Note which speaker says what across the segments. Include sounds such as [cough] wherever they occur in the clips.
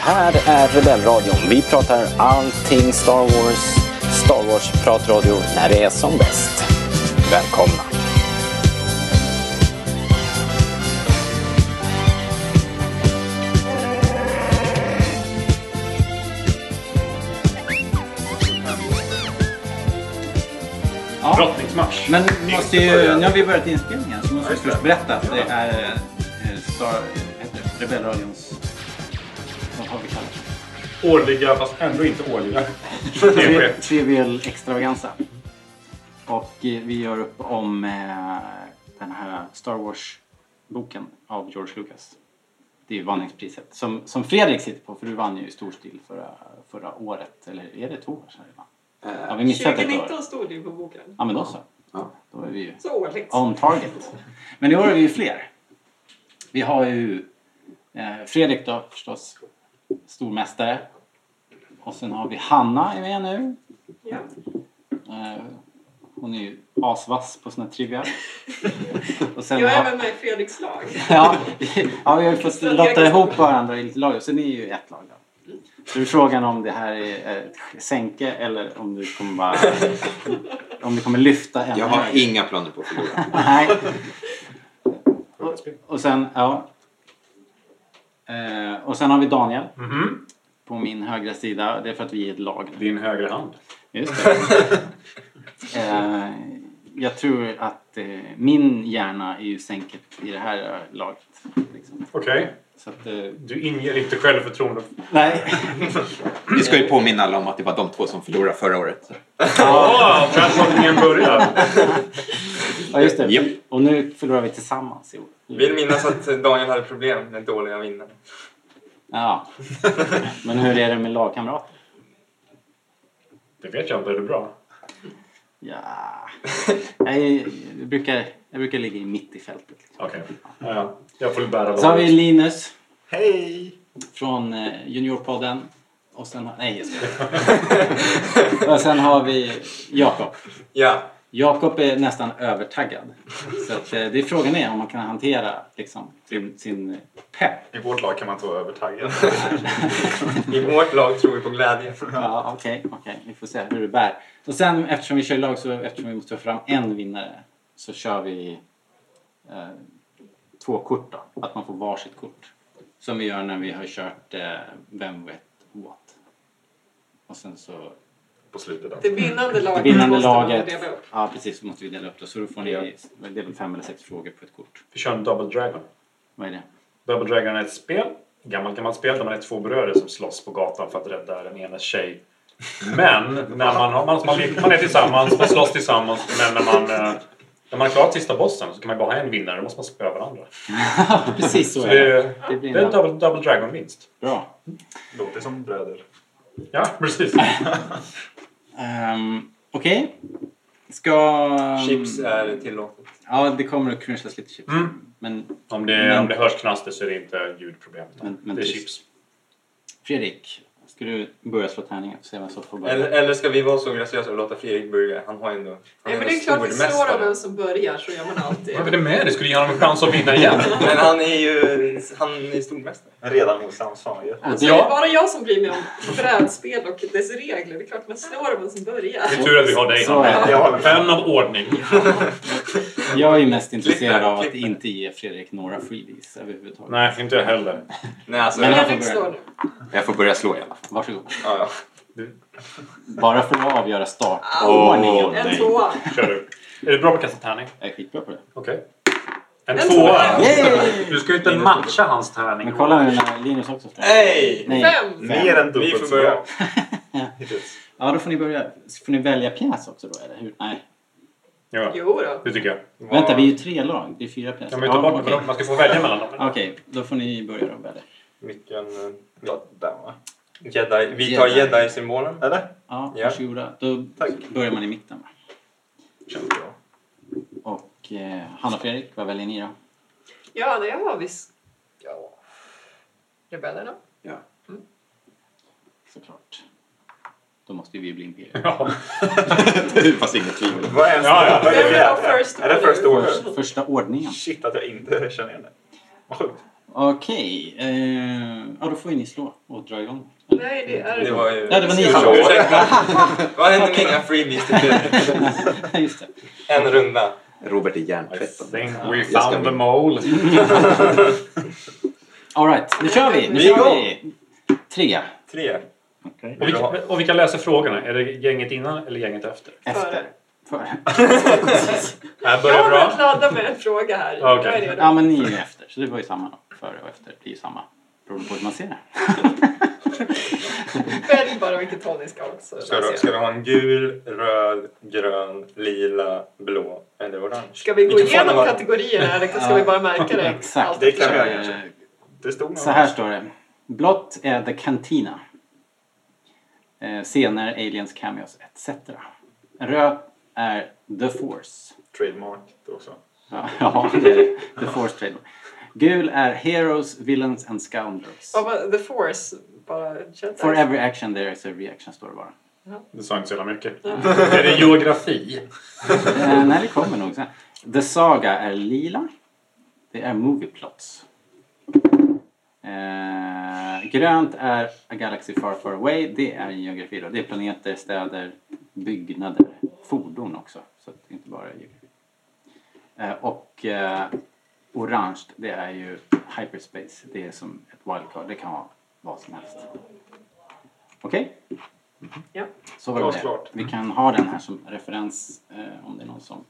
Speaker 1: här är Rebellradion. Vi pratar allting Star Wars. Star Wars-pratradio när det är som bäst. Välkomna!
Speaker 2: Brottningsmatch.
Speaker 3: Men
Speaker 2: Det
Speaker 3: vi
Speaker 2: är
Speaker 3: måste
Speaker 2: inte
Speaker 3: ju,
Speaker 2: början.
Speaker 3: nu har vi börjat inspelningen så måste vi
Speaker 2: just
Speaker 3: först
Speaker 2: det.
Speaker 3: berätta att det är eh, Star, heter det, Rebellradions... Vad har vi kallat det?
Speaker 2: Årliga, fast ändå inte [laughs] årliga. TV.
Speaker 3: Tri- Trivial Extravaganza. Och eh, vi gör upp om eh, den här Star Wars-boken av George Lucas. Det är ju vanningspriset som, som Fredrik sitter på för du vann ju i stor stil förra, förra året. Eller är det två år sedan redan? Har vi missat ett år?
Speaker 4: 2019 stod det ju på boken.
Speaker 3: Ja men då så. Då är vi ju
Speaker 4: Så årligt.
Speaker 3: On target. Men i år är vi ju fler. Vi har ju eh, Fredrik då förstås, stormästare. Och sen har vi Hanna är med nu.
Speaker 4: Ja.
Speaker 3: Eh, hon är ju asvass på såna
Speaker 4: [laughs]
Speaker 3: trivia. Och sen
Speaker 4: Jag är
Speaker 3: [laughs] har,
Speaker 4: även med i Fredriks lag.
Speaker 3: ja, ja, vi har ju fått lotta ihop varandra i lite lag och sen är ju ett lag då. Så är frågan om det här är ett sänke eller om du kommer
Speaker 4: [laughs]
Speaker 3: bara... Om du kommer lyfta en
Speaker 5: Jag har
Speaker 3: högre.
Speaker 5: inga planer på att förlora.
Speaker 3: Nej. Och, [laughs] och sen, ja. Eh, och sen har vi Daniel
Speaker 2: Mhm.
Speaker 3: på min högra sida. Det är för att vi är ett lag. nu.
Speaker 2: Din högra hand.
Speaker 3: Just det. eh, jag tror att eh, min hjärna är ju sänket i det här laget. Liksom.
Speaker 2: Okej.
Speaker 3: Så att, eh,
Speaker 2: Du inger inte självförtroende.
Speaker 3: nej.
Speaker 5: Vi ska ju påminna alla om att det var de två som förlorade förra året.
Speaker 2: Åh, Världsordningen börjar.
Speaker 3: Ja, just det.
Speaker 5: Japp.
Speaker 3: Och nu förlorar vi tillsammans i år.
Speaker 6: Vill minnas att Daniel hade problem med dåliga vinnare.
Speaker 3: Ja. Men hur är det med lagkamrater?
Speaker 2: [laughs] Det vet jag inte. Är det bra?
Speaker 3: Ja. Jag, är, jag, brukar, jag brukar ligga i mitt i fältet. Liksom.
Speaker 2: Okej. Ja, ja. Jag får bära
Speaker 3: Så har vi
Speaker 2: laget.
Speaker 3: Linus
Speaker 5: Hej!
Speaker 3: från eh, Juniorpodden. Och sen, har- nej, jag skojar. Och sen har vi Jakob.
Speaker 6: [laughs] Ja,
Speaker 3: Jakob är nästan övertaggad. Så att, eh, det är frågan är om man kan hantera liksom, sin, sin pepp.
Speaker 7: I vårt lag kan man inte
Speaker 2: [laughs]
Speaker 7: vara övertaggad.
Speaker 6: i vårt lag tror vi på glädje.
Speaker 3: Ja, Okej, okej. vi får se hur det bär. Och sen eftersom vi kör i lag så eftersom vi måste få fram en vinnare så kör vi eh, två kort då. Att man får varsitt kort. Som vi gör när vi har kört eh, Vem vet what. Och sen så
Speaker 7: På slutet där.
Speaker 4: Det vinnande laget
Speaker 3: Det vinnande
Speaker 4: måste man
Speaker 3: laget.
Speaker 4: dela upp.
Speaker 3: Ja precis, så måste vi dela upp det. Så då får ni, det är väl fem eller sex frågor på ett kort.
Speaker 2: Vi kör en Double Dragon.
Speaker 3: Vad [laughs] är det?
Speaker 2: Double Dragon är ett spel. Gammalt, gammalt spel där man är två bröder som slåss på gatan för att rädda den ena tjej. Men när man, har, man, man, leker- man är tillsammans, man slåss tillsammans, men när man, eh, när man har klarat sista bossen så kan man bara ha en vinnare, då måste man spöa varandra.
Speaker 3: precis så
Speaker 2: Så
Speaker 3: är det.
Speaker 2: det,
Speaker 3: Det blir
Speaker 2: det är
Speaker 3: en
Speaker 2: en double, double Dragon-vinst.
Speaker 3: Bra.
Speaker 7: Låter som bröder.
Speaker 2: Ja, precis.
Speaker 3: Ehm, Okej. Ska...
Speaker 6: Chips är tillåtet.
Speaker 3: Ja, det kommer att crunchas lite chips.
Speaker 2: Mm.
Speaker 3: Men
Speaker 2: Om det,
Speaker 3: Men-
Speaker 2: om det hörs knaster så är det inte ljudproblem. utan
Speaker 3: Men- men
Speaker 2: det är
Speaker 3: tyst.
Speaker 2: chips.
Speaker 3: Fredrik, ska du börja slå tärningar? Får se vem som får börja.
Speaker 6: Eller, eller ska vi vara så graciösa och låta Fredrik börja? Han har ändå... Han
Speaker 4: Nej, men
Speaker 6: ändå
Speaker 4: det är klart vi slår om
Speaker 6: stormästare.
Speaker 4: vem som börjar så gör man alltid.
Speaker 2: Vad är det med dig? Skulle ge honom en chans att vinna igen?
Speaker 6: Men han är ju han
Speaker 2: [laughs]
Speaker 6: är stormästare.
Speaker 7: Redan osams fan ju.
Speaker 3: Och
Speaker 4: Så Alltså, det är
Speaker 3: det,
Speaker 4: bara jag som bryr mig om brädspel och dess regler. Det är klart man slår om vem som börjar.
Speaker 2: Det är tur att vi har dig.
Speaker 3: så är det.
Speaker 7: Jag håller med.
Speaker 2: Vän av ordning.
Speaker 3: Jag är ju mest intresserad av att
Speaker 6: Klippa.
Speaker 3: inte ge Fredrik några freebies överhuvudtaget.
Speaker 2: Nej, inte jag heller.
Speaker 6: Nej, alltså...
Speaker 3: Men-
Speaker 6: Men...
Speaker 3: han får
Speaker 4: Fredrik
Speaker 3: börja.
Speaker 4: slår nu.
Speaker 5: Jag får börja slå i alla fall.
Speaker 3: Varsågod.
Speaker 6: Ja, ja.
Speaker 3: Bara för att avgöra
Speaker 5: Åh,
Speaker 3: startordningen.
Speaker 4: En
Speaker 5: nej.
Speaker 4: tvåa.
Speaker 2: Kör du. Är det bra på att kasta tärning?
Speaker 3: Jag är skitbra på det.
Speaker 2: Okej. En
Speaker 4: En
Speaker 2: tvåa!
Speaker 4: tvåa.
Speaker 2: Du ska ju inte matcha hans tärning.
Speaker 3: Men kolla nu när Linus också slår.
Speaker 6: Hej!
Speaker 4: Fem.
Speaker 7: Mer än
Speaker 6: Vi
Speaker 7: dubbelt
Speaker 6: får
Speaker 7: så
Speaker 6: börja.
Speaker 7: bra. Hittills.
Speaker 3: Ja, då får ni börja. Får ni välja pjäs också då, eller hur? Nej.
Speaker 2: Ja,
Speaker 4: Jo då.
Speaker 2: det tycker jag.
Speaker 3: Vänta, vi är ju tre lag. Det är fyra pjäser.
Speaker 2: Jag vill ta bort
Speaker 3: okej.
Speaker 2: dem. Man ska få välja mellan dem.
Speaker 3: Okej, då får ni börja då, Belle.
Speaker 6: Vilken... eh,
Speaker 7: Ja, Där va?
Speaker 6: Jedi. Vi tar
Speaker 3: Jedi.
Speaker 6: jedi-symbolen.
Speaker 7: Eller?
Speaker 3: Ja,
Speaker 6: Ja.
Speaker 3: varsågoda. Då
Speaker 7: Tack.
Speaker 3: börjar man i mitten. va?
Speaker 7: Känns bra.
Speaker 3: Och eh, Hanna och Fredrik, vad väljer ni då?
Speaker 4: Ja, det har vi. s- Ja. Rebellerna.
Speaker 3: Såklart. Då måste ju vi bli imperium.
Speaker 2: Ja.
Speaker 5: Det fanns inget tvivel.
Speaker 7: Vad är ens
Speaker 2: Ja, ja.
Speaker 7: Vad
Speaker 4: Vem
Speaker 7: är det
Speaker 4: vill ha first
Speaker 7: Är det
Speaker 4: order?
Speaker 7: first order?
Speaker 3: Första ordningen.
Speaker 7: Shit att jag inte känner igen det. Vad sjukt.
Speaker 3: Okej. Eh, ja, då får ju ni slå och dra igång. [laughs]
Speaker 4: Nej, det är
Speaker 6: Det var ju...
Speaker 3: Ja, det var ni
Speaker 6: Ja,
Speaker 3: som-
Speaker 6: Ursäkta! Vad hände med inga freebies till slut?
Speaker 3: Just det.
Speaker 6: En runda.
Speaker 5: Robert är
Speaker 2: I
Speaker 5: hjärntvättad.
Speaker 2: think we
Speaker 5: Jag ska
Speaker 2: found the
Speaker 5: bli-
Speaker 2: mole.
Speaker 3: All right, nu kör vi! Nu
Speaker 6: Vi är
Speaker 3: kör
Speaker 6: igång.
Speaker 3: vi! Tre.
Speaker 6: Tre.
Speaker 2: Och vilka, och vilka läser frågorna? Är det gänget innan eller gänget efter?
Speaker 3: Efter. Före.
Speaker 2: Det här
Speaker 4: Jag
Speaker 2: börjar
Speaker 4: har börjat
Speaker 2: bra.
Speaker 4: ladda med en fråga här.
Speaker 2: Ja, okej.
Speaker 4: Vad är det då?
Speaker 3: Ja, men ni är ju efter, så det var ju samma. då. Före och efter blir ju samma. Beroende på hur man ser det. [laughs]
Speaker 4: Välj bara vilket håll ni ska åt. Så
Speaker 6: Ska du,
Speaker 4: se.
Speaker 6: ska du ha en gul, röd, grön, lila, blå eller orange?
Speaker 4: Ska vi gå
Speaker 6: Vilken form
Speaker 4: igenom
Speaker 6: var-
Speaker 4: kategorierna eller
Speaker 3: [laughs]
Speaker 4: ska vi bara märka det?
Speaker 3: Exakt.
Speaker 7: Det kan vi göra,
Speaker 3: Eh,
Speaker 7: kanske. Det stod nog.
Speaker 3: Så här står det. Blått är The Cantina. Eh, Scener, aliens, cameos etc. Rött är The Force.
Speaker 7: Trademark det också.
Speaker 3: Ja, ja, [laughs] det är det. The Force Trademark. Gul är Heroes, Villains and Scoundrels.
Speaker 4: Ja, men The Force, bara känns
Speaker 3: For every action there is a reaction står det bara.
Speaker 2: Det sa inte så jävla mycket. Är det geografi?
Speaker 3: Eh, nej, det kommer nog sen. The Saga är lila. Det är Movie Plots. Eh, grönt är A Galaxy Far Far Away. Det är en geografi då. Det är planeter, städer, byggnader, fordon också. Så att det inte bara är geografi. Eh, och eh, orange, det är ju hyperspace. Det är som ett wildcard. Det kan vara vad som helst. Okej?
Speaker 4: Ja.
Speaker 3: Så var det med
Speaker 7: Glasklart.
Speaker 3: det. Vi kan ha den här som referens eh, om det är någon som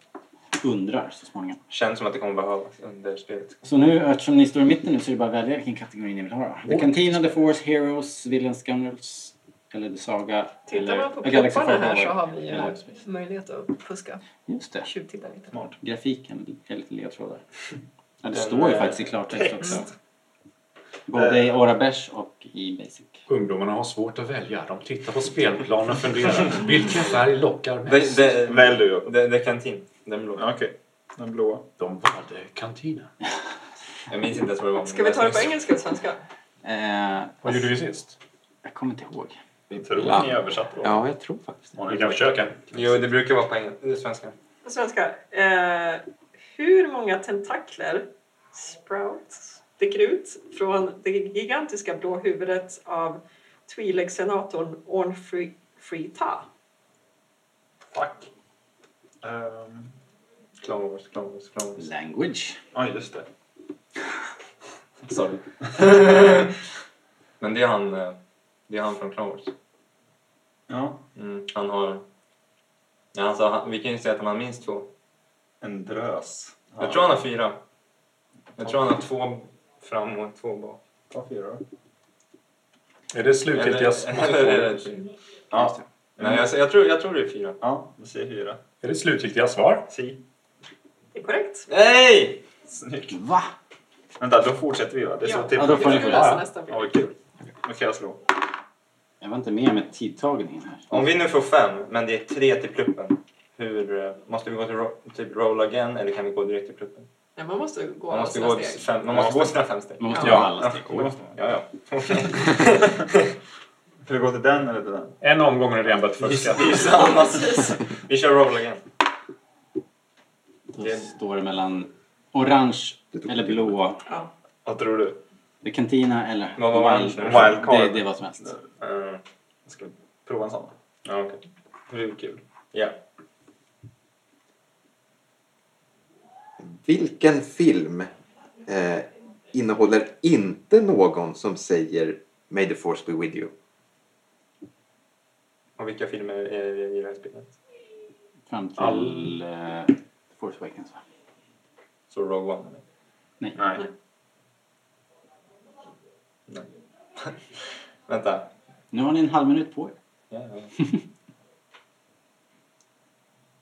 Speaker 3: undrar så småningom.
Speaker 6: Känns som att det kommer behövas under spelet.
Speaker 3: Så nu, eftersom ni står i mitten nu så är det bara att välja vilken kategori ni vill ha då. The Cantina, The Force, Heroes, Villains, Scoundrels eller The Saga.
Speaker 4: Tittar
Speaker 3: eller
Speaker 4: man på
Speaker 3: eh, A Galaxy
Speaker 4: plopparna
Speaker 3: Far
Speaker 4: här
Speaker 3: Far
Speaker 4: så har
Speaker 3: Away.
Speaker 4: vi
Speaker 3: Eller-
Speaker 4: ju möjlighet att fuska.
Speaker 3: Just det.
Speaker 4: Tjuvtitta lite.
Speaker 3: Grafiken är lite ledtrådar.
Speaker 7: [laughs]
Speaker 3: Ja, det
Speaker 6: Den,
Speaker 3: står ju
Speaker 6: eh,
Speaker 3: faktiskt i klartext också. Både
Speaker 7: Eh.
Speaker 3: i Orabesh och i Basic.
Speaker 2: Ungdomarna har svårt att välja. De tittar på spelplanen och funderar. Vilken färg lockar
Speaker 6: Det,
Speaker 2: mest?
Speaker 6: det,
Speaker 7: Välj du Jakob.
Speaker 6: det, det är kantin. Den blå.
Speaker 7: Ja, Okej. Den blåa.
Speaker 2: De valde kantina.
Speaker 6: Jag minns inte ens vad det var.
Speaker 4: Ska vi ta det på engelska eller svenska?
Speaker 3: Eh,
Speaker 2: Vad gjorde vi sist?
Speaker 3: jag kommer inte ihåg.
Speaker 7: Vi tror
Speaker 5: Ja.
Speaker 7: att ni översatte då.
Speaker 5: Ja, jag tror faktiskt det.
Speaker 2: Vi kan försöka.
Speaker 6: Jo, det brukar vara på engelska. Svenska.
Speaker 4: På svenska. Eh, hur många tentakler, sprouts, sticker ut från det gigantiska blå huvudet av Twi'lek-senatorn Orn Fri- Frita?
Speaker 7: Fuck. Ehm,
Speaker 6: Clone Wars, Clone Wars, Clone Wars.
Speaker 3: Language.
Speaker 7: Ja, just det.
Speaker 3: [laughs] Sorry.
Speaker 6: Men det är han, eh, det är han från Clone Wars.
Speaker 7: Ja.
Speaker 6: Mm, han har... Ja, alltså, han, vi kan ju säga att han har minst två.
Speaker 7: En drös.
Speaker 6: Jag tror han har fyra. Jag tror han har två fram och två bak.
Speaker 7: Ta fyra då.
Speaker 2: Är det slutgiltiga svaret?
Speaker 6: eller, eller,
Speaker 7: Ja.
Speaker 6: Nej, jag, jag, tror, jag tror det är fyra.
Speaker 7: Ja, vi säger fyra.
Speaker 2: [laughs] Är det slutgiltiga svar?
Speaker 7: Si.
Speaker 4: Det är korrekt.
Speaker 6: Nej!
Speaker 7: Snyggt.
Speaker 3: Va?
Speaker 7: Vänta, då fortsätter vi va? Det är så
Speaker 4: Ja.
Speaker 7: till.
Speaker 3: Ja, då får ni
Speaker 4: Jag ska
Speaker 2: Ja,
Speaker 4: läsa
Speaker 2: ja.
Speaker 4: nästa bild.
Speaker 7: Ja, vad kul. Då kan jag slå.
Speaker 3: Jag var inte med med tidtagningen här.
Speaker 6: Om vi nu får fem, men det är tre till pluppen. Hur, eh, måste vi gå till ro, typ roll again eller kan vi gå direkt till pluppen?
Speaker 4: Nej, man måste gå
Speaker 6: Man måste,
Speaker 4: sina
Speaker 6: gå,
Speaker 4: steg.
Speaker 6: fem, man måste gå sina fem steg.
Speaker 3: Man måste
Speaker 4: Ja.
Speaker 3: ja. alla
Speaker 6: Ja,
Speaker 3: steg.
Speaker 6: ja, ja.
Speaker 7: [laughs] Ska vi gå till den eller till den?
Speaker 2: En omgång har ni redan börjat fuska.
Speaker 6: Det är ju samma sak. Vi kör roll again.
Speaker 3: Då
Speaker 6: Det-
Speaker 3: står det mellan orange
Speaker 5: Det tog
Speaker 3: eller
Speaker 5: tid.
Speaker 3: blå.
Speaker 4: Ja.
Speaker 7: Vad tror du?
Speaker 3: The Cantina eller
Speaker 6: Vad var
Speaker 3: wild-
Speaker 6: orange?
Speaker 7: Wildcard.
Speaker 3: Det, det är vad som helst.
Speaker 6: Eh,
Speaker 7: Ska vi prova en sån?
Speaker 6: Ja, okej.
Speaker 7: Det blir kul.
Speaker 6: Ja.
Speaker 5: Vilken film eh, innehåller inte någon som säger May the force be with you?
Speaker 6: Och vilka filmer är det i det här spelet?
Speaker 3: Fram till
Speaker 2: All-
Speaker 3: eh, Force Awakens va?
Speaker 6: Så Rogue One? eller?
Speaker 3: Nej.
Speaker 7: Nej.
Speaker 6: [laughs] Vänta.
Speaker 3: Nu har ni en halv minut på er.
Speaker 6: Ja, ja. [laughs]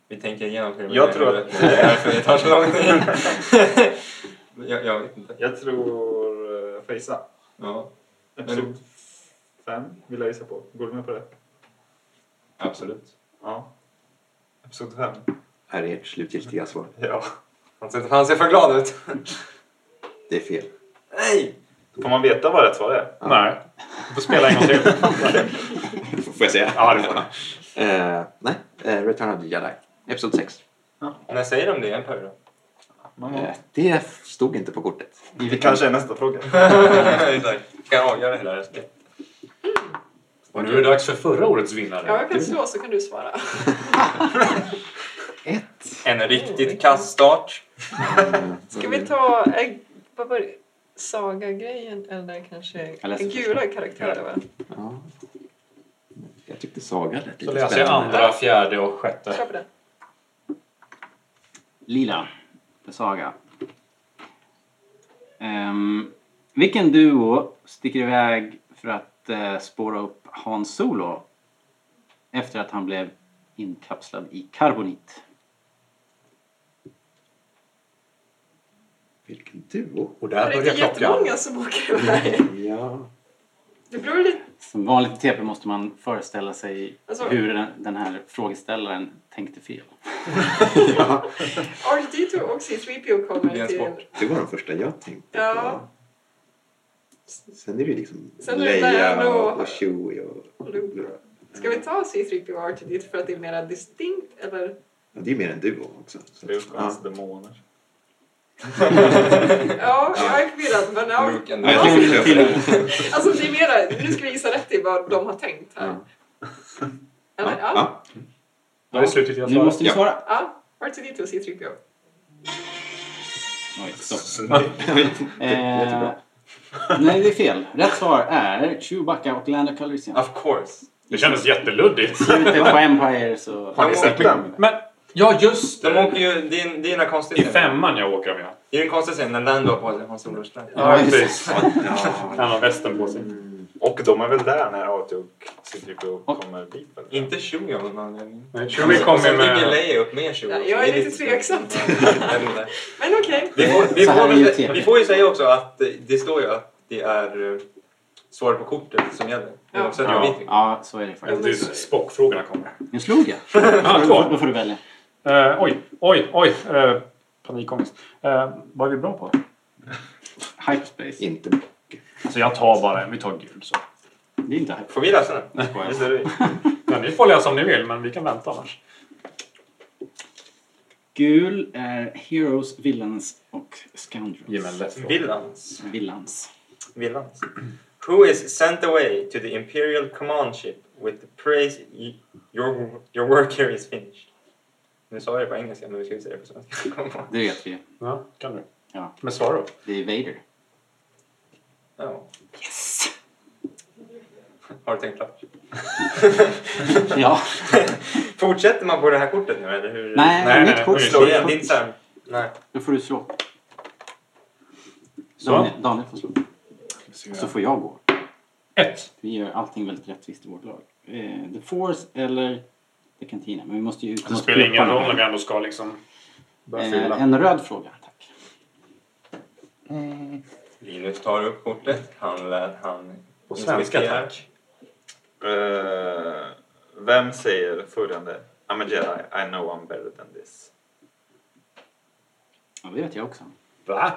Speaker 6: Vi tänker igenom filmen.
Speaker 7: Jag tror
Speaker 6: [laughs]
Speaker 7: att-
Speaker 6: Det är därför det tar så lång tid. [laughs] jag, jag vet inte.
Speaker 7: [laughs] Jag tror... eh, Får jag gissa?
Speaker 6: Ja,
Speaker 7: Episod fem vill jag gissa på. Går du med på det?
Speaker 6: absolut.
Speaker 7: Ja. Episod fem.
Speaker 5: Här är ert slutgiltiga svar.
Speaker 7: Ja.
Speaker 6: Han ser, han ser för glad ut.
Speaker 5: Det är fel.
Speaker 6: [laughs] Nej!
Speaker 7: Får man veta vad rätt svar är?
Speaker 2: Nej. Du får spela en gång till.
Speaker 5: Får jag säga?
Speaker 2: [laughs] Ja, det får du.
Speaker 5: Eh, nej, eh, Return of the Jedi. Episod 6.
Speaker 6: När säger de det? En per då?
Speaker 7: Man,
Speaker 3: Eh, Det
Speaker 5: Stod inte på kortet.
Speaker 7: det kanske är nästa fråga.
Speaker 6: Exakt. Ska jag avgöra hela resten?
Speaker 2: Och nu är det dags för förra årets vinnare.
Speaker 4: Ja, jag kan slå så kan du svara.
Speaker 6: En
Speaker 4: Mm.
Speaker 6: riktigt kass start.
Speaker 4: Ska
Speaker 6: Mm.
Speaker 4: vi ta eh, vad var det? Saga-grejen eller kanske
Speaker 3: Jag läser
Speaker 4: den gula karaktärer? Va?
Speaker 5: Ja. Jag tyckte Saga lät
Speaker 2: Så
Speaker 5: lite
Speaker 2: läser jag
Speaker 5: spännande.
Speaker 2: andra, fjärde och
Speaker 4: Kör
Speaker 2: sjätte.
Speaker 4: på den.
Speaker 3: Lila för Saga. Ehm, vilken duo sticker iväg för att eh, spåra upp Hans Solo efter att han blev inkapslad i karbonit?
Speaker 5: Vilken duo.
Speaker 2: Och
Speaker 4: Det
Speaker 2: där
Speaker 4: är
Speaker 2: börjar
Speaker 4: inte
Speaker 2: klockan.
Speaker 4: jättemånga som åker iväg.
Speaker 5: Ja.
Speaker 4: Det beror lite...
Speaker 3: Som vanligt i TP måste man föreställa sig
Speaker 4: Alltså-
Speaker 3: hur den, den här frågeställaren tänkte fel.
Speaker 4: R2D2 och C3PO
Speaker 6: Det är
Speaker 4: kommer
Speaker 6: en
Speaker 4: till...
Speaker 6: sport.
Speaker 5: Det var den första jag tänkte
Speaker 4: Ja.
Speaker 5: på. Sen är det ju liksom
Speaker 4: Sen är det
Speaker 5: Leia
Speaker 4: Lando.
Speaker 5: och, och Chewie och...
Speaker 4: Luke. Ska vi ta C3PO och R2D2 för att det är mer distinkt eller?
Speaker 5: Ja, det är ju mer en duo också. Så.
Speaker 7: Luke och
Speaker 5: Ja.
Speaker 7: hans demoner.
Speaker 4: Ja, jag är förvirrad men ja.
Speaker 6: Luke and
Speaker 5: Ja, jag
Speaker 6: Leia.
Speaker 5: tycker det är bra.
Speaker 4: Alltså det är mera, nu ska vi gissa rätt i vad de har tänkt här. Eller? Ja. ja.
Speaker 5: Ja.
Speaker 2: Då är det slutet jag
Speaker 3: Nu måste ni
Speaker 5: Ja.
Speaker 3: svara.
Speaker 4: R2D2 och C3PO.
Speaker 3: Oj, stopp.
Speaker 5: jättebra.
Speaker 3: Eh, nej, det är fel. Rätt svar är Chewbacca och Lando Calrissian.
Speaker 6: Of course.
Speaker 2: Det kändes jätteluddigt.
Speaker 3: Slutet på Empire så...
Speaker 7: Har ni sett den?
Speaker 2: Men, ja just
Speaker 6: De
Speaker 2: det.
Speaker 6: åker ju... Det är en- det är den här konstiga
Speaker 2: I
Speaker 6: scenen.
Speaker 2: femman jag åker med.
Speaker 6: Det är den konstiga scenen när Lando har på sig Hans Solos kläder.
Speaker 2: Ja, Mm.
Speaker 3: just det.
Speaker 2: precis. Han har västen på sig.
Speaker 7: Och de är väl där när A2 och
Speaker 2: typ
Speaker 7: C3PO
Speaker 3: Och-
Speaker 7: kommer dit? väl?
Speaker 6: Inte Chewie av någon anledning.
Speaker 2: Men Chewie
Speaker 6: Och
Speaker 2: kommer
Speaker 6: sen ligger
Speaker 2: med...
Speaker 6: Leia upp med Chewie.
Speaker 4: Ja, jag är
Speaker 6: Det
Speaker 4: lite tveksam.
Speaker 6: [laughs] Jag vet inte.
Speaker 4: [laughs] Men okej.
Speaker 6: Vi får, vi,
Speaker 3: Så här
Speaker 6: får
Speaker 3: är ju
Speaker 6: väl,
Speaker 3: TV.
Speaker 6: vi får ju säga också att eh, det står ju att det är eh, svar på kortet som gäller.
Speaker 4: Ja.
Speaker 6: Oavsett
Speaker 2: Ja.
Speaker 6: vad vi tycker.
Speaker 3: Ja, så är det
Speaker 2: Det
Speaker 3: faktiskt.
Speaker 2: är Spockfrågorna [laughs] kommer.
Speaker 3: Nu slog jag.
Speaker 2: Ah,
Speaker 3: Då,
Speaker 2: två.
Speaker 3: då får du välja.
Speaker 2: Eh, oj, oj, oj. Uh, panikångest. Eh, vad är vi bra på?
Speaker 3: Hyperspace.
Speaker 5: Inte
Speaker 2: Så Alltså, jag tar bara en. Vi tar gul så.
Speaker 3: Det är inte hyperspace.
Speaker 6: Får vi läsa den?
Speaker 3: jag skojar.
Speaker 7: Visst är det?
Speaker 2: Men ni får läsa om ni vill, men vi kan vänta annars.
Speaker 3: Gul är Heroes, Villains och Scoundrels.
Speaker 2: Ge mig en lätt fråga.
Speaker 6: Villans.
Speaker 3: Villains.
Speaker 6: Villans. Who is sent away to the Imperial command ship with the praise y- your, your work here is finished? Nu sa jag det på engelska, men vi ska ju säga det på svenska.
Speaker 3: Det vet vi.
Speaker 2: Ja, kan du.
Speaker 3: Ja.
Speaker 2: Men svara då.
Speaker 3: Det är Vader.
Speaker 6: Ja. Yes! Har du tänkt klart?
Speaker 3: Ja.
Speaker 6: [laughs] Fortsätter man på det här kortet nu eller hur?
Speaker 3: Nej,
Speaker 2: Nej,
Speaker 3: nytt
Speaker 2: nej,
Speaker 3: kort.
Speaker 2: oj,
Speaker 6: Slå
Speaker 3: Nytt
Speaker 6: igen,
Speaker 3: kort.
Speaker 6: det är inte så här... Nej.
Speaker 3: Då får du slå.
Speaker 2: Så.
Speaker 3: Daniel, Daniel får slå. Så får jag gå.
Speaker 2: Ett.
Speaker 3: Vi gör allting väldigt rättvist i vårt lag. Eh, the Force eller The Cantina. Men vi måste ju ut
Speaker 2: Det
Speaker 3: mot
Speaker 2: spelar ingen
Speaker 3: grupperna.
Speaker 2: roll om vi ändå ska liksom... Börja fylla.
Speaker 3: Eh, en röd fråga, tack.
Speaker 6: Linus tar upp kortet. Han lär... Han...
Speaker 2: På svenska,
Speaker 6: inspekterar.
Speaker 2: tack.
Speaker 7: Eh, vem säger följande? I'm a jedi, I know I'm better than this.
Speaker 3: Ja, det vet jag också.
Speaker 2: Va?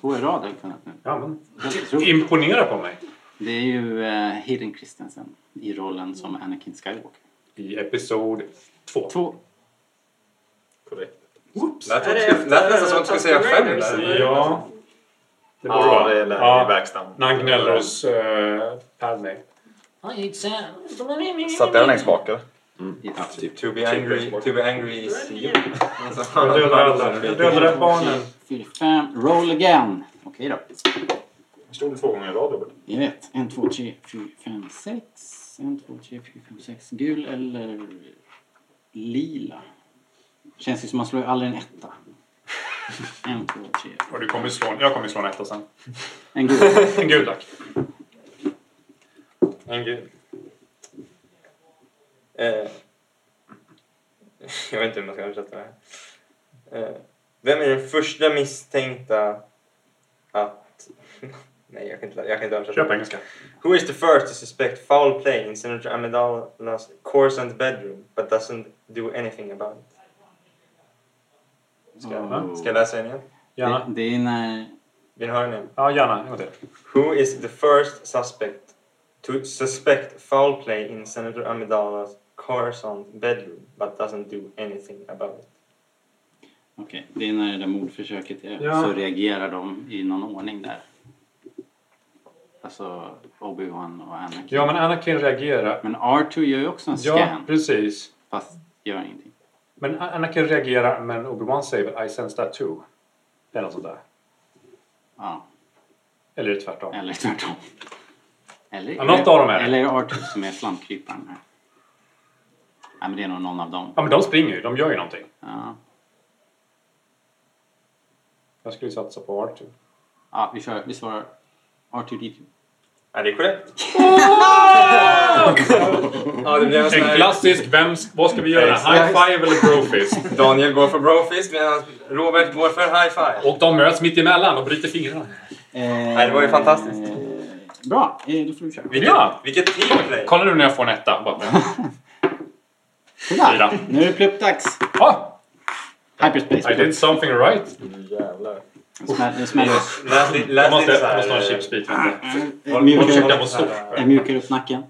Speaker 3: Två i rad har jag kunnat nu.
Speaker 2: Ja, men.
Speaker 3: Helt otroligt.
Speaker 2: Imponera på mig.
Speaker 3: Det är ju eh, Hayden Christensen i rollen som Anakin Skywalker.
Speaker 2: I episod två.
Speaker 3: Två.
Speaker 7: Korrekt.
Speaker 4: Oops.
Speaker 6: Lät nästan som att du skulle säga fem där.
Speaker 2: Ja. Det borde
Speaker 7: Ja,
Speaker 2: vara.
Speaker 7: det är Larry
Speaker 2: Ja.
Speaker 7: Backstam.
Speaker 2: När han gnäller hos uh, Padme.
Speaker 6: Satt den längst bak eller?
Speaker 3: Ja, typ.
Speaker 6: To be angry, to be angry is you. Alltså,
Speaker 2: Jag dödar Mm. alla. Jag dödar barnen.
Speaker 3: Fyra, fem. Roll again. Okej då.
Speaker 7: Stod det två gånger i rad Robert?
Speaker 3: Jag vet. En, två, tre, fyra, fem, sex. En, två, tre, fyra, fem, sex. Gul eller lila? Känns ju som man slår ju aldrig en
Speaker 2: [laughs]
Speaker 3: etta. En, två, tre.
Speaker 2: Och du kommer slå, jag kommer slå en etta [laughs] sen.
Speaker 3: En gul.
Speaker 2: En gul tack. En gul.
Speaker 6: Eh, [laughs] Jag vet inte hur man ska översätta det här. Eh, Vem är den första misstänkta att... [laughs] Nej, jag kan inte, jag kan inte översätta.
Speaker 2: Köp engelska.
Speaker 6: Who is the first to suspect foul play in Senator Amidala's Coruscant bedroom but doesn't do anything about it?
Speaker 2: Mm.
Speaker 6: Ska jag läsa den igen?
Speaker 2: Gärna.
Speaker 3: Det, det är när...
Speaker 6: Vill ni höra den igen?
Speaker 2: Ja, gärna. En gång till.
Speaker 6: Who is the first suspect to suspect foul play in Senator Amidala's Coruscant bedroom but doesn't do anything about it?
Speaker 3: Okej, det är när det där mordförsöket är
Speaker 2: Ja.
Speaker 3: så reagerar de i någon ordning där. Alltså Obi-Wan och Anakin.
Speaker 2: Ja, men Anakin reagerar.
Speaker 3: Men R2 gör ju också en
Speaker 2: Ja,
Speaker 3: scan
Speaker 2: precis.
Speaker 3: fast gör ingenting.
Speaker 2: Men A- Anakin reagerar, men Obi-Wan säger väl I sense that too. Eller något sånt där.
Speaker 3: Ja,
Speaker 2: Eller är det tvärtom?
Speaker 3: eller tvärtom. Eller,
Speaker 2: Ja, något av dem är det.
Speaker 3: eller är det R2 som är slamkryparen här? Nej men det är nog någon av dem.
Speaker 2: Ja, men de springer ju. De gör ju någonting.
Speaker 3: Ja,
Speaker 2: Jag skulle satsa på Arthur.
Speaker 3: ja vi, kör, vi svarar R2D2.
Speaker 6: Ja, det är
Speaker 7: [laughs]
Speaker 6: korrekt. ja, det blev en sån
Speaker 2: En
Speaker 6: här...
Speaker 2: klassisk vem, vad ska vi göra? High five eller brofist?
Speaker 6: Daniel går för brofist medan Robert går för high five.
Speaker 2: Och de möts mitt emellan och bryter fingrarna.
Speaker 3: Nej,
Speaker 6: det var ju fantastiskt.
Speaker 3: Bra, eh, då får du köra.
Speaker 6: Vilket,
Speaker 2: Ja.
Speaker 6: vilket teamplay!
Speaker 2: Kolla nu när jag får en etta. Bara.
Speaker 3: Sådär.
Speaker 2: Fyra.
Speaker 3: Nu är det pluppdags.
Speaker 2: Ah, I
Speaker 3: Hyperspace. plupp.
Speaker 2: did something right.
Speaker 6: Jävlar.
Speaker 3: Det smäller- Det smäller.
Speaker 6: Läs, li- läs
Speaker 2: Jag måste,
Speaker 6: lite så
Speaker 2: jag
Speaker 6: här.
Speaker 2: måste ha en chipsbit. vänta.
Speaker 3: Eh,
Speaker 2: Håll försökte
Speaker 3: Mjukare
Speaker 2: på stor.
Speaker 3: eh, mjukare upp nacken.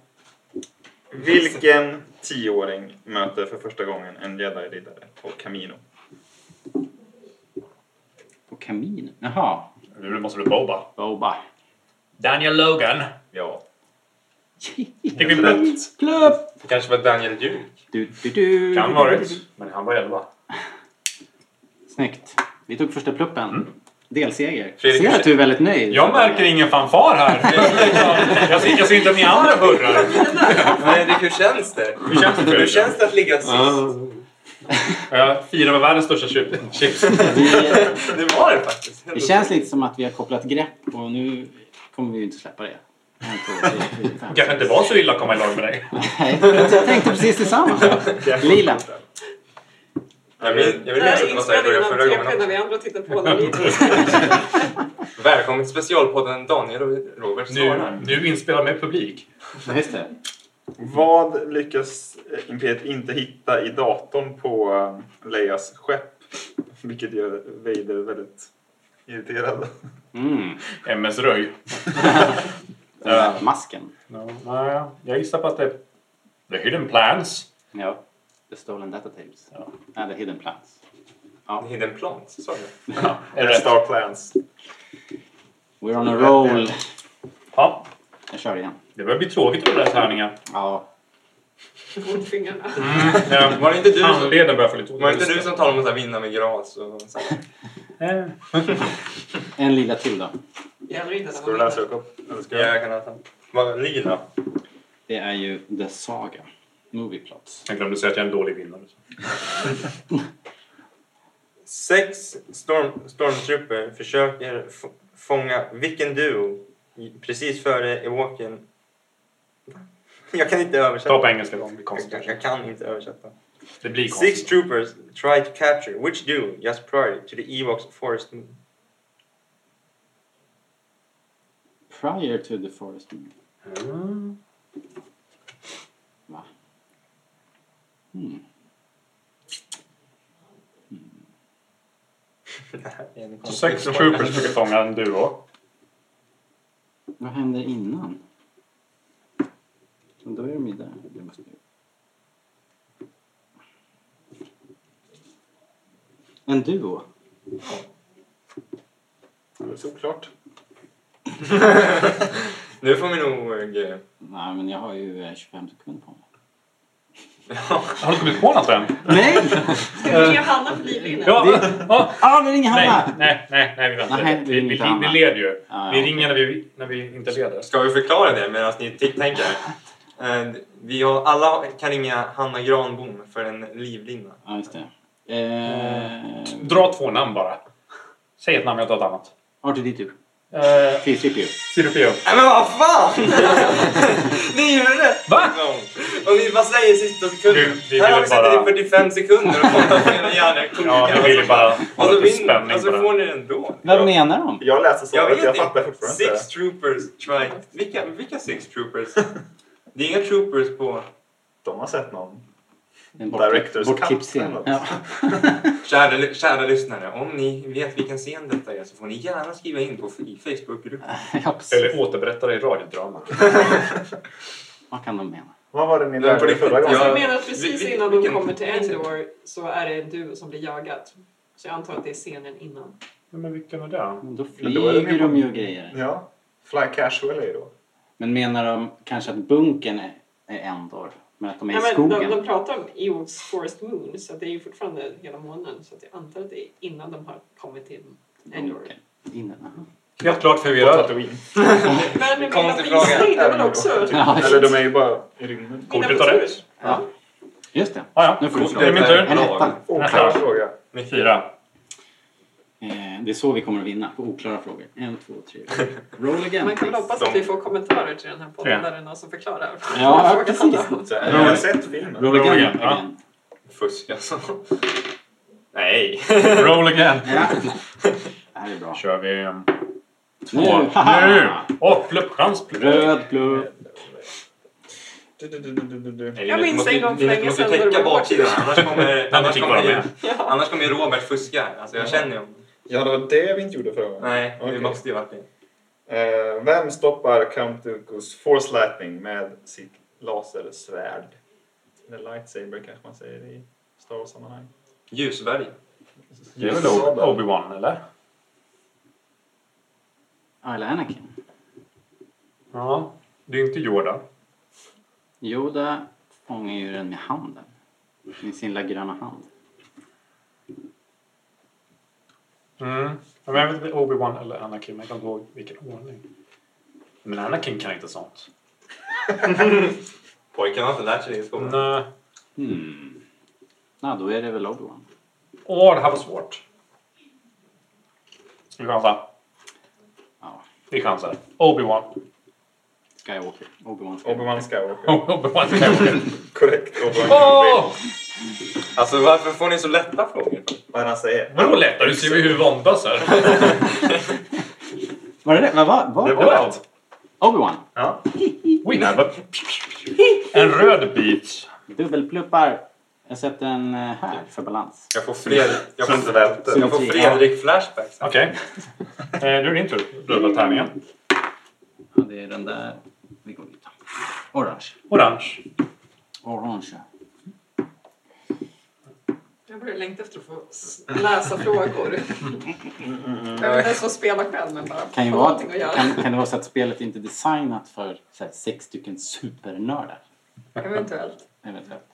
Speaker 7: Vilken tioåring möter för första gången en jedi-riddare på Camino?
Speaker 3: På kaminen? Jaha.
Speaker 2: Nu måste du boba.
Speaker 3: Boba.
Speaker 2: Daniel Logan.
Speaker 7: Ja.
Speaker 2: Fick vi rätt?
Speaker 3: Klubb!
Speaker 6: Det kanske var Daniel Duke.
Speaker 3: Du, du, du.
Speaker 2: Kan varit. Men han var 11.
Speaker 3: Snyggt. Vi tog första pluppen. Delseger.
Speaker 6: Fredrik,
Speaker 3: Ser att du är väldigt nöjd.
Speaker 2: Mm. Jag märker ingen fanfar här. [laughs] Jag ser, jag ser inte att ni andra hurrar.
Speaker 6: Fredrik, hur känns det?
Speaker 2: Hur känns det
Speaker 6: Hur
Speaker 2: för er?
Speaker 6: känns det att ligga sist?
Speaker 2: Jag firar med Eh, världens största chip- chips.
Speaker 3: Vi,
Speaker 6: Det var det faktiskt.
Speaker 3: det känns lite som att vi har kopplat grepp och nu kommer vi ju inte släppa det. En, två, tre, fyra, fem.
Speaker 2: kanske inte var så illa att komma i lag med dig.
Speaker 3: Nej, jag tänkte precis detsamma. Lila.
Speaker 6: Jag minns jag
Speaker 4: Den
Speaker 6: minns
Speaker 4: här
Speaker 6: inte vad jag började
Speaker 4: inspelningen
Speaker 6: förra
Speaker 4: av
Speaker 6: gången
Speaker 4: TP när
Speaker 6: också.
Speaker 4: vi andra tittar på när ni
Speaker 6: Välkommen till specialpodden Daniel och Robert
Speaker 2: Nu,
Speaker 6: svarar.
Speaker 2: nu inspelar med publik.
Speaker 3: Ja, Just det.
Speaker 7: Vad lyckas eh, Imperiet inte hitta i datorn på eh, Leias skepp? Vilket gör Vader väldigt irriterad.
Speaker 3: Mm.
Speaker 2: MS Röj.
Speaker 3: Den där Äh, masken.
Speaker 2: Ja, jag gissar på att det är The Hidden Plans.
Speaker 3: Ja. The stolen datatapes. Ja. Nej, the hidden plans.
Speaker 6: Hidden Plans, sa jag.
Speaker 2: Är det rätt?
Speaker 7: Star Plans.
Speaker 3: We're on a roll.
Speaker 2: Ja,
Speaker 3: Jag kör igen.
Speaker 2: det börjar bli tråkigt att rulla tärningar.
Speaker 3: Ja.
Speaker 4: mot fingrarna.
Speaker 2: Ja,
Speaker 6: Var det inte du som,
Speaker 2: Handleden Eh, börjar få lite ont.
Speaker 6: var det inte du som talade om att vinna med gras? Och så här?
Speaker 2: Eh,
Speaker 3: En lila till då.
Speaker 4: Gäller inte
Speaker 7: Ska du läsa Jakob? Eller ska
Speaker 6: Ja,
Speaker 7: jag?
Speaker 6: jag kan ha Vad- Lila.
Speaker 3: Det är ju The Saga. Movie plots.
Speaker 2: Jag glömde säga att jag är en dålig vinnare.
Speaker 6: Sex storm, stormtrooper försöker få- fånga vilken duo i- precis före Ewokern. [laughs] Jag kan inte översätta.
Speaker 2: Ta på engelska då om vi
Speaker 6: Jag,
Speaker 2: konstaterar.
Speaker 6: jag kan inte översätta.
Speaker 2: Det blir
Speaker 6: Six
Speaker 2: konstigt.
Speaker 6: troopers try to capture which duo just prior to the Ewoks forest moon.
Speaker 3: Prior to the forest moon.
Speaker 2: Mm.
Speaker 3: Va?
Speaker 2: Hmm.
Speaker 3: Mm.
Speaker 2: Så sex troopers försöker fånga en duo.
Speaker 3: Vad händer innan? Och då är de ju där. Det måste ju... En duo?
Speaker 7: Det är Såklart.
Speaker 6: Nu får vi nog... eh,
Speaker 3: Nej, men jag har ju eh, 25 sekunder på mig.
Speaker 2: Har du kommit på något än?
Speaker 3: Nej!
Speaker 4: Ska vi ge Hanna för livlinan?
Speaker 2: Ja, ja.
Speaker 3: Ah, det ringer
Speaker 2: Nej,
Speaker 3: Hanna!
Speaker 2: nej, nej, nej,
Speaker 3: Nej,
Speaker 2: vi väntar.
Speaker 3: det är
Speaker 2: Vi, vi,
Speaker 3: inte
Speaker 2: vi,
Speaker 3: Hanna.
Speaker 2: leder ju.
Speaker 3: Ja,
Speaker 2: Vi
Speaker 3: ja.
Speaker 2: ringer när vi, när vi inte leder.
Speaker 6: Ska vi förklara det medan ni t-
Speaker 2: [laughs]
Speaker 6: tänker? Eh, Vi har, alla kan ringa Hanna Granbom för en livlina.
Speaker 3: Ja, just det. Eh,
Speaker 2: Dra två namn bara. Säg ett namn, jag tar ett annat.
Speaker 3: R2D2.
Speaker 2: Eh,
Speaker 3: C3PO.
Speaker 2: Cirupio.
Speaker 6: Nej men vad
Speaker 7: [laughs]
Speaker 6: fan! ni gjorde rätt!
Speaker 2: Va?
Speaker 6: Och ni bara säger sista sekunden.
Speaker 2: Vi- vi
Speaker 6: Här har
Speaker 2: vill
Speaker 6: vi suttit
Speaker 2: bara-
Speaker 6: i 45 sekunder och pratat med era hjärnor.
Speaker 2: Ja, vi ville bara
Speaker 6: Och
Speaker 2: ha
Speaker 6: så,
Speaker 2: lite
Speaker 6: vinner,
Speaker 2: spänning
Speaker 6: och så
Speaker 2: på
Speaker 6: Alltså, får
Speaker 2: den.
Speaker 6: ni den då.
Speaker 3: Vad menar de?
Speaker 7: Jag läser
Speaker 6: Jag
Speaker 7: svaret,
Speaker 6: vet
Speaker 7: jag, fattar
Speaker 6: inte.
Speaker 7: fortfarande
Speaker 6: Six troopers try... Vilka, vilka six troopers? Det är inga troopers på...
Speaker 7: De har sett någon.
Speaker 3: En
Speaker 7: Director's cut
Speaker 3: bortklippsscen.
Speaker 7: eller något.
Speaker 3: Ja. [laughs]
Speaker 6: Kära, kära lyssnare, om ni vet vilken scen detta är så får ni gärna skriva in på f- i Facebookgruppen.
Speaker 3: ja, precis.
Speaker 2: Eller återberätta det i radiodrama.
Speaker 3: Vad kan de mena?
Speaker 7: Vad var det
Speaker 6: Men
Speaker 7: ni
Speaker 6: på
Speaker 7: lärde er
Speaker 6: riktigt,
Speaker 4: Alltså,
Speaker 7: förra gången?
Speaker 6: jag-
Speaker 4: Jag menar att precis
Speaker 6: Vi- vi-
Speaker 4: innan de
Speaker 6: vilken-
Speaker 4: kommer till
Speaker 6: vilken-
Speaker 4: Endor så är det en duo som blir jagad. Så jag antar att det är scenen innan.
Speaker 2: Nej, men vilken är det?
Speaker 3: Då
Speaker 7: Men då är det
Speaker 3: flyger de ju och grejer.
Speaker 7: Ja. Fly casual är det då.
Speaker 3: Men menar de kanske att bunkern är, är Endor? Men att de är
Speaker 4: Nej,
Speaker 3: i
Speaker 4: men de,
Speaker 3: skogen?
Speaker 4: de pratar om Eox Forest Moon så det är ju fortfarande hela månen så att jag antar att det är innan de har kommit till Endor.
Speaker 3: Bunkern. Innan, aha.
Speaker 2: Helt klart
Speaker 7: Och
Speaker 2: förvirrad.
Speaker 7: Tatooine.
Speaker 4: Men mina
Speaker 6: Konstig fråga.
Speaker 4: gissningar är väl också...
Speaker 3: Ja,
Speaker 7: Eller de är ju bara i rymden.
Speaker 4: mina
Speaker 2: Kortet har rätt.
Speaker 4: kulturer. Ja.
Speaker 3: Just det.
Speaker 2: Ah, ja.
Speaker 3: Nu får du slå.
Speaker 2: Det är min tur.
Speaker 3: En etta.
Speaker 7: Oklar fråga.
Speaker 2: Fyra.
Speaker 3: Eh, det är så vi kommer att vinna, på oklara frågor. En, två, tre. Roll again.
Speaker 4: Man kan väl
Speaker 3: please.
Speaker 4: hoppas att vi får kommentarer till den här podden
Speaker 2: Tre.
Speaker 4: där det är någon som [laughs] förklarar.
Speaker 3: Ja,
Speaker 4: vad frågan
Speaker 3: precis.
Speaker 4: handlar om.
Speaker 6: Så
Speaker 7: Jag
Speaker 6: här,
Speaker 7: har sett filmen.
Speaker 3: Roll again.
Speaker 2: Roll again, ja.
Speaker 3: again.
Speaker 6: Fusk alltså. Nej.
Speaker 2: [laughs] Roll again.
Speaker 3: Ja. Det här är bra.
Speaker 2: kör vi. ehm,
Speaker 3: Nu!
Speaker 2: Två.
Speaker 3: haha.
Speaker 2: Nu! Åh, pluppchans.
Speaker 3: Röd plupp.
Speaker 7: Du, du, du, du, du, du.
Speaker 6: Nej,
Speaker 4: Jag
Speaker 6: du
Speaker 4: minns
Speaker 6: måste-
Speaker 4: en gång för
Speaker 6: du
Speaker 4: länge
Speaker 6: måste
Speaker 4: sedan när
Speaker 6: täcka
Speaker 4: det var-
Speaker 6: baksidan annars kommer, annars
Speaker 2: Någonting
Speaker 6: kommer,
Speaker 2: var
Speaker 6: ju,
Speaker 2: med.
Speaker 4: Ja.
Speaker 6: annars kommer ju Robert fuska. Alltså, jag känner ju honom.
Speaker 7: Ja, det var det vi inte gjorde förra gången.
Speaker 6: Nej, det
Speaker 7: Okej.
Speaker 6: måste ju varit det.
Speaker 7: Eh, vem stoppar Count Dooku's Force Lightning med sitt lasersvärd? Eller lightsaber kanske man säger i Star Wars-sammanhang.
Speaker 6: Ljusberg.
Speaker 2: Det är väl
Speaker 7: Ljussaber.
Speaker 2: Obi-Wan, eller?
Speaker 3: Ja, eller Anakin.
Speaker 2: Ja. Det är ju inte Jordan.
Speaker 3: Yoda fångar ju den med handen. Med sin lilla gröna hand.
Speaker 2: Mm. Men jag vet inte Obi-Wan eller Anakin. men Jag kommer inte ihåg vilken ordning. Men Anakin kan inte sånt.
Speaker 6: Pojkarna har inte lärt sig det i skolan.
Speaker 2: Nej.
Speaker 3: Hmm. Ja, då är det väl Obi-Wan.
Speaker 2: Åh, det här var svårt. Vi chansar.
Speaker 3: Ja,
Speaker 2: Vi chansar. Obi-Wan.
Speaker 3: Skywalker. Obi-Wan Skywalker.
Speaker 7: Obi-Wan Skywalker.
Speaker 2: [laughs] Obi-Wan Skywalker.
Speaker 7: Mm. [laughs] Korrekt. Obi-Wan
Speaker 2: [laughs] Åh!
Speaker 6: Alltså varför får ni så lätta frågor?
Speaker 7: Vad han säger.
Speaker 2: Vadå lätta? Du ser ju hur våndas [laughs] här.
Speaker 3: Var det det? Vad var, var?
Speaker 7: Det var allt.
Speaker 3: Obi-Wan.
Speaker 7: Ja.
Speaker 2: Winner. Vad- En röd bit.
Speaker 3: Dubbelpluppar. Jag sätter en eh, här för balans.
Speaker 6: Jag får, fler, jag
Speaker 7: Som inte
Speaker 6: får,
Speaker 7: välter.
Speaker 6: jag får Fredrik flashbacks.
Speaker 2: Okej. Eh, Nu är det din tur. Rulla tärningen.
Speaker 3: Ja, det är den där. Vi går vidare. Orange.
Speaker 2: Orange.
Speaker 3: Orange.
Speaker 4: Jag börjar längta efter att få s- läsa frågor. Jag vill ens få spela själv men bara
Speaker 3: Mm. Kan, ju
Speaker 4: få
Speaker 3: vara,
Speaker 4: någonting att göra.
Speaker 3: kan, kan det vara så att spelet inte är designat för så här, sex stycken supernördar?
Speaker 4: Eventuellt.
Speaker 3: Eventuellt.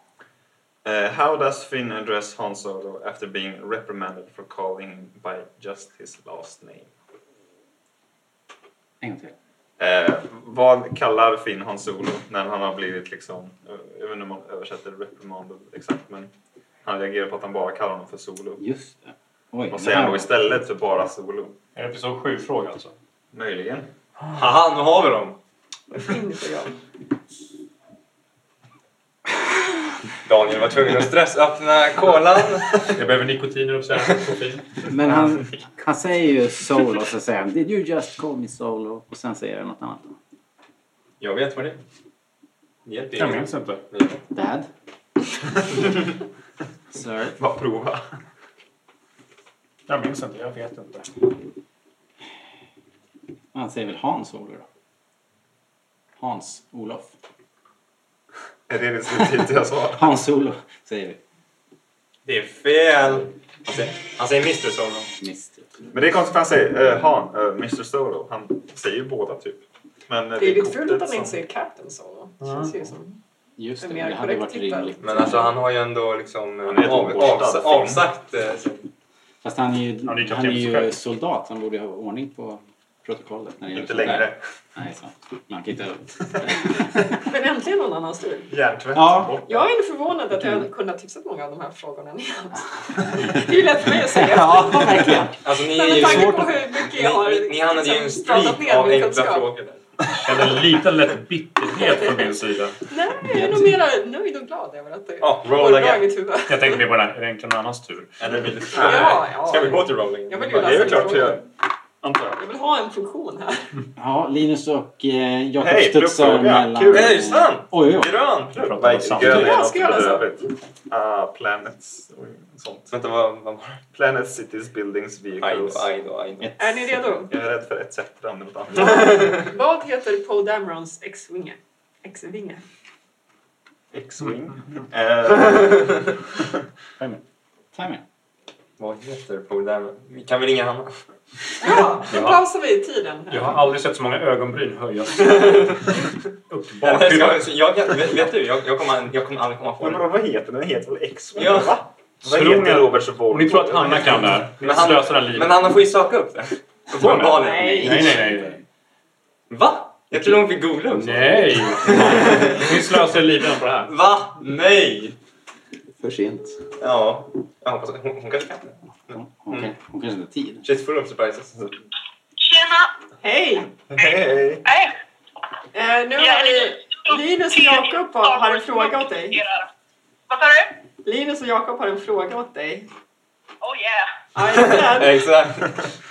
Speaker 7: Eh, how does Finn address Han Solo after being reprimanded for calling him by just his last name?
Speaker 3: En gång till.
Speaker 7: Eh, vad kallar Finn Han Solo när han har blivit liksom, eh, jag vet inte om man översätter reprimanded exakt men han reagerar på att han bara kallar honom för Solo.
Speaker 3: Just det. Oj,
Speaker 7: Vad säger han då istället för bara Solo?
Speaker 2: En episod 7-fråga alltså.
Speaker 7: Möjligen.
Speaker 6: Haha, nu har vi dem!
Speaker 4: Inte jag.
Speaker 6: Daniel var tvungen att stressöppna kolan.
Speaker 2: Jag behöver nikotin i [laughs] koffein.
Speaker 3: Men han, han säger ju solo och så säger han Did you just call me solo? Och sen säger han något annat. då.
Speaker 6: Jag vet vad det är. Hjälp
Speaker 2: Jag
Speaker 6: er.
Speaker 2: minns inte.
Speaker 7: [laughs]
Speaker 3: Dad? Sir?
Speaker 7: Bara prova.
Speaker 2: Jag minns inte. Jag vet inte.
Speaker 3: Han säger väl Hans Solo då? Hans Olof?
Speaker 7: Är det ditt slutgiltiga svar?
Speaker 3: Hans Solo säger vi.
Speaker 6: Det är fel! Han säger, han säger Mr Solo.
Speaker 3: Mist.
Speaker 7: Men det är konstigt för han säger eh, Han, eh, Mr Solo. Han säger ju båda typ. Men, eh,
Speaker 4: Det är lite
Speaker 7: kortet
Speaker 4: fult att han
Speaker 7: som-
Speaker 4: inte säger Captain Solo. Det känns ju som...
Speaker 3: Just det,
Speaker 4: En mer
Speaker 3: det hade varit
Speaker 4: korrekt typ. titel.
Speaker 3: rimligt.
Speaker 6: Men alltså han har ju ändå liksom
Speaker 7: Han är ett
Speaker 6: eh, av,
Speaker 7: oborstad
Speaker 6: avsa,
Speaker 7: film.
Speaker 6: avsagt... eh, sin-
Speaker 3: Fast han är ju,
Speaker 2: Han är ju
Speaker 3: han är ju
Speaker 2: kaptenskär.
Speaker 3: soldat. Han borde ju ha ordning på protokollet. När det gäller
Speaker 7: Inte
Speaker 3: sånt där.
Speaker 7: längre.
Speaker 3: Nej, sant. Man kan inte...
Speaker 4: Men äntligen någon annan stil.
Speaker 7: Hjärntvätt.
Speaker 3: Ja. Mm.
Speaker 7: Bort.
Speaker 4: Jag är ändå förvånad att jag hade kunnat tipsat många av de här frågorna ni har haft. Det är ju lätt för mig att säga.
Speaker 3: ja, verkligen.
Speaker 6: Alltså ni
Speaker 4: Men
Speaker 6: är
Speaker 4: med
Speaker 6: ju...
Speaker 4: tanke
Speaker 3: svårt
Speaker 4: på
Speaker 3: att-
Speaker 4: hur mycket jag har
Speaker 6: Ni, ni, ni hade ju en
Speaker 4: liksom pratat
Speaker 6: streak
Speaker 4: ner
Speaker 6: av
Speaker 4: min
Speaker 6: enkla
Speaker 4: kunskap.
Speaker 6: frågor där.
Speaker 2: Känner lite lätt bitterhet från min sida.
Speaker 4: Nej, jag är nog mera nöjd och glad över att det
Speaker 6: Ja,
Speaker 4: går
Speaker 6: roll
Speaker 4: bra i
Speaker 6: again.
Speaker 4: mitt huvud.
Speaker 2: Jag tänkte mer på den här. Är det egentligen någon annans tur?
Speaker 6: Eller vill du...
Speaker 4: Ja, ja.
Speaker 6: Ska vi gå till rolling?
Speaker 4: Jag vill ju
Speaker 7: Det är
Speaker 4: läsa
Speaker 7: väl klart jag
Speaker 4: frågor.
Speaker 7: gör. Antar jag.
Speaker 4: Jag vill ha en funktion här.
Speaker 3: Ja, Linus och eh, Jakob
Speaker 7: Hej,
Speaker 3: studsar
Speaker 7: pluppfråga.
Speaker 3: mellan...
Speaker 7: Kul.
Speaker 6: Nej, sant!
Speaker 3: Oj, oj, oj.
Speaker 6: Grön!
Speaker 2: Jag pratar om
Speaker 7: Vad
Speaker 2: samma.
Speaker 7: gör
Speaker 4: Ja,
Speaker 7: jag
Speaker 4: ska jag läsa?
Speaker 7: Ah, planets och sånt.
Speaker 6: Vänta, vad, vad var det?
Speaker 7: Planet cities buildings
Speaker 6: Aj då,
Speaker 7: vehicles.
Speaker 6: aj då, aj då.
Speaker 3: Ett-
Speaker 4: Är ni redo?
Speaker 7: Jag är rädd för etc. om det är något annat.
Speaker 4: Vad heter Poe Damerons X-vinge? X-vinge?
Speaker 7: X-wing. Eh,
Speaker 3: Timer.
Speaker 6: Vad heter polaren? Kan vi ringa Hanna?
Speaker 4: Ja, då
Speaker 2: Ja.
Speaker 4: pausar vi tiden.
Speaker 2: Jag har aldrig sett så många ögonbryn
Speaker 6: [laughs]
Speaker 2: höjas. Upp till
Speaker 6: Nej, men
Speaker 2: bakhuvudet.
Speaker 6: jag, ska- jag kan, vet, vet du, jag, jag, kommer, jag kommer aldrig komma på
Speaker 7: Men
Speaker 6: det.
Speaker 7: vad heter den? Den heter väl X-Men?
Speaker 6: Ja.
Speaker 7: va? Vad
Speaker 2: Tror
Speaker 7: heter
Speaker 2: ni-
Speaker 7: Roberts Volvo?
Speaker 2: Om ni tror att Hanna kan det här, ni
Speaker 6: Men Hanna-
Speaker 2: slösar den livet.
Speaker 6: Men Hanna får ju söka upp det.
Speaker 2: Får hon
Speaker 6: Uppenbarligen.
Speaker 4: det? Nej.
Speaker 2: Nej, nej, nej.
Speaker 6: Va? Jag trodde hon fick googla upp sånt.
Speaker 2: Nej! Ni slösar livet på det här.
Speaker 6: Va? Nej!
Speaker 5: För sent.
Speaker 6: Ja, jag hoppas att hon, hon kanske kan det.
Speaker 3: Hon, kan, hon kanske inte har tid.
Speaker 6: She's full of surprises.
Speaker 8: Tjena!
Speaker 4: Hej!
Speaker 7: Hej!
Speaker 8: Nej,
Speaker 4: Eh, nu
Speaker 8: jag
Speaker 4: har
Speaker 8: är
Speaker 4: vi Linus och Jakob har, har en fråga åt dig.
Speaker 8: Vad sa du?
Speaker 4: Linus och Jakob har en fråga åt dig.
Speaker 8: Oh yeah!
Speaker 4: Ja, jag är beredd.
Speaker 6: Exakt.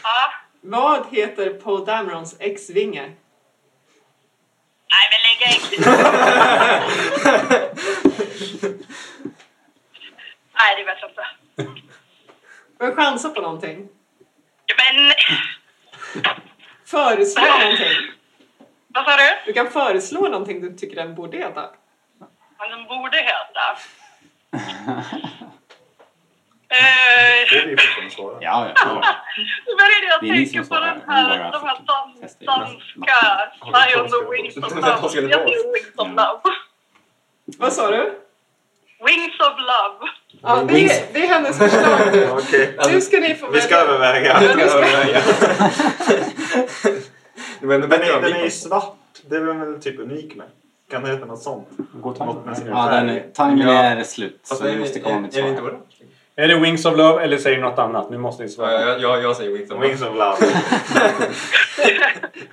Speaker 8: Ja.
Speaker 4: Vad heter Paul Damerons ex-vinge?
Speaker 8: Nej men lägg ägg! Nej det vet jag inte.
Speaker 4: Men chansa på någonting.
Speaker 8: Men
Speaker 4: Föreslå någonting.
Speaker 8: Äh. vad sa du?
Speaker 4: Du kan föreslå någonting du tycker den borde heta.
Speaker 8: Vad den borde heta? Eh,
Speaker 7: Det är vi fortfarande svara.
Speaker 3: Ja, ja.
Speaker 8: Nu började jag
Speaker 3: Det är ni
Speaker 8: tänka
Speaker 3: som
Speaker 8: på
Speaker 3: svarar.
Speaker 8: den
Speaker 3: Hon
Speaker 8: här,
Speaker 3: bara
Speaker 8: de här
Speaker 3: fick
Speaker 8: dan-
Speaker 3: testa i
Speaker 8: danska Fly on the wings of love. Jag säger wings of love.
Speaker 4: Vad sa du?
Speaker 8: Wings of love.
Speaker 4: Ja, det, är, det är hennes förslag.
Speaker 7: [laughs] Okej.
Speaker 4: Nu ska ni få
Speaker 7: Mm. Vi ska
Speaker 4: välja.
Speaker 7: överväga.
Speaker 4: Ja, nu ska-
Speaker 6: Men
Speaker 7: Den är, den är ju svart. Det är väl typ unik med. Kan det heta något sånt? Något med sin
Speaker 3: ja den,
Speaker 7: färg.
Speaker 3: är- timingen
Speaker 6: Ja.
Speaker 3: är slut.
Speaker 6: Fast
Speaker 3: Så
Speaker 6: är,
Speaker 3: vi måste komma med ett
Speaker 6: är, är det inte
Speaker 3: svar.
Speaker 6: orange?
Speaker 2: Är det Wings of Love eller säger ni något annat? Nu måste ni
Speaker 6: Ja,
Speaker 2: svara.
Speaker 6: jag, jag, jag säger Wings of
Speaker 7: Wings
Speaker 6: Love.
Speaker 7: of Love.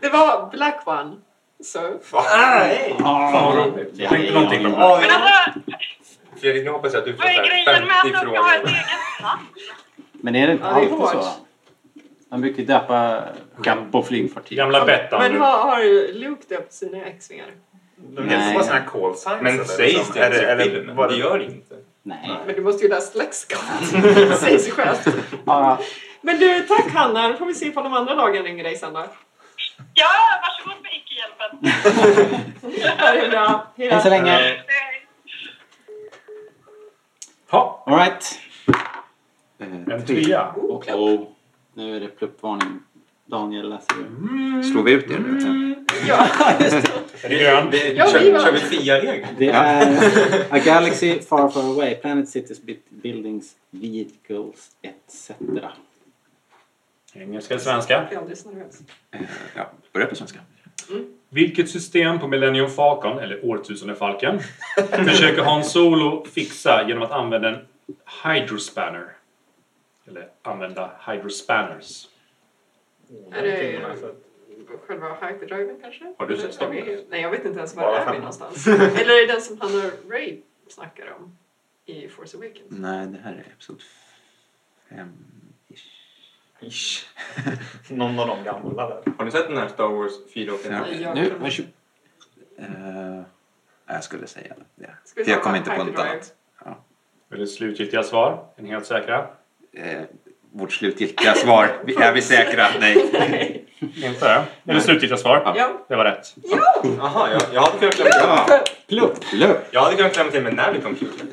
Speaker 4: Det var Black One. Så.
Speaker 6: Nej!
Speaker 2: Fan vad roligt.
Speaker 3: Det
Speaker 2: Jag
Speaker 3: hade jag
Speaker 2: tänkte någonting
Speaker 3: ingen
Speaker 2: om det.
Speaker 8: Men alltså,
Speaker 6: Fredrik, nu hoppas jag att du får
Speaker 8: vad är
Speaker 6: såhär
Speaker 8: grejen med att
Speaker 6: 50
Speaker 8: den ska ha ett
Speaker 6: frågor.
Speaker 8: eget namn?
Speaker 3: Men är det inte
Speaker 4: Ja, det är
Speaker 3: alltid
Speaker 4: hårt.
Speaker 3: så? Man brukar ju döpa skepp och flygfartyg.
Speaker 2: Gamla Bettan.
Speaker 4: Men
Speaker 2: du.
Speaker 4: har, har Luke döpt sina ex-vingar?
Speaker 7: De heter bara
Speaker 3: Nej.
Speaker 7: såna här call signs.
Speaker 6: Men
Speaker 7: eller
Speaker 6: sägs
Speaker 7: liksom.
Speaker 6: det ens
Speaker 7: Eller-
Speaker 6: i
Speaker 7: eller
Speaker 6: typ filmen?
Speaker 7: vad-
Speaker 6: Det gör det inte.
Speaker 3: Nej.
Speaker 4: Men du måste ju läsa lexikon. Det säger sig självt.
Speaker 3: Ja,
Speaker 4: Men du, tack Hanna. Då får vi se ifall de andra lagen ringer dig sen då.
Speaker 8: Ja, varsågod för icke-hjälpen.
Speaker 4: Ja, det är bra. Hej då.
Speaker 3: hej så länge.
Speaker 8: Eh,
Speaker 2: Ja,
Speaker 3: All right.
Speaker 2: en trea.
Speaker 3: Oh. Nu är det pluppvarning. Daniel läser ju.
Speaker 5: Slår vi ut er nu?
Speaker 4: Ja.
Speaker 2: Är det grön?
Speaker 6: Det,
Speaker 4: Ja, vi
Speaker 6: kör,
Speaker 4: var-
Speaker 6: kör vi fria regler?
Speaker 3: Det [laughs] är A Galaxy Far Far Away, Planet Cities, Bit- Buildings, Vehicles etc.
Speaker 2: Engelska eller svenska?
Speaker 4: Jag blir alldeles nervös.
Speaker 5: Ja, börja på svenska.
Speaker 2: Vilket system på Millennium Falcon,
Speaker 3: [laughs]
Speaker 2: eller Årtusendefalken, försöker Han Solo fixa genom att använda en hydrospanner? Eller använda hydrospanners.
Speaker 4: Är det själva hyperdriven kanske?
Speaker 2: Har du sett
Speaker 4: Eller är vi-
Speaker 2: Star
Speaker 4: Nej, jag vet inte ens var
Speaker 7: Bara
Speaker 4: är vi
Speaker 7: femman.
Speaker 4: någonstans. Eller är det den som han och Ray snackar om i Force Awakens?
Speaker 5: Nej, det här är episod fem.
Speaker 7: Ish. Någon av de gamla där.
Speaker 6: Har ni sett den här Star Wars 4 och 5?
Speaker 5: Ja,
Speaker 4: Nej, jag
Speaker 5: nu,
Speaker 4: kan-
Speaker 5: varsågod. Uh, jag skulle säga det.
Speaker 4: Ska vi
Speaker 5: För jag
Speaker 4: ta
Speaker 5: kommer inte på något
Speaker 4: hyperdrive?
Speaker 5: annat.
Speaker 2: Är det slutgiltiga svar? Är ni helt säkra?
Speaker 5: Eh, vårt slutgiltiga svar. Vi- Är vi säkra? Nej.
Speaker 4: Nej.
Speaker 2: Inte? Är det slutgiltiga svar?
Speaker 4: Ja.
Speaker 2: Det var rätt.
Speaker 6: Jaha, jag, jag hade kunnat klämma till
Speaker 5: Ja. Plupp! Plupp!
Speaker 6: Jag hade kunnat klämma till mig när vi kom fjorton.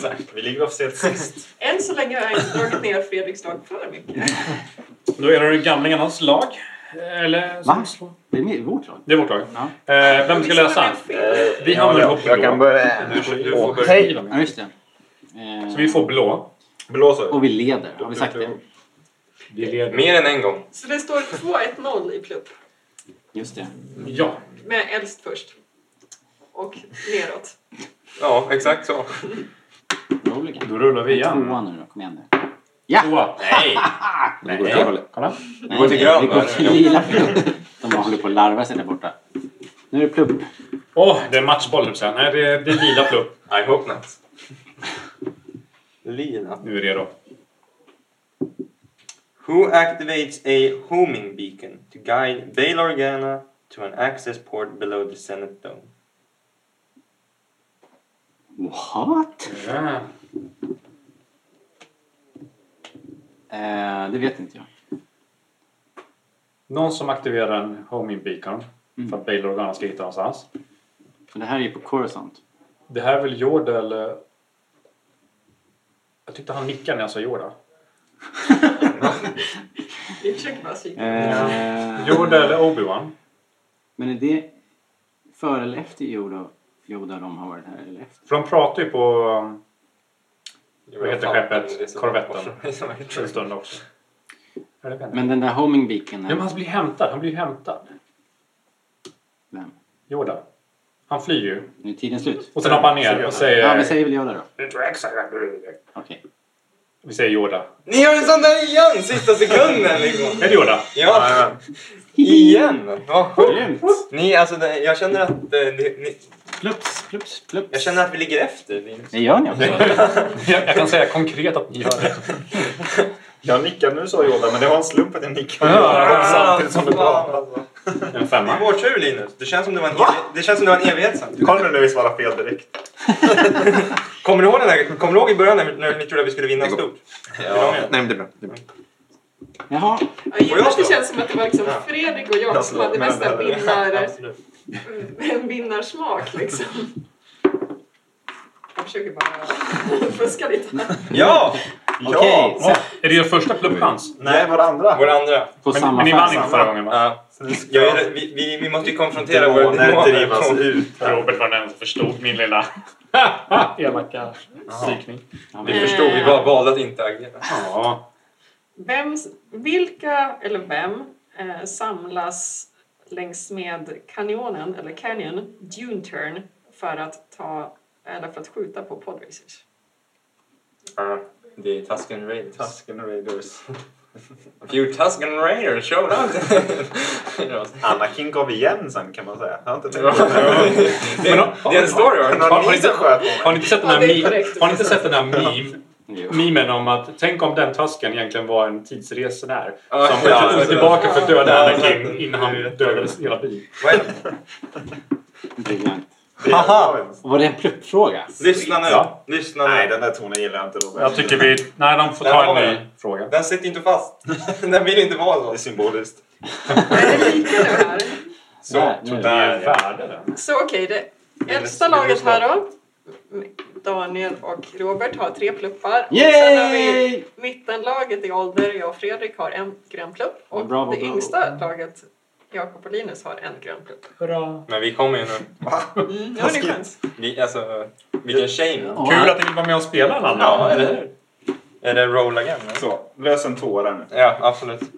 Speaker 6: Så här.
Speaker 7: Vi ligger officiellt sist.
Speaker 4: Än så länge har jag inte dragit ner Fredriks lag för mycket.
Speaker 2: Då är det gamlingarnas lag. Eller...
Speaker 3: Va? Det är med- vårt lag.
Speaker 2: Det är vårt lag.
Speaker 3: Ja,
Speaker 2: Eh, vem ska läsa? Vi hamnar ihop i blå.
Speaker 5: börja.
Speaker 6: Du, du får börja.
Speaker 5: Hej!
Speaker 3: ja just det. Eh,
Speaker 2: Så vi får blå.
Speaker 7: Blåser.
Speaker 3: Och vi leder, har vi sagt det?
Speaker 2: Vi leder.
Speaker 6: Mer än en gång.
Speaker 4: Så det står 2-1-0 i plupp.
Speaker 3: Just det.
Speaker 2: Ja.
Speaker 4: Med äldst först. Och neråt.
Speaker 6: Ja, exakt så.
Speaker 3: Roligan.
Speaker 2: Då rullar vi igen.
Speaker 3: Tvåa nu då, kom igen nu. Ja!
Speaker 2: Tvåa.
Speaker 6: Nej!
Speaker 5: Det går åt
Speaker 6: Nej.
Speaker 5: det hållet.
Speaker 2: Kolla.
Speaker 3: Nej,
Speaker 6: går till
Speaker 3: nej,
Speaker 6: grön,
Speaker 3: vi
Speaker 6: va?
Speaker 3: går till lila. De håller på att larva sig där borta. Nu är det plupp.
Speaker 2: Åh, det är matchboll höll jag på att säga. Nej, det, det är lila plupp.
Speaker 6: I hope not. Lina.
Speaker 2: Nu är det då.
Speaker 6: Who activates a homing beacon to guide Bail Organa to an access port below the Senate dome?
Speaker 3: What? Eh, det vet inte jag.
Speaker 2: Någon som aktiverar en homing beacon
Speaker 3: Mm.
Speaker 2: för att Bail Organa ska hitta någonstans.
Speaker 3: Men det här är ju på Coruscant.
Speaker 2: Det här är väl Jordel... eh, Jag tyckte han nickade när jag sa Jorda.
Speaker 4: Vi försöker bara psyka.
Speaker 3: Eh,
Speaker 2: Yoda eller Obi-Wan?
Speaker 3: Men är det före eller efter Yoda, Yoda de har varit här? Eller efter?
Speaker 2: För de pratar ju på um,
Speaker 6: Vad
Speaker 2: heter skeppet? Korvetten. en stund också. Eller vet inte.
Speaker 3: Men den där homingbeaken,
Speaker 2: Ja, men han blir hämtad. Han blir hämtad.
Speaker 3: Vem?
Speaker 2: Yoda. Han flyr ju.
Speaker 3: nu är tiden slut.
Speaker 2: Och sen hoppar han ner och säger...
Speaker 3: Ja, vi säger väl Yoda då.
Speaker 2: "Det tror jag exakt vad du vill."
Speaker 3: Okej.
Speaker 2: Vi säger Yoda.
Speaker 6: Ni gör en sån där igen sista sekunden liksom!
Speaker 2: Är det Yoda?
Speaker 6: [laughs] Ja, igen! Vad sjukt!
Speaker 3: Grymt!
Speaker 6: Ni, alltså, det- jag känner att eh, ni, ni,
Speaker 3: Plups, plups, plups.
Speaker 6: jag känner att vi ligger efter. Det är liksom-
Speaker 3: Det gör ni också.
Speaker 2: Jag, jag kan säga konkret att ni gör det.
Speaker 7: Jag nickar nu sa Yoda, men det var en slump att jag nickade.
Speaker 2: Ja.
Speaker 7: samtidigt som du
Speaker 6: Fan,
Speaker 7: pratade.
Speaker 6: alltså.
Speaker 2: En
Speaker 6: Det är
Speaker 2: femma.
Speaker 6: vår tur Linus. Det känns som det var en, evi- det känns som det var en evighet sedan.
Speaker 7: Kolla nu när vi svarar fel direkt.
Speaker 6: Kommer du ihåg, den där, kommer du ihåg i början när, när ni trodde att vi skulle vinna stort?
Speaker 5: Ja. Nej, men det är bra. Det är bra.
Speaker 3: Jaha,
Speaker 4: Ja, i och
Speaker 6: Får
Speaker 4: med
Speaker 6: jag
Speaker 4: att det
Speaker 6: slå?
Speaker 4: känns som att det var liksom
Speaker 6: Ja.
Speaker 4: Fredrik och jag
Speaker 7: Jag
Speaker 4: som
Speaker 7: slår,
Speaker 4: hade
Speaker 7: men
Speaker 4: bästa
Speaker 7: det-
Speaker 4: vinnar,
Speaker 6: Absolut.
Speaker 4: en vinnarsmak liksom. Jag försöker bara [laughs] fuska lite.
Speaker 6: Ja!
Speaker 3: okej.
Speaker 7: Ja!
Speaker 2: Åh, är det er första pluppchans?
Speaker 7: Nej, var det andra?
Speaker 6: Vår andra.
Speaker 3: På
Speaker 2: Men,
Speaker 3: samma
Speaker 2: men ni vann inte
Speaker 3: färg.
Speaker 2: förra gången va?
Speaker 6: Ja. Jag är, vi, vi, vi måste ju konfrontera våra
Speaker 7: Demoner
Speaker 6: demoner.
Speaker 7: drivas ut.
Speaker 2: Robert var den enda som förstod min [laughs] lilla elaka psykning.
Speaker 3: Ja,
Speaker 6: Vi
Speaker 3: men-
Speaker 6: förstod,
Speaker 4: Eh,
Speaker 6: vi bara valde att inte agera.
Speaker 2: Ja.
Speaker 4: Vem, vilka eller vem eh, samlas längs med kanjonen, eller canyon, dune turn, för att ta eller för att skjuta på podracers?
Speaker 6: Det är Tusken Raiders.
Speaker 7: Tusken Raiders.
Speaker 6: Few Tusken Raiders showed up!
Speaker 7: [laughs] Anakin gav igen sen kan man säga. Jag har inte tänkt på det.
Speaker 6: det, är- det är en story.
Speaker 7: Men
Speaker 6: va?
Speaker 7: någon ni som sköt på mig.
Speaker 2: Har ni inte sett den här,
Speaker 4: Ja, det
Speaker 2: meme-
Speaker 4: är korrekt.
Speaker 2: har ni inte sett den här meme,
Speaker 3: Jo.
Speaker 2: memen om att tänk om den tusken egentligen var en tidsresenär
Speaker 6: Ja,
Speaker 2: som
Speaker 6: ja,
Speaker 2: ja,
Speaker 6: alltså.
Speaker 2: tillbaka för att döda
Speaker 6: Ja,
Speaker 2: Anakin
Speaker 6: exakt.
Speaker 2: innan han dödades hela byn.
Speaker 6: Vad är det?
Speaker 3: Briljant.
Speaker 7: Det är-
Speaker 6: Haha.
Speaker 3: Var det en pluppfråga?
Speaker 6: Lyssna nu.
Speaker 2: Ja.
Speaker 6: Lyssna nu.
Speaker 7: Nej, den där tonen gillar jag inte Robert.
Speaker 2: Jag tycker vi... Nej, de får
Speaker 6: Där
Speaker 2: ta
Speaker 6: har
Speaker 2: en
Speaker 6: vi
Speaker 2: ny
Speaker 6: den.
Speaker 2: fråga.
Speaker 6: Den sitter inte fast. [laughs] Den vill inte
Speaker 7: Det
Speaker 6: vara
Speaker 7: är
Speaker 6: så.
Speaker 7: symboliskt.
Speaker 4: Är det lika nu här?
Speaker 6: Så.
Speaker 3: Där, nu.
Speaker 2: Det är värde den.
Speaker 4: Så okej, det äldsta laget här då. Daniel och Robert har tre pluppar. Och Sen har vi
Speaker 3: Yay!
Speaker 4: mittenlaget i ålder, jag och Fredrik, har en grön plupp. Och
Speaker 3: Bravo,
Speaker 4: det
Speaker 3: bravo.
Speaker 4: yngsta laget, Jakob och Linus, har en grön plupp.
Speaker 6: Men vi kommer ju nu.
Speaker 4: Mm, nu har ni
Speaker 7: Taskigt.
Speaker 4: chans.
Speaker 6: Vi, alltså, vilken shaming.
Speaker 2: Kul att ni vill vara med och spela en annan.
Speaker 6: Ja, eller hur? Är det roll again? eller?
Speaker 7: Så, lös en tåra nu.
Speaker 6: Ja, absolut. Eh,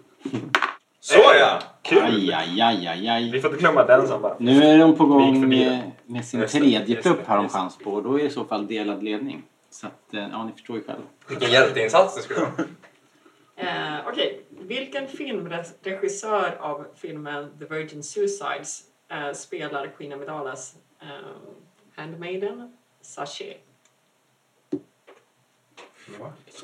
Speaker 6: Så ja!
Speaker 3: Aj, aj, aj, aj, aj.
Speaker 7: Vi får inte glömma den sen bara.
Speaker 3: Nu är de på
Speaker 7: gick
Speaker 3: gång
Speaker 7: förbi
Speaker 3: med, med sin
Speaker 6: Just det,
Speaker 3: tredje
Speaker 6: just det,
Speaker 3: plupp har de
Speaker 6: just det.
Speaker 3: chans på. Då är det i så fall delad ledning. Så att, eh, ja, ni förstår ju själva.
Speaker 6: Vilken hjälteinsats det skulle vara.
Speaker 4: Eh, Okej, vilken filmregissör av filmen The Virgin Suicides eh, spelar Queen Amidalas eh, Handmaiden Sachet?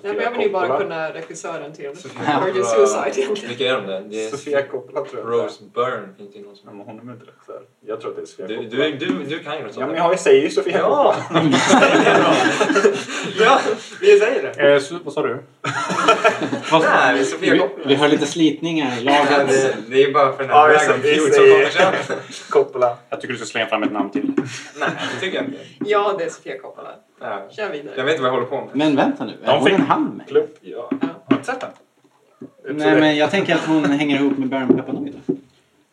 Speaker 4: Där behöver ni bara
Speaker 7: Coppola.
Speaker 4: kunna regissören till
Speaker 6: Sofia
Speaker 4: Virgin
Speaker 6: Coppola.
Speaker 4: Suicide egentligen.
Speaker 6: Vilka är de där? Det är
Speaker 7: Sofia Coppola tror jag.
Speaker 6: Rose Byrne. Finns det ju någon
Speaker 7: Ja,
Speaker 6: som...
Speaker 7: men hon är inte regissör. Jag tror att det är Sofia
Speaker 6: Du,
Speaker 7: Coppola.
Speaker 6: du, du, du kan ju något
Speaker 7: Ja,
Speaker 6: sånt.
Speaker 7: men
Speaker 6: där.
Speaker 7: jag har ju- säger ju Sofia Coppola.
Speaker 6: Ja! [laughs] ja, vi säger det.
Speaker 2: Eh, så, vad sa du? vad sa
Speaker 6: Nej, vi är Sofia
Speaker 3: Vi,
Speaker 6: Coppola.
Speaker 3: vi har lite slitningar i
Speaker 6: Ja,
Speaker 3: laget.
Speaker 6: det, det är bara för den
Speaker 7: Ja,
Speaker 6: här
Speaker 7: vi
Speaker 6: vägen
Speaker 7: säger-
Speaker 6: fjol
Speaker 7: vi
Speaker 6: som kommer
Speaker 7: säger-
Speaker 6: sen.
Speaker 7: Coppola.
Speaker 2: Jag tycker du ska slänga fram ett namn till.
Speaker 6: Nej, det tycker jag inte.
Speaker 4: Ja, det är Sofia Coppola.
Speaker 6: Ja.
Speaker 4: Kör
Speaker 6: Jag
Speaker 4: vidare.
Speaker 6: vet inte vad jag håller på med.
Speaker 3: Men vänta nu,
Speaker 2: De
Speaker 3: är hon
Speaker 2: fick-
Speaker 3: en halm?
Speaker 7: Klubb. Ja. Har du inte sett den?
Speaker 3: Nej, men jag tänker att hon hänger ihop med Baron Pepanoid.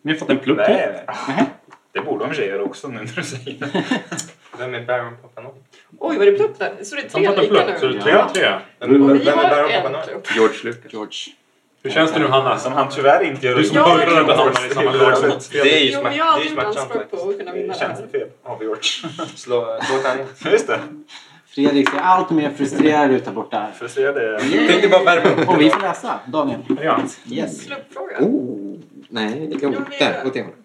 Speaker 2: Ni har fått en plupp till.
Speaker 7: Nej, nej. Det borde de i och för sig göra också nu när du säger [laughs] det.
Speaker 6: Vem är Baron Papanoff?
Speaker 4: Oj, var det plupp där? Så det är
Speaker 2: De har
Speaker 4: tre
Speaker 2: fått en
Speaker 4: lika
Speaker 2: plupp, så
Speaker 4: nu.
Speaker 2: det är tre. tre.
Speaker 6: Vem,
Speaker 4: Vi
Speaker 6: vem är
Speaker 4: har
Speaker 6: Baron
Speaker 4: en
Speaker 6: Papanoff?
Speaker 4: plupp.
Speaker 5: George Lucas.
Speaker 3: George.
Speaker 2: Hur känns det nu Hanna?
Speaker 7: Som han tyvärr inte gör.
Speaker 2: Du
Speaker 7: i
Speaker 2: som
Speaker 4: Ja,
Speaker 7: George.
Speaker 2: började
Speaker 4: det är
Speaker 2: hamna i samma lag som oss.
Speaker 6: Alltså, Det är ju
Speaker 4: Jo,
Speaker 6: smärtsamt.
Speaker 4: men jag
Speaker 6: Det
Speaker 4: har
Speaker 6: är
Speaker 4: aldrig
Speaker 6: ju
Speaker 4: gjort
Speaker 6: smärtsamt
Speaker 4: anspråk på
Speaker 6: faktiskt.
Speaker 4: att kunna vinna det här.
Speaker 7: Tjänstefel av [laughs] George.
Speaker 6: Slå, slå tärningen.
Speaker 7: Just det.
Speaker 3: Fredrik ser allt mer frustrerad ut där borta.
Speaker 7: För att se det.
Speaker 6: [laughs] Tänkte bara värma upp.
Speaker 3: Och vi får läsa, Daniel. Yes.
Speaker 4: Pluppfråga.
Speaker 5: Oh, nej, jo,
Speaker 4: Jo, vi-
Speaker 5: där, åt det hållet.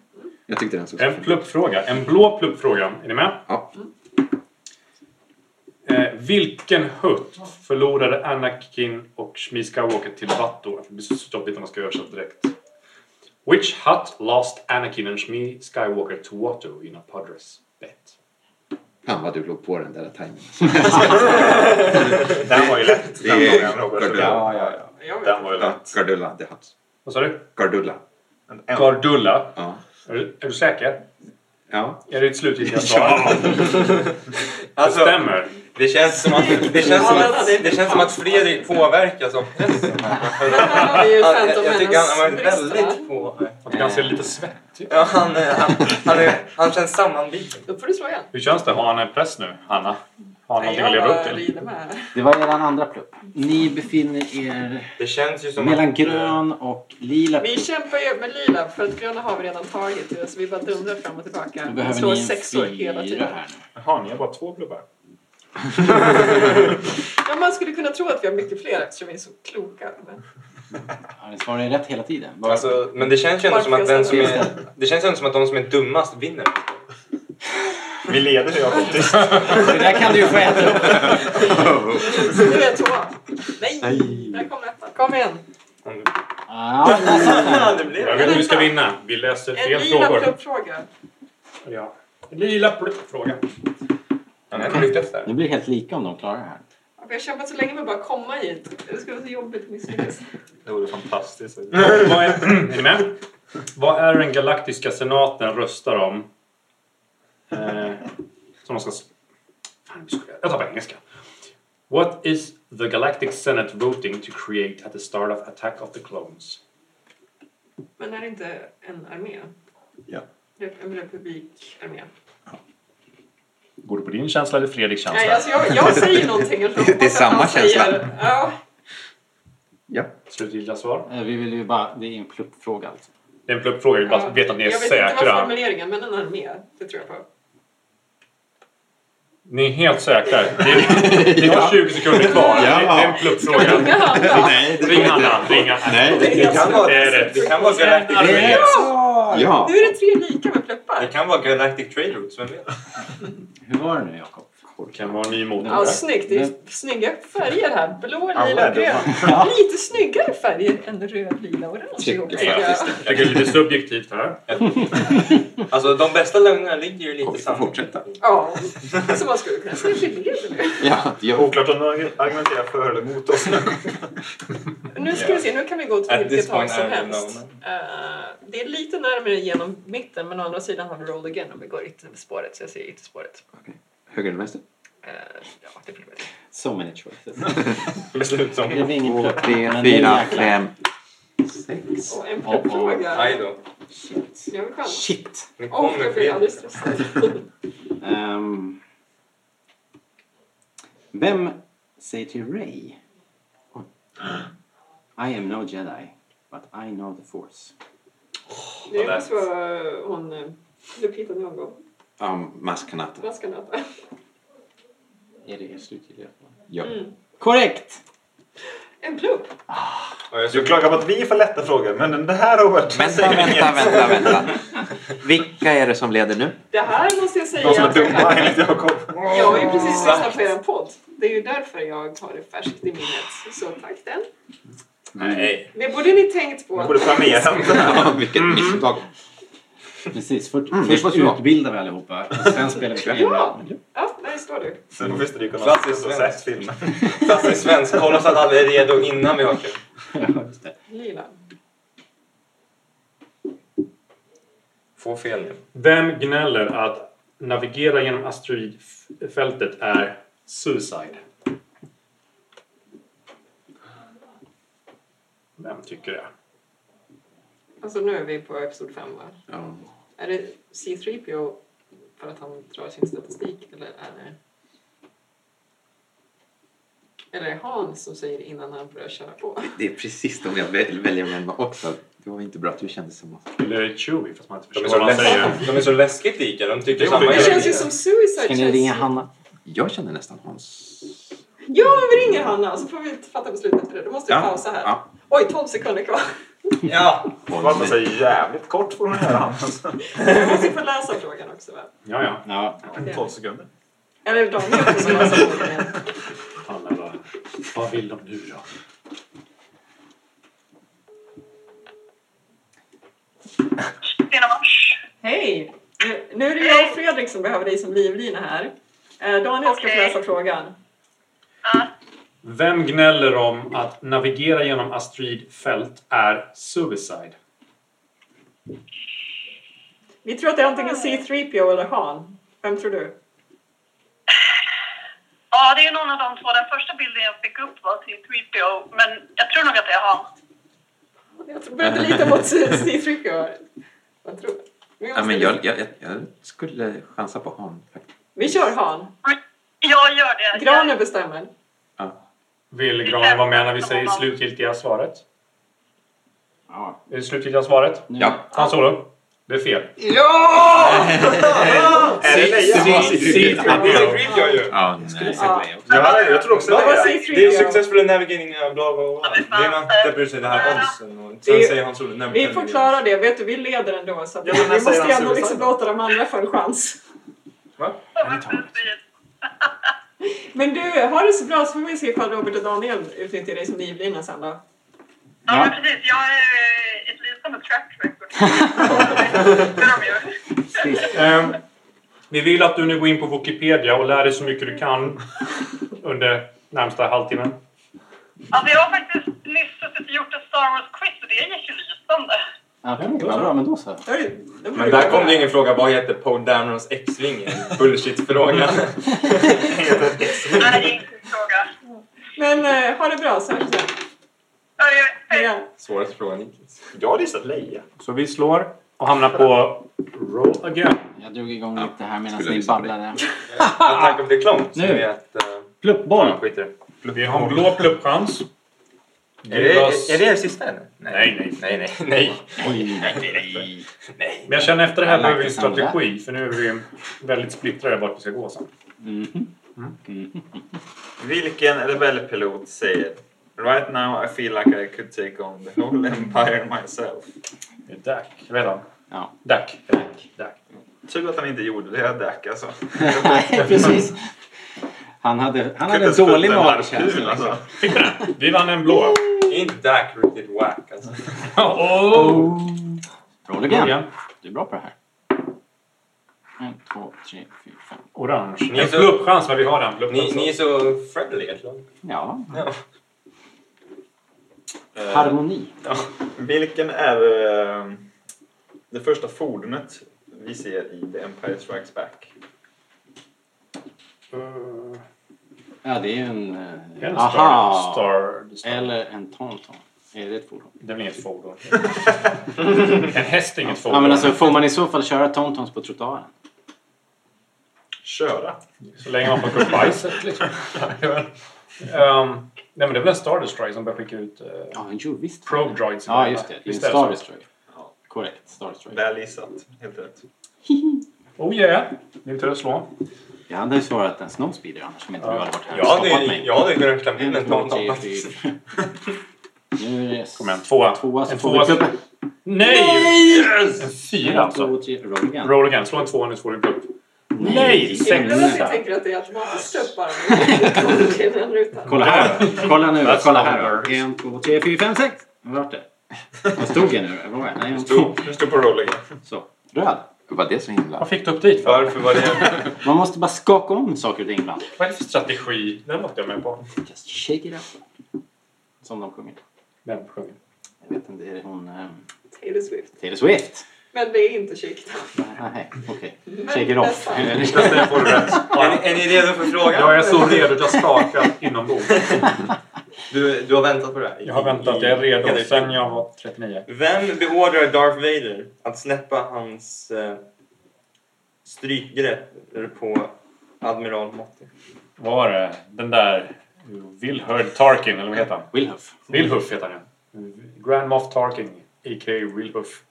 Speaker 5: Jag tyckte den såg så
Speaker 2: En pluppfråga. En blå pluppfråga. Är ni med?
Speaker 5: Ja.
Speaker 2: Eh, vilken hutt förlorade Anakin och Shmi Skywalker till Watto? Det blir så stoppigt om man ska översätta direkt. Which hut lost Anakin and Shmi Skywalker to Watto in a Padres bet?
Speaker 5: Fan vad du låg på den där timingen.
Speaker 7: Den var ju lätt. Den
Speaker 5: Det är-
Speaker 7: frågan Robert.
Speaker 5: Ja,
Speaker 7: ja,
Speaker 4: Jag vet.
Speaker 7: Den var ju
Speaker 5: Ja,
Speaker 7: lätt.
Speaker 5: Gardulla, det är hans.
Speaker 2: Vad sa du?
Speaker 5: Gardulla.
Speaker 7: En- en-
Speaker 2: Gardulla.
Speaker 5: Ja.
Speaker 2: Är du, är du säker?
Speaker 5: Ja.
Speaker 2: Är det ett slutgiltiga svar? Det
Speaker 6: Alltså,
Speaker 2: stämmer.
Speaker 6: det känns som att, [laughs] det känns som att, det känns som att Fredrik påverkas av [laughs] pressen. här.
Speaker 4: Det är ju
Speaker 6: Han,
Speaker 4: Phantom
Speaker 6: jag, jag tycker han har varit
Speaker 4: Menace-bristerna.
Speaker 6: väldigt på...
Speaker 2: Att han ser lite svettig
Speaker 6: Ja, han, eh, han, han, är, han känns sammanbiten.
Speaker 4: Då får du slå igen.
Speaker 2: Hur känns det? Har han en press nu, Hanna? Har han någonting att leva upp
Speaker 4: bara
Speaker 2: till?
Speaker 4: rider med.
Speaker 3: Det var eran andra plupp. Ni befinner er
Speaker 6: Det känns ju som
Speaker 3: mellan
Speaker 6: att... eh,
Speaker 3: grön och lila.
Speaker 4: Vi kämpar ju med lila för att gröna har vi redan tagit. Så vi bara dundrar fram och tillbaka.
Speaker 3: Då
Speaker 4: Vi
Speaker 3: behöver
Speaker 4: slår
Speaker 3: ni en
Speaker 4: sexor hela
Speaker 3: fyra
Speaker 4: tiden.
Speaker 3: här nu.
Speaker 7: Jaha, ni har bara två blubbar.
Speaker 4: Ja, man skulle kunna tro att vi har mycket fler eftersom vi är så kloka. Men
Speaker 3: Ja, ni svarar ju rätt hela tiden. Bara-
Speaker 6: Alltså, men det känns ju ändå som att den som är... Det känns ju ändå som att de som är dummast vinner.
Speaker 7: Vi leder ju faktiskt.
Speaker 3: Det där kan du ju få äta upp.
Speaker 4: nu är jag tvåa. Nej!
Speaker 5: Nej.
Speaker 4: Där kom ettan. Kom igen!
Speaker 6: Om-
Speaker 3: Ja, där satt den.
Speaker 6: det blev
Speaker 2: Jag vet hur vi ska vinna. Vi läser
Speaker 4: En
Speaker 2: fel
Speaker 4: lila
Speaker 2: frågor.
Speaker 4: pluppfråga.
Speaker 2: Ja. Lila plupp-fråga.
Speaker 6: Ja, men jag lyckades där.
Speaker 3: Ni blir helt lika om de klarar det här.
Speaker 4: Ja, Vi har kämpat så länge med att bara komma hit. Det skulle vara så jobbigt att misslyckas.
Speaker 7: Det vore fantastiskt.
Speaker 2: [laughs] Vad är, är [clears throat] ni med? Vad är den galaktiska senaten röstar om? Eh, som de ska... s- Fan, nu skulle jag- jag tar på engelska. What is the galactic senate voting to create at the start of Attack of the Clones?
Speaker 4: Men är det inte en armé?
Speaker 7: Ja.
Speaker 4: Rep- En republikarmé.
Speaker 2: Går det på din känsla eller Fredriks känsla?
Speaker 4: Nej, alltså jag, jag säger någonting. och så
Speaker 5: Det- det är
Speaker 4: hoppas att
Speaker 5: samma
Speaker 4: han
Speaker 5: känsla.
Speaker 4: Säger, ja,
Speaker 2: Slutgiltiga svar?
Speaker 3: Eh, Vi vill ju bara... Det är en pluppfråga alltså.
Speaker 2: Det är en pluppfråga, vi vill bara
Speaker 4: ja.
Speaker 2: veta att ni är
Speaker 4: jag Jag vet inte vad
Speaker 2: säkra.
Speaker 4: formuleringen, men en armé. Det tror jag på.
Speaker 2: Ni är helt säkra. Det är, det är 20 sekunder kvar. Det är- Det är en
Speaker 4: Ska vi
Speaker 2: pluppfråga.
Speaker 4: ringa han då?
Speaker 5: Nej, det
Speaker 2: Ring Hanna, ring Hanna.
Speaker 5: Nej, det-
Speaker 6: Det kan vara,
Speaker 2: Det är rätt.
Speaker 6: det kan vara, galactic,
Speaker 5: Det är rätt svar! Ja.
Speaker 4: Nu är det tre lika med
Speaker 6: det
Speaker 4: pluppar.
Speaker 6: kan vara Galactic Trade Routes, vem vet?
Speaker 3: Hur var det nu Jakob?
Speaker 2: Det kan vara en ny motor.
Speaker 4: Ja, snyggt. Det är snygga färger här. Blå, lila
Speaker 7: Alla
Speaker 4: och
Speaker 7: är
Speaker 4: grön.
Speaker 3: Ja.
Speaker 4: [laughs] Lite snyggare färger än röd, lila och orange ihop, tycker jag.
Speaker 5: faktiskt.
Speaker 2: Jag tycker det är lite subjektivt här.
Speaker 6: Alltså de bästa lögnerna ligger ju
Speaker 5: Och
Speaker 6: lite
Speaker 5: vi får fortsätta.
Speaker 4: Ja, Alltså, så man skulle kunna se skillnader nu.
Speaker 5: Ja,
Speaker 7: Det är
Speaker 5: ja.
Speaker 7: oklart om de argumenterar för eller mot oss nu.
Speaker 4: Nu ska vi se, nu kan vi gå till
Speaker 6: At
Speaker 4: vilket
Speaker 6: this
Speaker 4: håll
Speaker 6: point
Speaker 4: som
Speaker 6: I don't
Speaker 4: helst.
Speaker 6: know.
Speaker 4: Eh, det är lite närmare genom mitten men å andra sidan har vi roll again om vi går ytterspåret så jag säger ytterspåret.
Speaker 5: Höger eller vänster?
Speaker 4: Uh, ja, det blir väl det.
Speaker 3: So many
Speaker 6: [laughs]
Speaker 3: choices.
Speaker 6: Beslut
Speaker 3: Det
Speaker 6: som...
Speaker 3: blev ingen
Speaker 5: Två,
Speaker 3: plupp.
Speaker 5: tre,
Speaker 3: men det är
Speaker 5: fyra,
Speaker 3: jäkla-
Speaker 5: fem.
Speaker 4: Och en
Speaker 3: Ja, ja.
Speaker 4: fråga.
Speaker 6: Aj då.
Speaker 4: Jag vill chansa.
Speaker 3: Shit.
Speaker 6: Nu
Speaker 4: Åh,
Speaker 6: kommer
Speaker 4: jag blir alldeles
Speaker 6: Fredrik.
Speaker 4: stressad.
Speaker 3: Ehm, vem säger till Ray? I am no jedi, but I know the force.
Speaker 4: Det måste vara hon eh, Lupita Nyong'o.
Speaker 5: Ja, maskanata.
Speaker 4: Vad ska hon heta?
Speaker 3: Är det er slutgiltiga svar?
Speaker 5: Ja.
Speaker 3: Korrekt!
Speaker 4: [laughs] En plupp!
Speaker 6: Ja, jag
Speaker 7: Du
Speaker 6: skulle-
Speaker 7: klagar på att vi får lätta frågor, men det här Robert
Speaker 5: Vänta,
Speaker 7: säger
Speaker 5: vänta,
Speaker 7: inget.
Speaker 5: vänta, vänta. Vilka är det som leder nu?
Speaker 4: Det här måste jag säga.
Speaker 7: De som är
Speaker 4: att jag-
Speaker 7: dumma enligt Jakob.
Speaker 4: Jag har ju precis lyssnat på er podd. Det är ju därför jag har det färskt i minnet. Så tack den.
Speaker 6: Nej.
Speaker 4: Det borde ni tänkt
Speaker 7: Du
Speaker 4: på.
Speaker 7: borde planera. [laughs]
Speaker 5: Ja, [laughs] vilket misstag.
Speaker 3: Precis, för,
Speaker 5: Mm, det
Speaker 3: först
Speaker 5: var så.
Speaker 3: utbildar vi allihopa och sen spelar vi spel.
Speaker 4: Ja! Ja, där står du.
Speaker 7: Sen får vi stryka någon som
Speaker 6: Klassisk
Speaker 7: inte har
Speaker 6: svensk.
Speaker 7: sett filmen.
Speaker 6: Klassisk svensk, kolla så att alla är redo innan vi har kul.
Speaker 3: Ja, just det.
Speaker 4: Lila.
Speaker 6: Få fel nu.
Speaker 2: Vem gnäller att navigera genom asteroidfältet är suicide? Vem tycker det?
Speaker 4: Alltså nu är vi på episod 5 va?
Speaker 5: Ja.
Speaker 4: Är det C3PO för att han drar sin statistik eller är det... Eller är det Hans som säger innan han börjar köra på?
Speaker 5: Det är precis de jag väl- väljer att nämna också. Det var inte bra att du kände som oss.
Speaker 2: Eller är det Chewie fast man inte
Speaker 6: De är
Speaker 2: förstår
Speaker 6: så,
Speaker 2: vad han säger?
Speaker 6: läs- de är så läskigt lika, de tycker
Speaker 7: Jo,
Speaker 6: samma
Speaker 7: men
Speaker 4: Det
Speaker 6: hela
Speaker 4: känns ju
Speaker 6: tiden.
Speaker 4: som Suicide
Speaker 3: Ska ni
Speaker 4: känns-
Speaker 3: ringa Hanna?
Speaker 5: Jag känner nästan Hans.
Speaker 4: Ja, men vi ringer Hanna så får vi fatta beslut efter det. Då måste vi pausa här.
Speaker 5: Ja.
Speaker 4: Oj, 12 sekunder kvar.
Speaker 6: Ja!
Speaker 7: [laughs] Varför så jävligt kort får de göra alltså. annars?
Speaker 4: Jag måste ju få läsa frågan också va?
Speaker 2: Ja, ja.
Speaker 3: Ja.
Speaker 7: 12 sekunder.
Speaker 4: Eller Daniel får så läsa frågan igen.
Speaker 2: Alla bara, vad vill de nu då?
Speaker 8: Lena Mars.
Speaker 4: Hej! Nu- Nu är det jag och Fredrik som behöver dig som livlina här. Eh, Daniel ska få
Speaker 8: Okej.
Speaker 4: läsa frågan.
Speaker 8: Ja.
Speaker 2: Vem gnäller om att navigera genom asteroidfält är suicide?
Speaker 4: Vi tror att det är antingen C3PO eller Han. Vem tror du?
Speaker 8: Ja, det är någon av de två. Den första bilden jag fick upp var till Tweepio, men jag tror nog att det är han.
Speaker 4: Jag började
Speaker 5: [laughs]
Speaker 4: lita mot C3PO. Vad tror du? Vi, måste-
Speaker 5: Ja, men jag, jag, jag, jag skulle chansa på Han. faktiskt.
Speaker 4: vi kör Han.
Speaker 8: Jag gör det.
Speaker 4: Granen bestämmer.
Speaker 2: Vill Granen vara med när vi säger slutgiltiga svaret?
Speaker 3: Ja.
Speaker 2: Är det slutgiltiga svaret?
Speaker 3: Nu,
Speaker 5: Ja.
Speaker 2: Han solo. Det är fel.
Speaker 7: Är det
Speaker 5: Det var
Speaker 7: Leia?
Speaker 5: C3PO. Ja, nej.
Speaker 4: Ja.
Speaker 7: Jag, hade- jag tror också det
Speaker 4: Vad var
Speaker 7: var Leia.
Speaker 4: C3PO?
Speaker 6: Det är successful navigating uh, bla bla bla.
Speaker 8: Ja, men fan.
Speaker 6: Det är någon där bryr sig det här om. Sen
Speaker 4: Det-
Speaker 6: säger han solo.
Speaker 4: Vi får klara det. Vet du, vi leder ändå. Så att vi
Speaker 7: Ja, men när säger
Speaker 4: måste
Speaker 7: han
Speaker 4: ändå
Speaker 7: suicide
Speaker 4: liksom
Speaker 7: då?
Speaker 4: låta de andra få en chans. Men du, har det så bra så får vi se ifall Robert och Daniel utnyttjar dig som livlina sen då.
Speaker 8: Ja,
Speaker 3: Ja.
Speaker 8: men precis. Jag är eh, ett lysande track record. Det är de ju.
Speaker 2: Ehm, vi vill att du nu går in på Wikipedia och lär dig så mycket du kan under närmsta halvtimmen.
Speaker 8: Alltså, jag har faktiskt nyss suttit och gjort ett Star Wars-quiz och det gick ju lysande.
Speaker 3: Ja, Okej, vad bra. Men då så.
Speaker 4: Då är det- då blir
Speaker 6: Men där kom det ingen fråga. Vad heter Poe Damerons X-Wing? [laughs] Bullshit-fråga.
Speaker 8: Nej, det är inte en fråga.
Speaker 4: Men eh, ha det bra så hörs vi sen.
Speaker 8: Ja, det är-
Speaker 4: Ja.
Speaker 6: Svåraste frågan hittills.
Speaker 7: Jag hade gissat Leia.
Speaker 2: Så vi slår och hamnar på roll again.
Speaker 3: Jag drog igång lite här medan
Speaker 5: skulle
Speaker 3: ni
Speaker 5: lyssna på dig.
Speaker 3: [laughs] babblade.
Speaker 6: Med tanke på det klart så
Speaker 3: Nu.
Speaker 6: är att... eh,
Speaker 3: Pluppboll!
Speaker 6: skit i det.
Speaker 2: Vi har en blå pluppchans.
Speaker 6: Är det, är det er sista eller?
Speaker 2: Nej, nej.
Speaker 6: Nej, nej, nej.
Speaker 3: Oj, nej.
Speaker 6: nej.
Speaker 2: Men jag känner efter det
Speaker 3: I
Speaker 2: här
Speaker 3: like
Speaker 2: behöver vi en
Speaker 3: the sound of
Speaker 2: strategi för nu är vi väldigt splittrade vart vi ska gå sen.
Speaker 3: Mhm.
Speaker 7: Vilken rebellpilot säger Right now I feel like I could take on the whole empire myself.
Speaker 2: Det är Dac. Jag vet han.
Speaker 3: Ja.
Speaker 2: Dac. Dac.
Speaker 7: Tur att han inte gjorde det, här Dak alltså.
Speaker 3: Nej, precis. Han hade, han hade
Speaker 7: Kunde spela
Speaker 3: dålig
Speaker 7: en
Speaker 3: magkänsla.
Speaker 7: harpun,
Speaker 3: Liksom.
Speaker 7: alltså.
Speaker 2: Fick vi den? Vi vann en blå.
Speaker 6: Är inte Dak riktigt wack alltså?
Speaker 2: Oh.
Speaker 3: Roll again.
Speaker 2: Igen.
Speaker 3: Du är bra på det här. En, två, tre, fyra, fem.
Speaker 2: Orange.
Speaker 6: Ni är
Speaker 2: En
Speaker 6: så-
Speaker 2: pluppchans men vi har den.
Speaker 6: Ni,
Speaker 2: Pluppchans.
Speaker 6: ni är så friendly egentligen.
Speaker 3: Ja,
Speaker 7: Eh,
Speaker 3: harmoni.
Speaker 7: Vilken är eh, det första fordonet vi ser i The Empire Strikes Back?
Speaker 2: Eh,
Speaker 3: Ja, det är ju en... eh,
Speaker 2: en
Speaker 3: Aha!
Speaker 2: Star, star, star.
Speaker 3: Eller en Tauntaun. Är det ett fordon?
Speaker 2: Det är väl inget fordon. en häst är inget fordon.
Speaker 3: Ja, men alltså, får man i så fall köra Tauntauns på trottoaren?
Speaker 7: Köra.
Speaker 2: Så länge man plockar upp bajset liksom. um, nej men det är väl en Star Destroyer som börjar skicka ut eh,
Speaker 3: Ja, jo, visst.
Speaker 2: probe droids.
Speaker 3: Ja, just det. Det är en
Speaker 2: Visst är
Speaker 3: Star
Speaker 2: så?
Speaker 3: Destroyer. Korrekt. Star Destroyer.
Speaker 7: Väl gissat. Helt rätt.
Speaker 2: Oh yeah! Din tur att slå.
Speaker 3: Jag hade ju svarat en Snowspeeder annars om inte du hade varit här
Speaker 6: Jag
Speaker 3: och stoppat
Speaker 6: hade,
Speaker 3: mig.
Speaker 6: jag hade kunnat klämma in en
Speaker 3: En, två,
Speaker 6: tomtom
Speaker 3: tre,
Speaker 6: faktiskt.
Speaker 3: fyra. Nu är det
Speaker 2: Kom igen, tvåa.
Speaker 3: tvåa så
Speaker 2: En
Speaker 3: får vi
Speaker 2: tvåa.
Speaker 3: klubba.
Speaker 2: Nej! En fyra
Speaker 3: En,
Speaker 2: alltså.
Speaker 3: två, tre, roll again.
Speaker 2: Roll again. Slå en tvåa nu så får du en plupp. Nej!
Speaker 4: Undrar om ni
Speaker 2: Sexa!
Speaker 4: tänker att det är automatiskt upp bara. Okej, den rutan.
Speaker 3: Kolla här. Kolla nu.
Speaker 2: That's
Speaker 3: Kolla
Speaker 2: how it
Speaker 3: här.
Speaker 2: works.
Speaker 3: En, två, tre, fyra, fem, sex. Vart det? Vad stod jag nu? Vad var jag? Nej, en, två.
Speaker 7: Du står på rolling.
Speaker 3: Så. Röd.
Speaker 5: Var det så himla?
Speaker 2: Vad fick du upp dit? För?
Speaker 6: Varför var det...
Speaker 3: Man måste bara skaka om saker och ting ibland.
Speaker 2: Vad är det för strategi? Den låter jag med på.
Speaker 3: Just shake it up. Som de sjunger.
Speaker 2: Vem sjunger?
Speaker 3: Jag vet inte, är det hon... ehm,
Speaker 4: Taylor Swift.
Speaker 3: Taylor Swift?
Speaker 4: Men det är inte Chic
Speaker 3: Nej, okej.
Speaker 4: Men
Speaker 3: Shake it off.
Speaker 4: nästan.
Speaker 3: Eller-
Speaker 6: Är ni, är ni redo för frågan?
Speaker 2: Jag är så redo att jag skakar inombords.
Speaker 6: Du, du har väntat på det här?
Speaker 2: Jag har väntat, jag är redo sen jag var 39.
Speaker 6: Vem beordrar Darth Vader att släppa hans eh, strykgrepp på Admiral Motti?
Speaker 2: Vad var det? Den där... Wilhurd Tarkin, eller vad heter han?
Speaker 3: Wilhuff.
Speaker 2: Wilhuff heter han ju. Grand Moff Tarkin, a.k.a. Wilhuff.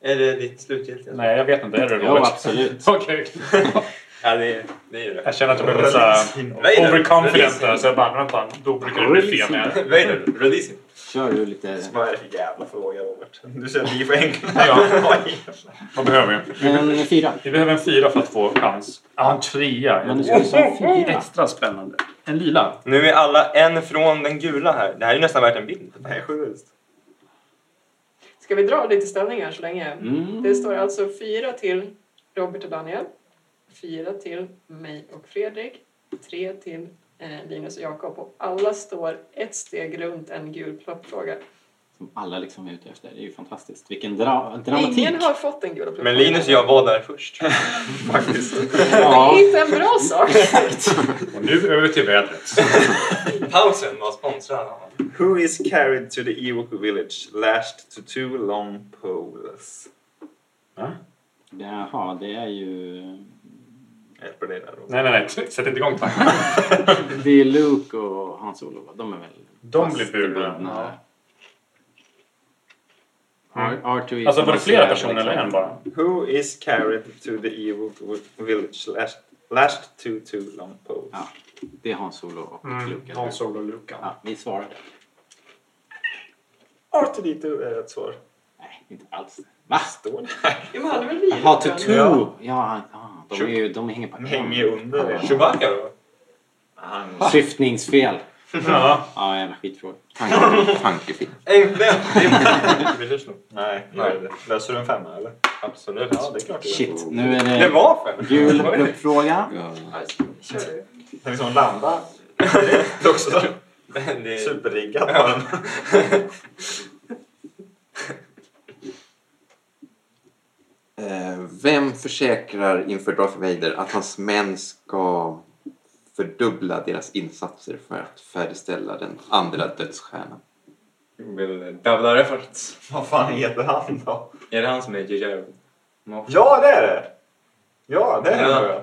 Speaker 6: Är det ditt slutgiltiga svar?
Speaker 2: Nej, jag vet inte. Är det
Speaker 3: Jo,
Speaker 2: Robert?
Speaker 3: absolut.
Speaker 2: [laughs] Okej.
Speaker 6: Ja, det är det. Är det.
Speaker 2: Jag känner att jag blir lite såhär
Speaker 6: Vader,
Speaker 2: overconfident
Speaker 6: release
Speaker 2: där.
Speaker 6: him.
Speaker 2: Så jag bara, vänta. Då brukar det bli fel. när jag-
Speaker 6: Vader, release him.
Speaker 3: Kör du lite...
Speaker 7: Vad är det för jävla fråga Robert? Du säger att vi är för enkla.
Speaker 6: [laughs]
Speaker 2: Ja.
Speaker 7: [laughs]
Speaker 2: Vad behöver vi?
Speaker 3: En fyra.
Speaker 2: Vi behöver en fyra för att få chans. Ja, en trea.
Speaker 3: Men du ska ju säga en fyra.
Speaker 2: Extra spännande. En lila.
Speaker 6: Nu är alla en från den gula här. Det här är nästan värt en bild.
Speaker 7: Nej, sjukt.
Speaker 4: Ska vi dra lite ställningar så länge?
Speaker 3: Mm.
Speaker 4: Det står alltså fyra till Robert och Daniel. Fyra till mig och Fredrik. Tre till eh, Linus och Jakob. Och alla står ett steg runt en gul ploppfråga.
Speaker 3: Som alla liksom är ute efter. Det är ju fantastiskt. Vilken dra dramatik!
Speaker 4: Ingen har fått den gula
Speaker 6: Men Linus och jag var där först.
Speaker 7: faktiskt.
Speaker 4: Det
Speaker 3: ja.
Speaker 4: är inte en bra sak.
Speaker 2: Och nu över till vädret.
Speaker 6: [laughs] Pausen var sponsrad av
Speaker 7: Who is carried to the Ewok village, lashed to two long poles?
Speaker 3: Jaha, det är ju...
Speaker 7: Jag hjälper dig där då.
Speaker 2: Nej, nej, nej. Sätt inte igång tack.
Speaker 3: Det är Luke och Hans Olof. De är väl...
Speaker 2: De
Speaker 3: fast
Speaker 2: blir burna.
Speaker 3: bundna.
Speaker 2: Mm.
Speaker 3: R- R2 är-
Speaker 2: Alltså var det flera personer
Speaker 3: liksom.
Speaker 2: eller en bara?
Speaker 7: Who is carried to the Ewok village, lashed, lashed to two long poles?
Speaker 3: Ja. Det är Hans Olof och Luke. eller?
Speaker 2: Mm, Hans Olof och Lukan.
Speaker 3: Ja, vi svarade.
Speaker 7: R2D2 är rätt svar.
Speaker 3: Nej, inte alls. Va?
Speaker 7: Står det här?
Speaker 4: Jo, men han är väl vit?
Speaker 3: Jaha, typ. Tutu!
Speaker 7: Ja.
Speaker 3: Ja, ja, ja de, är ju, de hänger på
Speaker 7: Den hänger ju under det.
Speaker 6: Chewbacca då?
Speaker 7: Han
Speaker 3: Syftningsfel.
Speaker 2: Ja.
Speaker 3: Ja, jävla skitfråga.
Speaker 5: Tankefel.
Speaker 6: [laughs] Äntligen! Vill du slå?
Speaker 7: Nej,
Speaker 6: Nej.
Speaker 7: nej. Löser du en femma eller?
Speaker 6: Absolut.
Speaker 7: Ja, det är klart du gör.
Speaker 3: Shit, nu är
Speaker 6: Det
Speaker 3: det
Speaker 6: var fem!
Speaker 3: gul
Speaker 6: Vad är [laughs] det?
Speaker 3: pluppfråga.
Speaker 5: Ja.
Speaker 4: Kör du.
Speaker 7: Den liksom landar direkt också.
Speaker 6: Det är-
Speaker 7: Superriggad var den.
Speaker 5: Eh, vem försäkrar inför Darth Vader att hans män ska fördubbla deras insatser för att färdigställa den andra dödsstjärnan?
Speaker 6: Vill Dabbla Reference.
Speaker 7: Vad fan heter han då?
Speaker 6: Är det han som är JJ?
Speaker 7: Ja, det är det! Ja, det är
Speaker 6: Ja.
Speaker 7: det.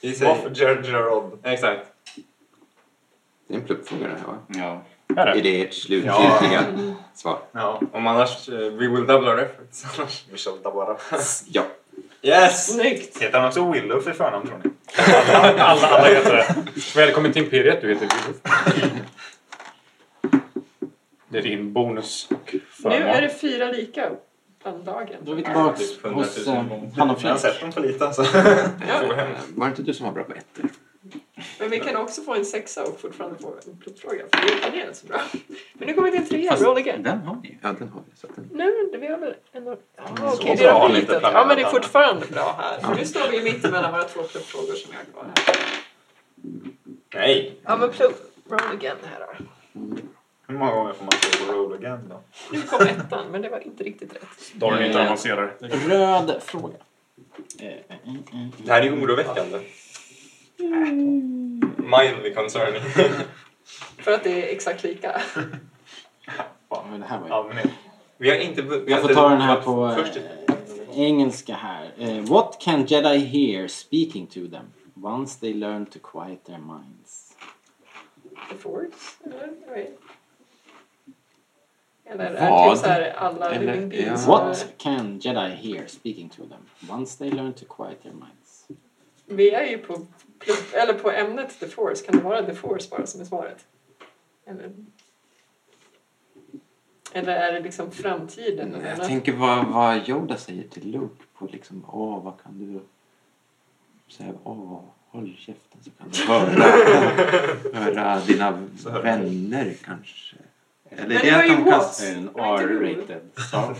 Speaker 6: Vi
Speaker 7: Moff
Speaker 6: säger...
Speaker 7: Ger Gerald.
Speaker 6: Exakt.
Speaker 5: Det är en pluppfråga det här va?
Speaker 3: Ja.
Speaker 2: Är
Speaker 5: Är
Speaker 2: det?
Speaker 5: det ert slutgiltiga svar?
Speaker 7: Ja,
Speaker 6: Om annars... eh, We will double [laughs] reference. Annars-
Speaker 7: Michel Dabara.
Speaker 5: Ja.
Speaker 6: Yes!
Speaker 4: Snyggt!
Speaker 7: Heter han också Willow för förnamn tror ni?
Speaker 2: Alla, alla, alla heter det. Välkommen till Imperiet, du heter Gud. Det är din bonus och
Speaker 4: Nu är
Speaker 2: förmån.
Speaker 4: det fyra lika bland
Speaker 3: Då
Speaker 4: dagen.
Speaker 3: är vi tillbaka
Speaker 6: Typ 100 000
Speaker 3: hos eh, Hanna
Speaker 6: gånger.
Speaker 7: Jag har
Speaker 3: Flink.
Speaker 7: sett dem för lite alltså.
Speaker 4: Ja,
Speaker 5: Eh, Var det inte du som var bra på ettor?
Speaker 4: men vi kan också få en sexa och fortfarande få en pluppfråga. För det är planerat så bra. Men nu kommer vi till en trea.
Speaker 3: Fast-
Speaker 4: Roll again.
Speaker 3: Den har ni
Speaker 5: Ja, den har vi. Så att den...
Speaker 4: Nej, men vi har väl ändå... Ja, okej,
Speaker 7: så
Speaker 4: det
Speaker 7: bra
Speaker 4: har
Speaker 7: lite
Speaker 4: vi inte.
Speaker 7: planerat
Speaker 4: Ja, men det är
Speaker 7: annat.
Speaker 4: fortfarande bra här. För nu står vi ju mitt emellan våra två pluppfrågor som jag har kvar här.
Speaker 6: [laughs] Nej!
Speaker 4: Ja, men plupp... Roll again här då.
Speaker 7: Hur många gånger får man slå på roll again då?
Speaker 4: Nu kom ettan, men det var inte riktigt rätt.
Speaker 2: Storyn inte avancerar.
Speaker 3: ju. Röd fråga. Eh, eh, eh, eh.
Speaker 6: Det här är ju oroväckande. Mm. Mildly concerning. [laughs]
Speaker 4: För att det är exakt lika.
Speaker 3: Ja, men Det här var ju...
Speaker 7: Ja, men nej.
Speaker 6: Vi har inte... vi
Speaker 3: Jag
Speaker 6: har
Speaker 3: får
Speaker 6: inte-
Speaker 3: ta den här på
Speaker 6: Först-
Speaker 3: eh, engelska här. Eh, what can Jedi hear speaking to them once they learn to quiet their minds?
Speaker 4: The Force, eller? Jag vet. Eller är det
Speaker 5: Vad?
Speaker 4: typ så här alla
Speaker 5: Eller-
Speaker 4: living beings?
Speaker 5: Ja.
Speaker 4: eller-
Speaker 3: What can Jedi hear speaking to them once they learn to quiet their minds?
Speaker 4: Vi är ju på, plupp- eller på ämnet The Force. Kan det vara The Force bara som är svaret? Eller, eller är det liksom framtiden? eller?
Speaker 5: Jag tänker vad, vad Yoda säger till Luke på liksom, åh vad kan du säga, åh håll käften så kan du höra, höra dina vänner kanske. Eller
Speaker 4: Men det var ju Watts.
Speaker 3: Det är en
Speaker 4: Jag vet inte
Speaker 3: R-rated Star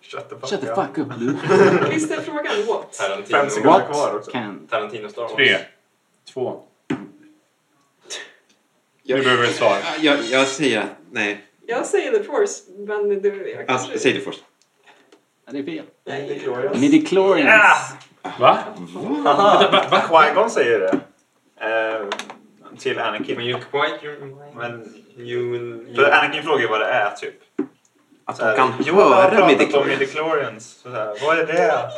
Speaker 7: Shut the fuck
Speaker 3: Shut the
Speaker 7: up.
Speaker 3: fuck up Luke.
Speaker 4: Visst är frågan what?
Speaker 7: Fem
Speaker 6: Tarantino.
Speaker 7: sekunder kvar
Speaker 3: What
Speaker 7: också.
Speaker 3: can...
Speaker 6: Tarantino Star Wars.
Speaker 2: Tre, två. Nu behöver vi ett svar.
Speaker 5: Jag, jag säger att, nej,
Speaker 4: Jag säger The Force, men det, jag kanske...
Speaker 5: alltså, säg det först.
Speaker 3: Ja, Det är fel.
Speaker 7: Nej, det är Glorious.
Speaker 3: Midichlorians.
Speaker 8: Ah!
Speaker 2: Va?
Speaker 7: Qui-Gon säger det. Eh, till
Speaker 6: Men
Speaker 7: Anakin.
Speaker 6: you quite your mind.
Speaker 7: Men
Speaker 6: you will...
Speaker 7: För
Speaker 6: You...
Speaker 7: Anakin frågar vad det är typ.
Speaker 5: Att
Speaker 7: Så här,
Speaker 5: de kan
Speaker 7: "Jo, jag har
Speaker 5: höra
Speaker 7: pratat
Speaker 5: midichlorians.
Speaker 7: om midichlorians. Så här, Vad är det?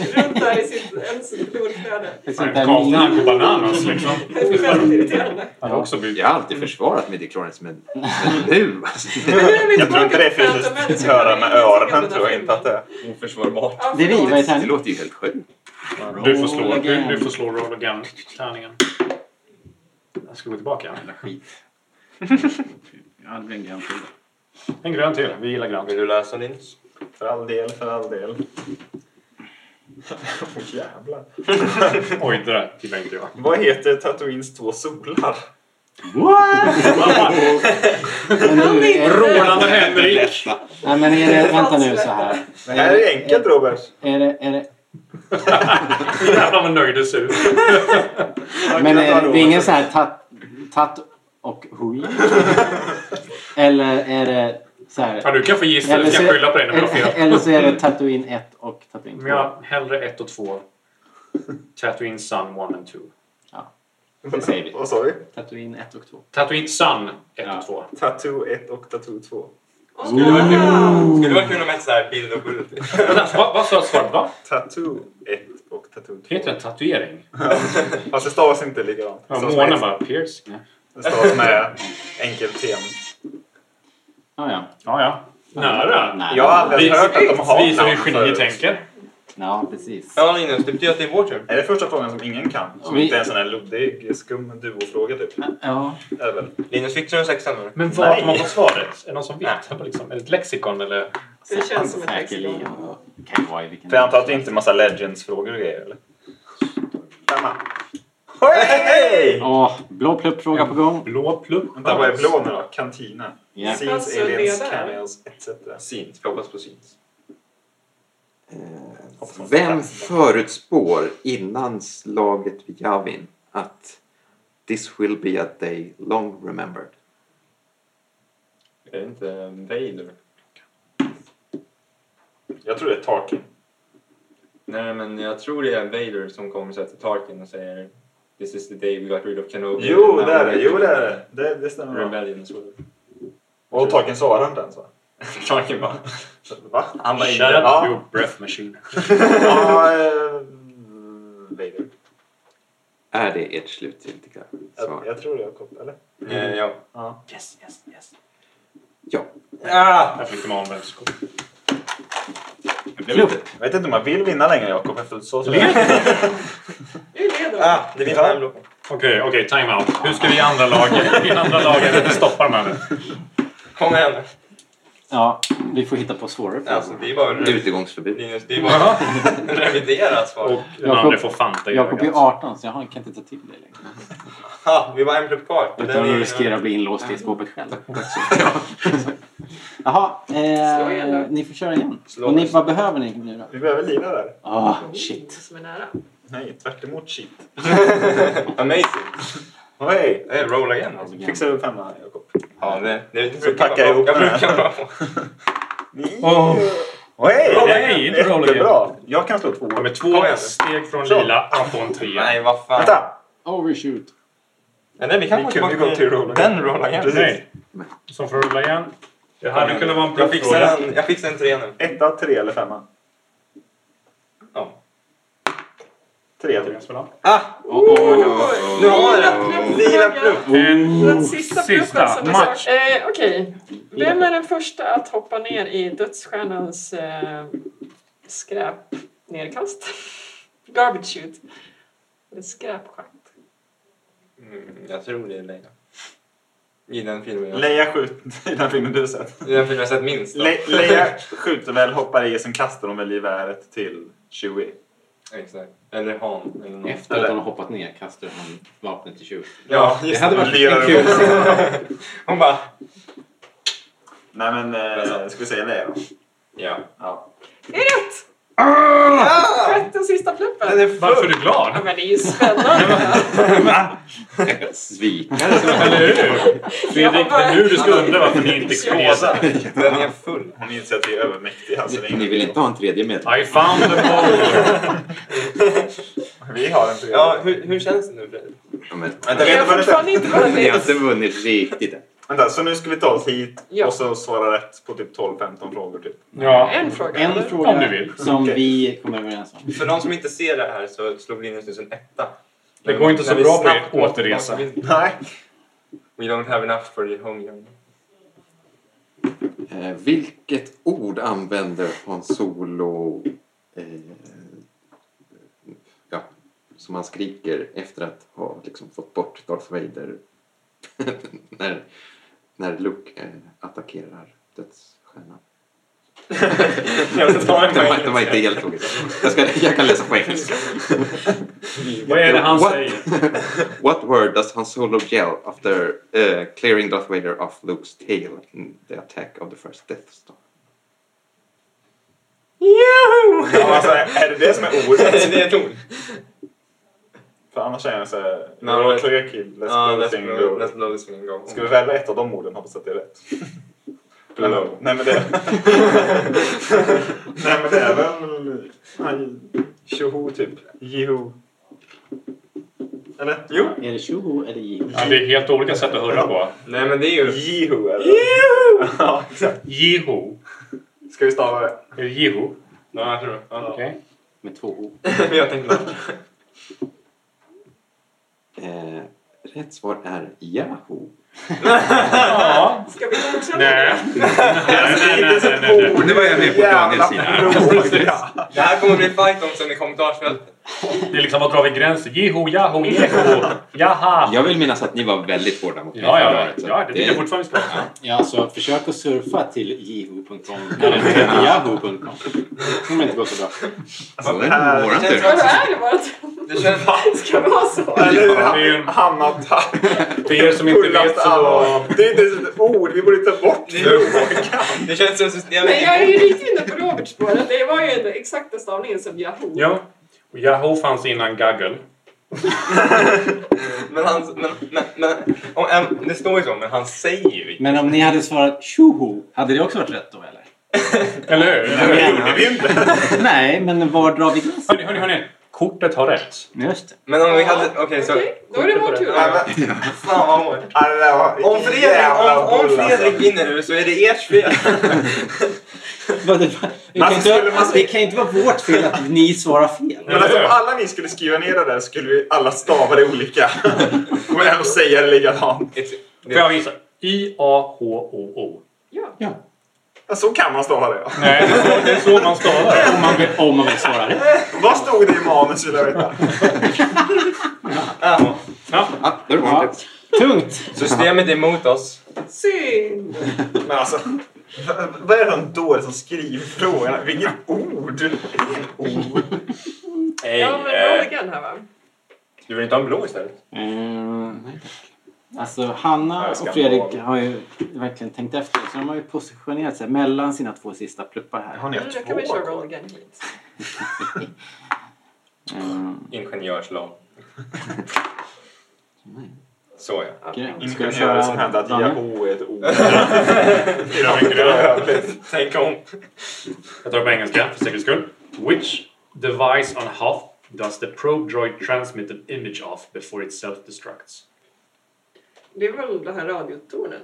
Speaker 4: Runt där i sitt ens blodflöde.
Speaker 3: Det är sånt där
Speaker 2: Gatan
Speaker 3: minne.
Speaker 2: här på bananas liksom.
Speaker 4: Det är väldigt irriterande.
Speaker 2: Han har också blivit...
Speaker 5: Jag har alltid försvarat midichlorians men, men nu alltså.
Speaker 4: Men nu är vi
Speaker 7: Jag tror inte det är
Speaker 4: tillbaka till Phantom Menace.
Speaker 7: fysiskt höra med öronen tror jag inte att det är.
Speaker 6: Oförsvarbart.
Speaker 4: Ja,
Speaker 3: Det rivar i
Speaker 4: förlåt.
Speaker 5: Det
Speaker 3: tärningen.
Speaker 5: låter ju helt sjukt.
Speaker 2: Du får slå, du, du får slå roll again. Tärningen. Jag ska gå tillbaka.
Speaker 3: Skit. Jag hade en grön sida.
Speaker 2: En grön till. Vi gillar grönt.
Speaker 6: Vill du läsa Linus?
Speaker 7: För all del, för all del. [laughs] Åh jävlar.
Speaker 2: Oj, det där gillar inte jag.
Speaker 7: Vad heter Tatooines två solar?
Speaker 3: What?
Speaker 4: Kan vi inte-
Speaker 2: Roland och Henrik!
Speaker 3: Nej men är det, vänta nu så här.
Speaker 7: Det här är enkelt Robert.
Speaker 3: Är det, är det,
Speaker 2: Jävlar vad nöjd du ser ut.
Speaker 7: Jag
Speaker 3: men
Speaker 7: kan ta
Speaker 3: är det,
Speaker 7: Robert.
Speaker 3: det är ingen så här tat, tat, och Hui? Eller är det så här...
Speaker 2: Ja, du kan få gissa.
Speaker 3: Eller
Speaker 2: Eller
Speaker 3: så,
Speaker 2: kan skylla på dig när du har
Speaker 3: eller,
Speaker 2: fel.
Speaker 3: eller så är det Tatooine 1 och Tatooine 2.
Speaker 2: Men jag hellre ett och två. Tatooine Sun 1 and 2.
Speaker 3: Det säger vi.
Speaker 7: Vad sa vi?
Speaker 3: Tatooine 1 och 2.
Speaker 2: Tatooine Sun 1
Speaker 3: Ja.
Speaker 2: och 2.
Speaker 7: Tattoo 1 och Tattoo 2.
Speaker 4: Skulle det vara kul?
Speaker 6: Skulle vara kul om ett så här bild och bild.
Speaker 2: alltså, Vad vad sa svaret? Va?
Speaker 7: Tattoo 1 och Tattoo 2.
Speaker 2: Det heter en tatuering.
Speaker 7: Fast det stavas inte likadant. Det
Speaker 2: Ja,
Speaker 7: stavas
Speaker 2: Månen
Speaker 7: med-
Speaker 2: bara piercing.
Speaker 7: Det stavas med enkelt tem.
Speaker 3: Ah, ja.
Speaker 2: Ja, ja. Nära.
Speaker 3: Nej.
Speaker 7: Jag har aldrig
Speaker 2: Vi-
Speaker 7: hört att de har
Speaker 2: Visar
Speaker 7: namn
Speaker 2: hur genier
Speaker 7: förut.
Speaker 2: tänker.
Speaker 3: ja, precis.
Speaker 6: Ja, Linus, det betyder att det är vår tur.
Speaker 7: Är det första frågan som ingen kan? Som
Speaker 3: Vi-
Speaker 7: inte är en sån här luddig, skum duofråga typ?
Speaker 3: Ja.
Speaker 7: Är det väl?
Speaker 6: Linus, fick du en sexa nu?
Speaker 2: Men vart har
Speaker 7: Nej.
Speaker 2: man fått svaret? Är det någon som vet? Liksom, är det ett lexikon eller?
Speaker 4: Det känns som ett
Speaker 3: Säkerligen.
Speaker 4: lexikon.
Speaker 3: Det kan ju vara i vilken...
Speaker 7: För jag antar att det inte är massa Legends-frågor och grejer eller? Femma. Hej!
Speaker 3: Åh, blå plupp-fråga på gång.
Speaker 2: Blå plupp?
Speaker 7: Vänta, vad är blå nu då? Kantina?
Speaker 3: Ja.
Speaker 7: Scenes,
Speaker 4: Alltså,
Speaker 7: aliens,
Speaker 4: ledare.
Speaker 7: cameos, etc.
Speaker 6: Syns. Vi hoppas på syns.
Speaker 5: Vem förutspår innan slaget vid Javin att this will be a day long remembered?
Speaker 6: Är det inte Vader?
Speaker 7: Jag tror det är Tarkin.
Speaker 6: Nej, men jag tror det är Vader som kommer så här till Tarkin och säger This is the day we got rid of Kenobi.
Speaker 7: Jo,
Speaker 6: And
Speaker 7: det är
Speaker 6: now
Speaker 7: det. Jo, det är det. Det, det stämmer. bra.
Speaker 6: Rebellion is over.
Speaker 7: Och Tarkin svarar inte [laughs] ens va?
Speaker 6: Tarkin bara...
Speaker 7: Va?
Speaker 6: Han bara...
Speaker 2: Shut
Speaker 6: "Ja."
Speaker 7: Ja.
Speaker 2: up your breath machine.
Speaker 7: Ja, eh, Vader.
Speaker 5: Är det ert slutgiltiga svar?
Speaker 7: Jag, jag tror det, Jakob. Eller?
Speaker 6: Eh, Ja.
Speaker 7: Ja.
Speaker 6: Yes, yes, yes.
Speaker 5: Ja.
Speaker 2: Där fick de användningskod.
Speaker 3: Plupp.
Speaker 7: Jag vet inte om jag vill vinna längre, Jakob. Efter så så.
Speaker 4: Nu leder de.
Speaker 6: Ah, det finns
Speaker 7: Ja.
Speaker 6: en blå.
Speaker 2: Okej, okej, time-out. Hur ska vi i andra [laughs] laget, i andra laget stoppa de här nu?
Speaker 6: Kom igen.
Speaker 3: Ja, vi får hitta på svårare frågor.
Speaker 6: Alltså, det är bara...
Speaker 5: Utegångsförbud.
Speaker 6: Linus, det är bara... [laughs] Revidera
Speaker 2: Och
Speaker 6: svar.
Speaker 2: den
Speaker 3: Jakob-
Speaker 2: andra får Fanta i
Speaker 3: Jakob är
Speaker 2: ögat.
Speaker 3: 18 så jag har- kan inte ta till dig längre.
Speaker 6: Ha, vi var en plupp kvar.
Speaker 3: Utan du riskerar att bli inlåst i skåpet [laughs] själv. Jaha,
Speaker 4: Slå igen då.
Speaker 3: eh, ni får köra igen.
Speaker 6: Slå.
Speaker 3: Och ni, vad behöver ni nu då?
Speaker 7: Vi behöver lira där.
Speaker 3: Ah,
Speaker 4: Det
Speaker 3: shit.
Speaker 4: Som är nära.
Speaker 7: Nej, tvärt emot shit.
Speaker 6: Amazing.
Speaker 7: Hej!
Speaker 6: Eh, Roll again alltså.
Speaker 7: Fixar du femma, Jakob?
Speaker 6: Ja, det, det, det
Speaker 7: Så packar jag ihop
Speaker 6: jag
Speaker 7: den här.
Speaker 6: brukar vara på. [laughs]
Speaker 7: Ni-
Speaker 2: Åh.
Speaker 7: Hej!
Speaker 2: Roll again, inte roll again.
Speaker 7: Jättebra! Jag kan slå två.
Speaker 2: De är
Speaker 6: Kom
Speaker 2: två
Speaker 6: igen.
Speaker 2: steg från
Speaker 7: Så.
Speaker 2: lila och på en trea.
Speaker 6: Nej, vad fan.
Speaker 7: Vänta!
Speaker 3: Oh, Overshoot.
Speaker 6: Ja, nej, vi kan
Speaker 7: Vi
Speaker 6: gå
Speaker 7: kunde
Speaker 6: tillbaka
Speaker 7: gå till roll again.
Speaker 6: den roll again.
Speaker 2: Nej. Som får rulla igen. Det hade kunnat vara en
Speaker 6: jag fixar
Speaker 2: pluppfråga.
Speaker 6: en, jag fixar en tre nu.
Speaker 7: Etta, tre eller femma?
Speaker 6: Ja.
Speaker 7: Tre, tror jag. Oh
Speaker 6: Nu har jag den.
Speaker 4: Plupp, plupp,
Speaker 6: Lila
Speaker 4: plupp.
Speaker 6: plupp.
Speaker 4: Den
Speaker 2: En
Speaker 4: sista,
Speaker 2: Oh, sista
Speaker 4: pluppen som är
Speaker 2: match.
Speaker 4: svår. Eh, Okej. Vem är den första att hoppa ner i dödsstjärnans eh, skräp nerkast? [laughs] Garbage shoot. Eller Skräpschakt.
Speaker 6: Mm, jag tror det är Leia. I den filmen jag,
Speaker 7: Leia skjuter i [laughs] den filmen du har sett.
Speaker 6: i den filmen jag sett minst. då.
Speaker 7: Le- Leia skjuter väl, hoppar i, sen kastar hon väl geväret till Chewie.
Speaker 6: Exakt. Eller Han. Eller någon.
Speaker 3: Efter att hon har hoppat ner kastar hon vapnet till tjuv.
Speaker 6: Ja,
Speaker 3: Det
Speaker 6: just
Speaker 3: hade
Speaker 7: det.
Speaker 3: varit
Speaker 7: Lirar
Speaker 3: en kul
Speaker 7: ihop.
Speaker 3: scen.
Speaker 6: Hon bara...
Speaker 7: Nej men, eh, ska vi säga Leia då?
Speaker 6: Ja.
Speaker 7: Ja.
Speaker 4: Det är rätt! Rätt den sista pluppen.
Speaker 6: Den är full.
Speaker 2: Varför är du
Speaker 4: Ja,
Speaker 2: [laughs] glad?
Speaker 4: men det är ju spännande.
Speaker 5: Svikare.
Speaker 2: Eller hur? Fredrik, det är nu du ska undra varför ni inte
Speaker 7: Åsa,
Speaker 2: exponerar.
Speaker 6: [laughs] Den är full.
Speaker 7: hon inser att vi är övermäktiga. Alltså, det är
Speaker 5: Ni
Speaker 7: ingen-
Speaker 5: vill inte ha en tredje medlem?
Speaker 2: I found the ball.
Speaker 7: Vi har en tredje.
Speaker 6: Ja, hur, hur känns det nu Fredrik?
Speaker 5: Ja, men-
Speaker 7: Vänta, vi
Speaker 4: Vi har
Speaker 7: har inte
Speaker 4: fortfarande
Speaker 7: vunnit
Speaker 4: inte
Speaker 5: Ni har
Speaker 4: vunnit.
Speaker 5: inte vunnit riktigt än.
Speaker 7: Vänta, så nu ska vi ta oss hit
Speaker 4: Ja.
Speaker 7: och så svara rätt på typ 12-15 frågor typ.
Speaker 2: Ja.
Speaker 4: En fråga.
Speaker 3: En
Speaker 4: eller?
Speaker 2: Om du
Speaker 3: fråga
Speaker 2: vill.
Speaker 3: som
Speaker 7: Okej.
Speaker 3: vi kommer överens om.
Speaker 6: För de som inte ser det här så slog Linus nyss en etta.
Speaker 2: Det går inte så
Speaker 6: Men vi
Speaker 2: bra på
Speaker 6: snabbt
Speaker 2: er återresa.
Speaker 6: återkommer till-
Speaker 7: Nej.
Speaker 6: We don't have enough for the home journey.
Speaker 5: Eh, vilket ord använder Han Solo eh, ja, som han skriker efter att ha liksom, fått bort Darth Vader [laughs] när, när Luke eh, attackerar dödsstjärnan?
Speaker 6: [laughs] Jag ska ta
Speaker 5: Det
Speaker 6: den på
Speaker 5: var, det var
Speaker 6: engelska.
Speaker 5: inte [laughs] helt logiskt. Jag, ska, jag kan läsa på engelska.
Speaker 2: Vad är det han
Speaker 5: What?
Speaker 2: säger?
Speaker 5: What word does Han Solo yell after eh, clearing Darth Vader off Luke's tail in the attack of the first Death Star?
Speaker 7: Ja, alltså, är det det som är ordet?
Speaker 6: Det är ett ord.
Speaker 7: För annars är jag så här...
Speaker 6: No,
Speaker 7: No,
Speaker 6: let's-
Speaker 7: clear kill, let's
Speaker 6: Ja,
Speaker 7: blow
Speaker 6: let's
Speaker 7: the thing
Speaker 6: blow-
Speaker 7: go.
Speaker 6: let's blow this thing go.
Speaker 7: Ska vi välja ett av de orden hoppas att det
Speaker 6: [laughs]
Speaker 7: är rätt? Eller, nej men det... nej men det är väl... han- Tjoho typ. Jiho. Eller?
Speaker 6: Jo!
Speaker 3: Är det tjoho eller jiho?
Speaker 2: Ja, det är helt olika sätt att hurra på.
Speaker 6: Nej men det är ju...
Speaker 7: Jiho
Speaker 6: [laughs]
Speaker 7: eller? Jiho! ja, exakt.
Speaker 2: Jiho.
Speaker 7: Ska vi stava det?
Speaker 2: Är det Jiho?
Speaker 6: Ja, jag tror det. Ja.
Speaker 2: Okej.
Speaker 3: Med två o.
Speaker 6: jag tänkte på det.
Speaker 5: Eh, rätt svar är Yahoo.
Speaker 2: Ja.
Speaker 4: Ska vi fortsätta?
Speaker 2: Nej. Nej, nej, nej, nej, nej, nej.
Speaker 5: Det var jag med på Daniels
Speaker 7: [laughs]
Speaker 5: sida.
Speaker 6: Det här kommer bli fight om sen i kommentarsfältet.
Speaker 2: Det är liksom, var drar vi gränsen? Jiho, jaho, jeho. Jaha.
Speaker 5: Jag vill minnas att ni var väldigt hårda mot mig
Speaker 2: Ja,
Speaker 5: förra
Speaker 2: ja,
Speaker 5: året, så
Speaker 2: ja. Det tycker jag fortfarande ska vara.
Speaker 3: Ja, alltså försök att surfa till jiho.com [laughs] eller till yahoo.com. Det kommer inte gå så bra.
Speaker 5: Så det är våran
Speaker 4: Vad
Speaker 5: tur.
Speaker 4: är det bara? [laughs]
Speaker 6: Det känns...
Speaker 4: Ska det vara så?
Speaker 2: Det är ju en-
Speaker 7: Hamnat här.
Speaker 2: För er som inte vet så då...
Speaker 7: Det är inte ens ett ord. Vi borde ta bort det.
Speaker 6: Det känns som systemet...
Speaker 4: Men jag är ju riktigt inne på Robertspåret. Det var ju den exakta stavningen som Yahoo.
Speaker 2: Ja. Och Yahoo fanns innan Gaggle.
Speaker 6: Men han... Men, men, men, om, äm, det står ju så, men han säger ju inte.
Speaker 3: Men om ni hade svarat tjoho, hade det också varit rätt då eller?
Speaker 2: Eller hur?
Speaker 3: Nej, men var drar vi gränsen?
Speaker 2: Hörni, hörni, hörni. Kortet har rätt.
Speaker 3: Just det.
Speaker 6: Men om vi hade... Okej, så...
Speaker 4: Okej, då är det vår tur.
Speaker 7: Ja, men-
Speaker 6: Fan vad hårt.
Speaker 7: ja, det där var-
Speaker 6: Om Fredrik,
Speaker 7: jävla
Speaker 6: om, om
Speaker 7: bull, alltså.
Speaker 6: Fredrik vinner nu så är det ert fel.
Speaker 3: Vad det- Det kan,
Speaker 7: Men alltså, skulle
Speaker 3: inte,
Speaker 7: man-
Speaker 3: det kan inte vara vårt fel att ni svarar fel.
Speaker 7: Men alltså, om alla vi skulle skriva ner det där skulle vi alla stava det olika. [laughs] Och ändå säga det likadant.
Speaker 6: It's,
Speaker 2: Får jag visa? I-A-H-O-O.
Speaker 4: Ja.
Speaker 7: Ja, Så kan man stava det. ja.
Speaker 2: Nej, det är så- det är så man stavar.
Speaker 3: Om man vill, om man vill svara rätt.
Speaker 7: Vad stod det i manus vill jag veta?
Speaker 5: Ah, då är det våran
Speaker 3: Ja.
Speaker 5: tur.
Speaker 3: Tungt!
Speaker 6: systemet är emot oss.
Speaker 4: Synd.
Speaker 7: Men alltså, [laughs] v- vad är det de dåre som skriver frågorna? Vilket ord! Vilket ord!
Speaker 6: Hey,
Speaker 4: Ja, men roll igen här va?
Speaker 6: eh, du vill inte ha en blå istället?
Speaker 3: Ehm, Alltså Hanna
Speaker 7: Jag ska
Speaker 3: och Fredrik
Speaker 7: inte
Speaker 3: har ju verkligen tänkt efter. Så de har ju positionerat sig mellan sina två sista pluppar här.
Speaker 7: Har ni
Speaker 4: Mm,
Speaker 7: haft
Speaker 4: Då
Speaker 7: två
Speaker 4: kan vi köra roll
Speaker 7: kvar?
Speaker 4: again hit.
Speaker 3: Mm.
Speaker 6: Ingenjörslag. Så ja.
Speaker 4: Ja.
Speaker 3: Okej. Ska jag
Speaker 7: Ingenjörer som
Speaker 3: köra
Speaker 7: hävdar att
Speaker 3: Daniel?
Speaker 7: Yahoo är ett ord.
Speaker 2: Det är mycket bra.
Speaker 6: Tänk om.
Speaker 2: Jag tar det på engelska för säkerhets skull. Which device on Hoth does the probe droid transmit an image of before it self-destructs?
Speaker 4: Det är väl den här radiotornen?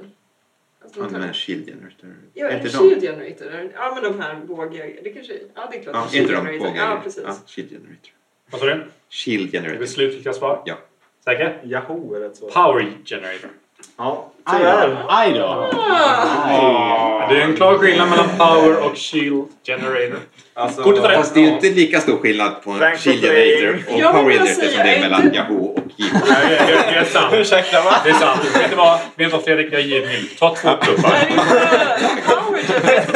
Speaker 4: Alltså,
Speaker 5: Ja,
Speaker 4: man
Speaker 5: den här
Speaker 4: tar-
Speaker 5: Shield Generator.
Speaker 4: Ja, är
Speaker 5: Inte
Speaker 4: det
Speaker 5: de?
Speaker 4: Shield Generator? Ja, men de här vågjägarna. Det kanske Ja, det är klart.
Speaker 5: Ja,
Speaker 4: det är
Speaker 5: inte
Speaker 4: Shield
Speaker 5: de
Speaker 4: Generator.
Speaker 5: bågarna?
Speaker 4: Ja, precis.
Speaker 5: Shield Generator.
Speaker 2: Vad sa du?
Speaker 5: Shield
Speaker 2: Det
Speaker 5: Generator.
Speaker 2: blir slutgiltiga svar?
Speaker 5: Ja.
Speaker 2: Säker?
Speaker 7: Yahoo är rätt svar.
Speaker 2: Power generator.
Speaker 7: Ja,
Speaker 3: Aj då!
Speaker 7: tyvärr.
Speaker 3: Aj då!
Speaker 4: Ah,
Speaker 2: Det är en klar skillnad mellan power och shield generator.
Speaker 6: Alltså,
Speaker 2: Kortet är
Speaker 5: Fast det är ju inte lika stor skillnad på en
Speaker 7: Thanks
Speaker 5: Shield
Speaker 7: for playing.
Speaker 5: Generator och
Speaker 4: Jag vill
Speaker 5: Power
Speaker 4: bara
Speaker 5: Generator som
Speaker 4: säga,
Speaker 5: det är
Speaker 4: är
Speaker 5: mellan
Speaker 4: inte-
Speaker 5: Yahoo och
Speaker 4: [laughs]
Speaker 5: Jiho.
Speaker 2: Nej, det, det, det är sant.
Speaker 6: Ursäkta va?
Speaker 2: Det är sant. Vet du vad? Vet du vad Fredrik? Jag ger mig. Ta två
Speaker 4: är
Speaker 2: pluppar.
Speaker 4: inte power generator redundant?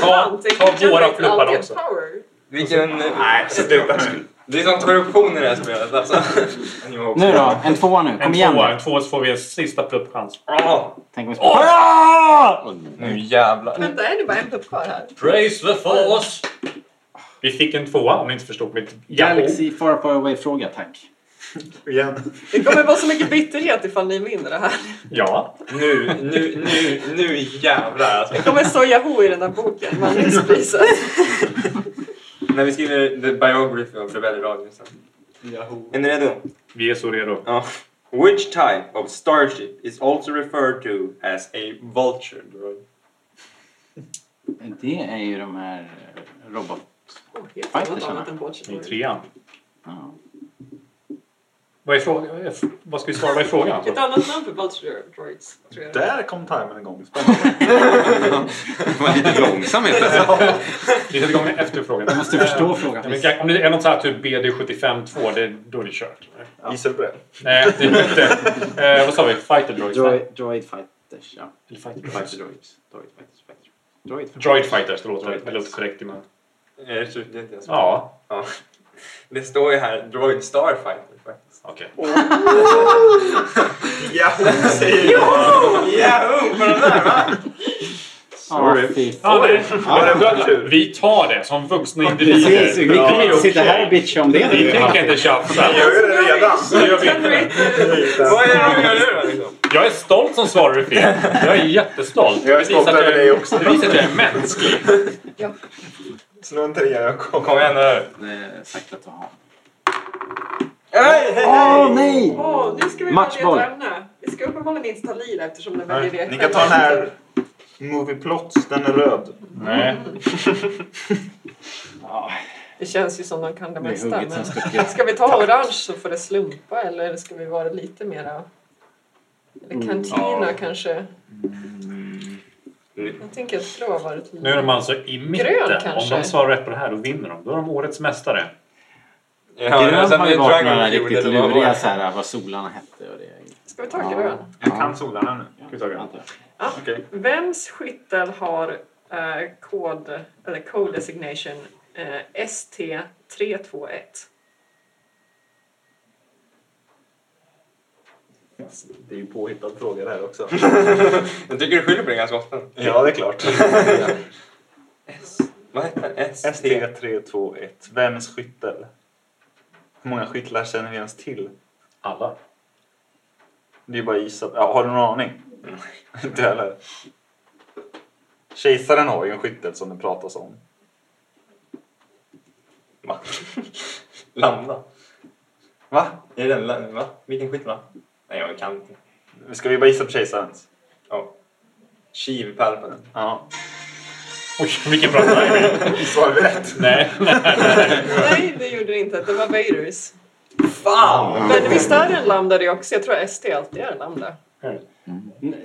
Speaker 2: Ta-
Speaker 4: Det
Speaker 2: ta
Speaker 4: generate
Speaker 2: våra pluppar
Speaker 4: alltid
Speaker 2: också.
Speaker 4: Power.
Speaker 6: Vilken...
Speaker 7: Nej, sluta nu.
Speaker 6: Det är som korruption i det här spelet alltså.
Speaker 3: Nu då, en tvåa nu.
Speaker 2: En
Speaker 3: Kom igen
Speaker 2: tvåa.
Speaker 3: nu.
Speaker 2: En tvåa så får vi en sista pluppchans.
Speaker 6: Ah,
Speaker 3: Tänk om vi spelar.
Speaker 2: Oh!
Speaker 6: nu jävlar.
Speaker 4: Vänta, är det bara en plupp kvar här?
Speaker 2: Praise the force! Vi fick en tvåa om ni inte förstod mitt Yahoo.
Speaker 3: Galaxy Far Far Away-fråga, tack.
Speaker 7: Igen.
Speaker 4: Det kommer vara så mycket bitterhet ifall ni vinner det här.
Speaker 2: Ja.
Speaker 6: Nu, nu, nu, nu jävlar alltså.
Speaker 4: Det kommer stå Yahoo i den här boken, Manningspriset.
Speaker 6: När vi skriver The Biography of Rebell Radio sen.
Speaker 7: Yahoo.
Speaker 6: Är ni redo?
Speaker 2: Vi är så redo.
Speaker 6: Ja. Which type of starship is also referred to as a vulture droid?
Speaker 3: Det är ju de här eh, robot...
Speaker 4: Oh, helt
Speaker 3: Fighters,
Speaker 4: annat
Speaker 3: Anna.
Speaker 4: än
Speaker 2: I
Speaker 4: Watchmen.
Speaker 2: trean.
Speaker 3: Ja.
Speaker 2: Vad är frågan? Vad ska vi svara? Vad är frågan?
Speaker 4: Ett annat namn för Vulture Droids, tror jag.
Speaker 7: Där kom timern igång. Spännande.
Speaker 5: Det var lite långsam helt plötsligt.
Speaker 2: Vi sätter igång med efterfrågan. Jag
Speaker 3: måste förstå frågan.
Speaker 2: Om det är något så här typ BD752, det, då är det kört.
Speaker 7: Gissar du på det?
Speaker 2: Nej, det är inte. Eh, vad sa vi? Fighter droids?
Speaker 3: Droid, droid Fighters, ja.
Speaker 2: Eller fighter
Speaker 3: Fighter
Speaker 2: droids?
Speaker 3: Droids. Droid Fighters. Fighters. Droid fighters.
Speaker 2: Droid fighters, det låter det låter korrekt. i munnen.
Speaker 6: Är det slut? Det är inte ens-
Speaker 2: Ja,
Speaker 6: Ja. Det står ju här Droid Starfighter faktiskt.
Speaker 2: okej.
Speaker 7: Yahoo säger jag.
Speaker 6: Yahoo! På den där va?
Speaker 7: Sorry.
Speaker 3: fy fan.
Speaker 2: Ja, nej.
Speaker 7: Var det bra tur?
Speaker 2: Vi tar det som vuxna
Speaker 3: Precis, vi
Speaker 2: individer.
Speaker 3: kommer
Speaker 2: Ja,
Speaker 3: inte sitta här och bitcha om det.
Speaker 2: Vi tänker inte tjafsa.
Speaker 7: Jag gör det redan.
Speaker 2: Det gör vi inte.
Speaker 6: Vad är det de gör nu då liksom?
Speaker 2: Jag är stolt som svarar du fel. Jag är jättestolt.
Speaker 7: Jag är
Speaker 2: Det visar
Speaker 7: stolt
Speaker 2: att
Speaker 7: över
Speaker 2: är-
Speaker 7: dig också.
Speaker 2: Det visar att jag är mänsklig.
Speaker 7: Slå en trea, jag kommer.
Speaker 6: Kom igen nu.
Speaker 3: Eh, Saktat att ha.
Speaker 6: Hej, hej,
Speaker 3: Åh
Speaker 6: hej!
Speaker 3: nej!
Speaker 4: Åh, nu ska vi
Speaker 3: Matchboll.
Speaker 4: välja ett ämne. Vi ska uppenbarligen inte ta lila eftersom den väljer det
Speaker 7: Ni kan ta den här Movie Plots, den är röd.
Speaker 2: Nej.
Speaker 4: Det känns ju som de kan det
Speaker 3: Det är
Speaker 4: mesta.
Speaker 3: hugget som
Speaker 4: Men...
Speaker 3: stucket.
Speaker 4: [laughs] Ska vi ta orange så får det slumpa eller ska vi vara lite mera...
Speaker 3: Mm.
Speaker 4: Eller kantina kanske. Jag tänker att det har varit
Speaker 2: Nu är de
Speaker 4: lila.
Speaker 2: alltså i mitten. Om
Speaker 4: kanske.
Speaker 2: de svarar rätt på det här, då vinner de. Då är de årets mästare.
Speaker 6: men
Speaker 3: Grön
Speaker 6: sen
Speaker 3: har
Speaker 6: blir
Speaker 3: ju
Speaker 6: det
Speaker 3: varit
Speaker 6: Dragon
Speaker 3: några
Speaker 6: Fuel
Speaker 3: riktigt
Speaker 6: eller vad var
Speaker 3: luriga
Speaker 6: det?
Speaker 3: så här, vad solarna hette och det.
Speaker 4: Ska vi ta grön?
Speaker 7: Jag kan solarna nu. Ska vi ta grön?
Speaker 3: Antar jag.
Speaker 7: Okej.
Speaker 4: Vems skyttel har eh, kod, eller code designation eh, ST321?
Speaker 7: Alltså, Det är ju påhittad fråga det här också.
Speaker 6: Jag tycker du skyller på det ganska ofta.
Speaker 7: Ja, det är [laughs] klart.
Speaker 6: S. Vad heter den? ST?
Speaker 7: ST321. Vems skyttel? Hur många skyttlar känner vi ens till?
Speaker 2: Alla.
Speaker 7: Det är bara gissat. Ja, har du någon aning? Inte heller. Kejsaren har ju en skyttel som det pratas om.
Speaker 6: Va? Landa.
Speaker 7: Va?
Speaker 6: Är det den? la- Va? Vilken skit va? Nej, jag kan inte.
Speaker 7: Ska vi bara gissa på kejsarens?
Speaker 6: Ja. Chiv Palpatine.
Speaker 7: Ja.
Speaker 2: Oj, vilken bra
Speaker 7: [laughs]
Speaker 2: tajming.
Speaker 7: Svarar vi rätt?
Speaker 2: Nej, nej.
Speaker 4: Nej, det gjorde det inte. Det var Vaders.
Speaker 6: Fan!
Speaker 4: Men visst är det en lambda det också? Jag tror ST alltid är en lambda.
Speaker 3: Mm,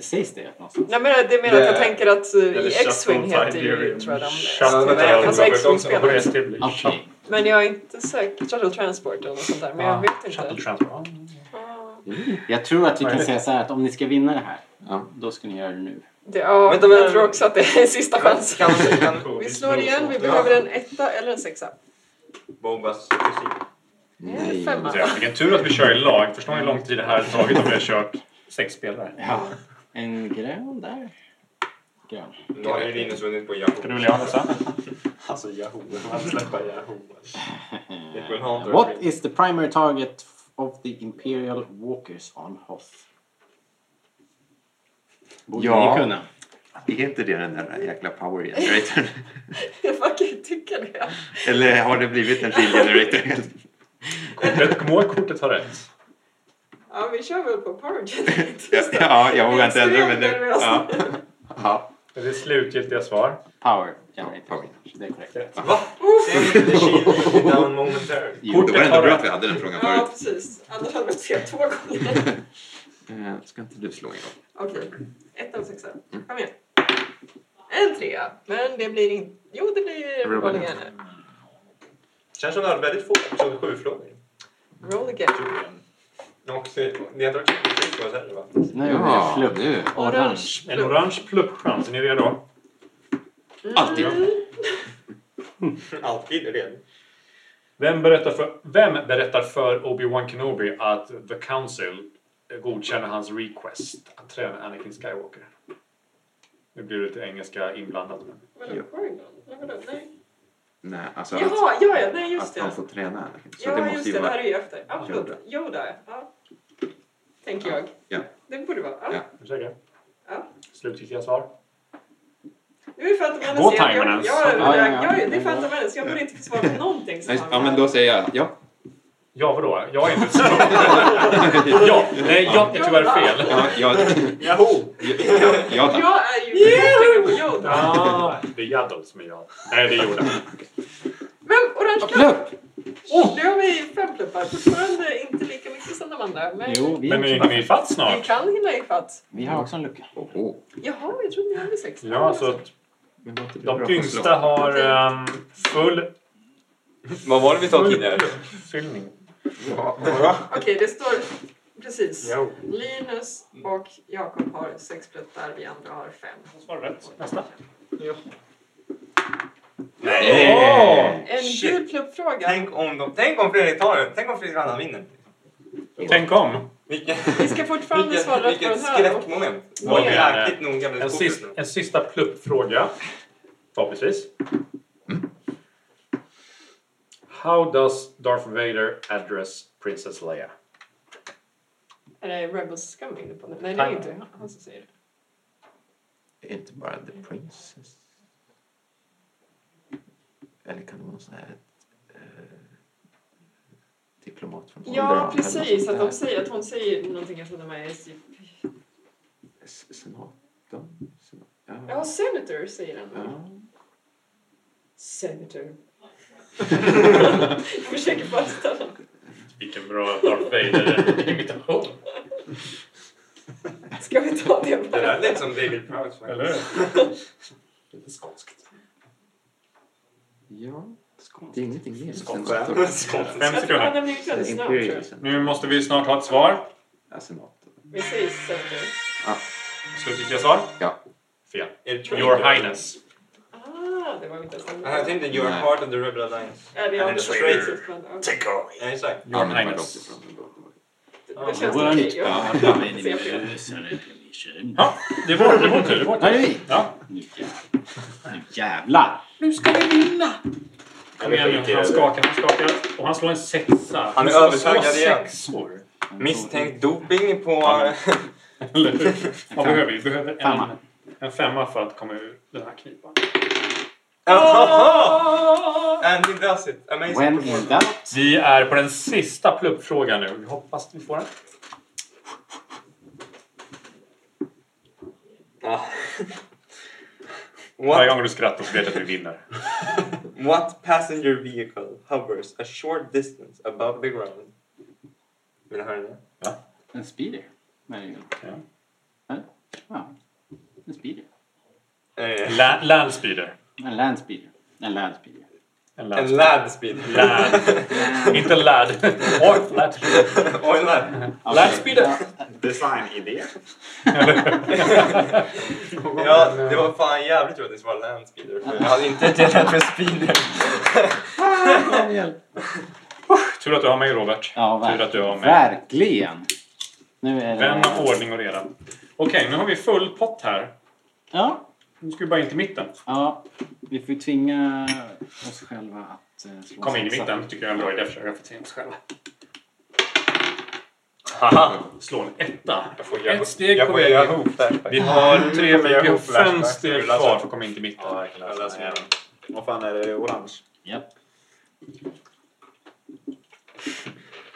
Speaker 3: Sägs det någonstans?
Speaker 4: Nej, men det menar att jag
Speaker 6: Det-
Speaker 4: tänker att eh, i
Speaker 7: Eller
Speaker 4: X-Wing
Speaker 7: Shuttle
Speaker 4: heter ju
Speaker 7: Tiberium.
Speaker 4: tror jag lambda.
Speaker 6: Ja, men det
Speaker 2: Shuttle.
Speaker 6: är-
Speaker 4: Alltså X-Wing-spelare.
Speaker 2: Vad är det? Det blir
Speaker 3: Okej.
Speaker 2: shuttle-
Speaker 4: Men jag är inte säker. Shuttle Transport eller något sånt där. Men jag vet inte.
Speaker 2: Shuttle transport.
Speaker 4: Ah,
Speaker 3: Jag tror att vi kan säga så här att om ni ska vinna det här,
Speaker 5: Ja.
Speaker 3: då ska ni göra det nu.
Speaker 4: Det, ja,
Speaker 6: Vänta,
Speaker 4: jag
Speaker 6: men-
Speaker 4: tror också att det är [laughs] sista chansen.
Speaker 6: Kan man kan
Speaker 4: Vi slår igen. Vi behöver en etta eller en sexa.
Speaker 6: Bobas fysik?
Speaker 4: Eller en femma.
Speaker 2: Så jag- Vilken tur att vi kör i lag. Förstår ni hur lång tid det här har tagit om vi har kört sex spelare?
Speaker 3: Ja. En grön där. Grön.
Speaker 6: Då har ju Linus vunnit på
Speaker 2: Ska
Speaker 6: Yahoo.
Speaker 2: du vilja ha
Speaker 6: [laughs]
Speaker 2: nästa?
Speaker 7: Alltså Yahoo. Man släppa Yahoo.
Speaker 6: vill ha en
Speaker 3: What
Speaker 6: dörr.
Speaker 3: is the primary target of the Imperial Walkers on Hoth? Borde
Speaker 5: Ja.
Speaker 3: ni kunna.
Speaker 5: Är inte det den där jäkla power generatorn?
Speaker 4: [laughs] Jag verkar tycka det.
Speaker 5: Eller har det blivit en shield generator helt?
Speaker 2: Kortet, kom ihåg kortet har rätt.
Speaker 4: Ja, vi kör väl på Power [laughs] Generator.
Speaker 5: Ja, jag vågar inte ändra mig
Speaker 4: Vi är så
Speaker 5: nu.
Speaker 4: nervösa.
Speaker 5: Ja. Ja.
Speaker 2: Det är det slutgiltiga svar.
Speaker 3: Power generator.
Speaker 5: Power.
Speaker 3: Det är korrekt.
Speaker 6: Va? The shield down momentarily.
Speaker 5: Jo, då var
Speaker 2: Kortet
Speaker 5: det
Speaker 2: har
Speaker 5: ändå bra
Speaker 2: rätt.
Speaker 5: att vi hade den frågan
Speaker 4: Ja,
Speaker 5: förut.
Speaker 4: precis. Annars hade vi fått se två gånger.
Speaker 5: Eh, Ska inte du slå en gång?
Speaker 4: Okej, ett och en sexa.
Speaker 5: Mm.
Speaker 4: Kom igen. En trea, men det blir inte... Jo, det blir
Speaker 5: Roll
Speaker 4: roll
Speaker 5: again.
Speaker 4: again.
Speaker 6: Känns som du hade väldigt få episod sju frågor.
Speaker 4: Roll
Speaker 5: Typ
Speaker 4: again.
Speaker 6: Och det- ni hade varit kul på oss heller va?
Speaker 3: Nu
Speaker 5: Ja,
Speaker 3: är det flubb.
Speaker 5: nu.
Speaker 3: Orange.
Speaker 2: En orange pluppchans. Är ni redo?
Speaker 5: Alltid.
Speaker 6: Alltid redo.
Speaker 2: Vem berättar för, vem berättar för Obi-Wan Kenobi att The Council godkänner hans request att träna Anakin Skywalker? Nu blir det lite engelska inblandat. men-
Speaker 4: Vadå, Corrigan? Nej, vadå, nej.
Speaker 5: Nej, alltså att,
Speaker 4: Jaha, ja, ja, nej, just
Speaker 5: att han
Speaker 4: det.
Speaker 5: får träna. Anakin. Så det
Speaker 4: Ja,
Speaker 5: måste
Speaker 4: just
Speaker 5: ju
Speaker 4: det, det här
Speaker 5: vara...
Speaker 4: är ju efter. Ja,
Speaker 5: Yoda.
Speaker 4: förlåt. Yoda, ja. Tänker jag.
Speaker 5: Ja.
Speaker 4: Det borde vara.
Speaker 5: Ja.
Speaker 4: Ja.
Speaker 2: Är du säker?
Speaker 4: Ja.
Speaker 2: Slutgiltiga svar?
Speaker 4: Det är för att de
Speaker 2: Gå
Speaker 4: hennes... jag-
Speaker 2: timern ens.
Speaker 4: Ja,
Speaker 3: Ja, ja, ja.
Speaker 4: ja, ja, det är för att de hennes... Jag borde inte få svara på någonting. som
Speaker 5: Nej,
Speaker 4: han
Speaker 5: Ja, men
Speaker 4: har.
Speaker 5: då säger jag ja.
Speaker 2: Ja, vadå? Jag är inte så [laughs] Ja, nej, jag är tyvärr fel.
Speaker 5: Ja, ja,
Speaker 7: Yahoo!
Speaker 5: ja, ja tack.
Speaker 4: Jag är ju... Jag tänker på Yoda.
Speaker 2: Ah, det är Yaddle som är jag. Nej, det är Yoda.
Speaker 4: Men orange knapp!
Speaker 3: Flubb!
Speaker 4: Nu har vi fem pluppar. Fortfarande inte lika mycket som de andra. Men
Speaker 3: Jo, vi,
Speaker 2: Men är inte ni ifatt
Speaker 4: vi
Speaker 2: snart?
Speaker 4: kan hinna ifatt.
Speaker 3: vi har också en lucka.
Speaker 5: Åh,
Speaker 4: Jaha, jag trodde ni hade sex.
Speaker 2: Ja, alltså- så att
Speaker 5: men var inte du bra
Speaker 2: de
Speaker 5: på
Speaker 2: yngsta har ehm, full
Speaker 6: Vad var det vi sa tidigare?
Speaker 2: fyllning.
Speaker 4: Okej, det står precis.
Speaker 7: Yahoo.
Speaker 4: Linus och Jakob har sex pluppar. Vi andra har fem.
Speaker 2: Svar rätt. Nästa.
Speaker 6: Nej!
Speaker 4: En
Speaker 6: Shit.
Speaker 4: gul pluppfråga.
Speaker 6: Tänk om, de, tänk om Fredrik tar den. Tänk om Fredrik Rannan vinner.
Speaker 2: Tänk om.
Speaker 6: [laughs] Vilken,
Speaker 4: Vi ska fortfarande svara på den
Speaker 6: vilket
Speaker 4: här.
Speaker 6: skräckmoment.
Speaker 2: Okej,
Speaker 6: Oj, jäkligt noga med
Speaker 2: En, sist, en sista pluppfråga. Förhoppningsvis. Mm. How does Darth Vader address Princess Leia?
Speaker 4: Är det Rebels Scum inne på nu? Nej, det är inte han som säger det.
Speaker 5: Inte bara The Princess. Eller kan det vara en sån här eh, diplomat från
Speaker 4: Ja,
Speaker 5: Onderan eller något
Speaker 4: precis. Att,
Speaker 5: sånt
Speaker 4: de
Speaker 5: där?
Speaker 4: säger, att hon säger någonting jag trodde med SJP.
Speaker 5: S- Senatorn? Sen-
Speaker 4: Ja, Senator säger han.
Speaker 5: Ja.
Speaker 4: Senator. jag försöker bara ställa
Speaker 2: Vilken bra Darth Vader-imitation.
Speaker 4: Ska vi ta det
Speaker 6: Det
Speaker 4: bara?
Speaker 6: där lät som David Prowse faktiskt.
Speaker 2: Eller Lite skånskt.
Speaker 5: ja, det är ingenting mer.
Speaker 6: Skotland.
Speaker 5: Senator.
Speaker 6: Skotland.
Speaker 2: Fem
Speaker 4: Jag tror han
Speaker 2: sekunder.
Speaker 4: har blivit väldigt snabb, tror jag.
Speaker 5: Imperial sen.
Speaker 2: Nu måste vi snart ha ett svar.
Speaker 5: Ja, senator.
Speaker 4: Vi säger Senator.
Speaker 2: Slutgiltiga svar?
Speaker 5: Ja.
Speaker 2: Fel.
Speaker 6: Är det
Speaker 2: Your
Speaker 6: traitor?
Speaker 2: Highness.
Speaker 4: Ah, det var inte så.
Speaker 6: Ah, Jag tänkte Your
Speaker 5: Nej.
Speaker 6: Heart of the Rebel Alliance.
Speaker 4: Ja, det är
Speaker 6: And it's
Speaker 4: alldeles
Speaker 6: traitor.
Speaker 4: fortfarande.
Speaker 2: Take away.
Speaker 6: Ja, exakt.
Speaker 5: Ja, men det var
Speaker 2: Highness.
Speaker 5: långt ifrån, det var långt ifrån.
Speaker 4: Det det känns okej.
Speaker 3: Ja,
Speaker 4: Okay,
Speaker 3: jag använder mig av Senator.
Speaker 2: Ja, det är vår, det är vår tur. Det är vår
Speaker 3: Ja, det är
Speaker 2: tur.
Speaker 3: vi.
Speaker 2: Ja.
Speaker 3: Nu jävlar. Nu jävlar.
Speaker 2: Kom igen nu. Han skakar, han skakar. Och han slår en sexa.
Speaker 6: Han är
Speaker 2: ska slå
Speaker 6: övertaggad igen.
Speaker 2: sexor.
Speaker 6: Misstänkt doping på... [laughs]
Speaker 2: Eller hur? Vad behöver vi? Vi behöver en,
Speaker 3: Femma.
Speaker 2: en femma för att komma ur den här knipan. Ah!
Speaker 6: Jaha! Andy does it. Amazing
Speaker 3: When in
Speaker 6: performance.
Speaker 3: doubt.
Speaker 2: Vi är på den sista pluppfrågan nu. Vi hoppas att vi får den.
Speaker 6: Ja.
Speaker 2: Varje
Speaker 6: What,
Speaker 2: gång du skrattar så vet jag att vi vinner.
Speaker 6: what passenger vehicle hovers a short distance above the ground? Vill ni höra det?
Speaker 3: En speeder. Nej, det är
Speaker 2: Ja.
Speaker 3: ju- Nej. Ja. En speeder.
Speaker 6: Eh,
Speaker 2: La- Landspeeder.
Speaker 3: En landspeeder. En landspeeder.
Speaker 2: En
Speaker 6: En
Speaker 2: landspeeder.
Speaker 6: lad speed.
Speaker 2: Lad. Inte lad. Oj, lad.
Speaker 6: [laughs] Oj, lad.
Speaker 2: Landspeeder.
Speaker 7: Designidé.
Speaker 6: Ja, det var fan jävligt roligt att det var land speeder. För jag hade inte delat med speeder.
Speaker 2: Tur att du har mig Robert.
Speaker 3: Ja,
Speaker 2: Tur att du har
Speaker 3: verkligen.
Speaker 2: mig.
Speaker 3: verkligen. Nu är det...
Speaker 2: Vän av ordning och reda. Okej, nu har vi full pott här.
Speaker 3: Ja.
Speaker 2: Nu ska vi bara in till mitten.
Speaker 3: ja. Vi får ju tvinga oss själva att eh, slå
Speaker 2: Kom in i
Speaker 3: sexa.
Speaker 2: mitten, tycker jag är en bra idé. Försöka få till oss själva.
Speaker 6: Haha.
Speaker 2: Slå en etta.
Speaker 6: Jag får
Speaker 2: Ett steg på vägen.
Speaker 6: ihop
Speaker 2: Vi
Speaker 6: där.
Speaker 2: har, tre,
Speaker 7: kommer jag
Speaker 2: vi har
Speaker 7: ihåg
Speaker 2: fem
Speaker 7: flashback.
Speaker 2: steg
Speaker 7: Vill
Speaker 6: alltså
Speaker 7: du läsa?
Speaker 2: kvar för att komma in till mitten.
Speaker 7: Ja, jag kan läsa den här. Vad fan är det? Orange?
Speaker 3: Japp.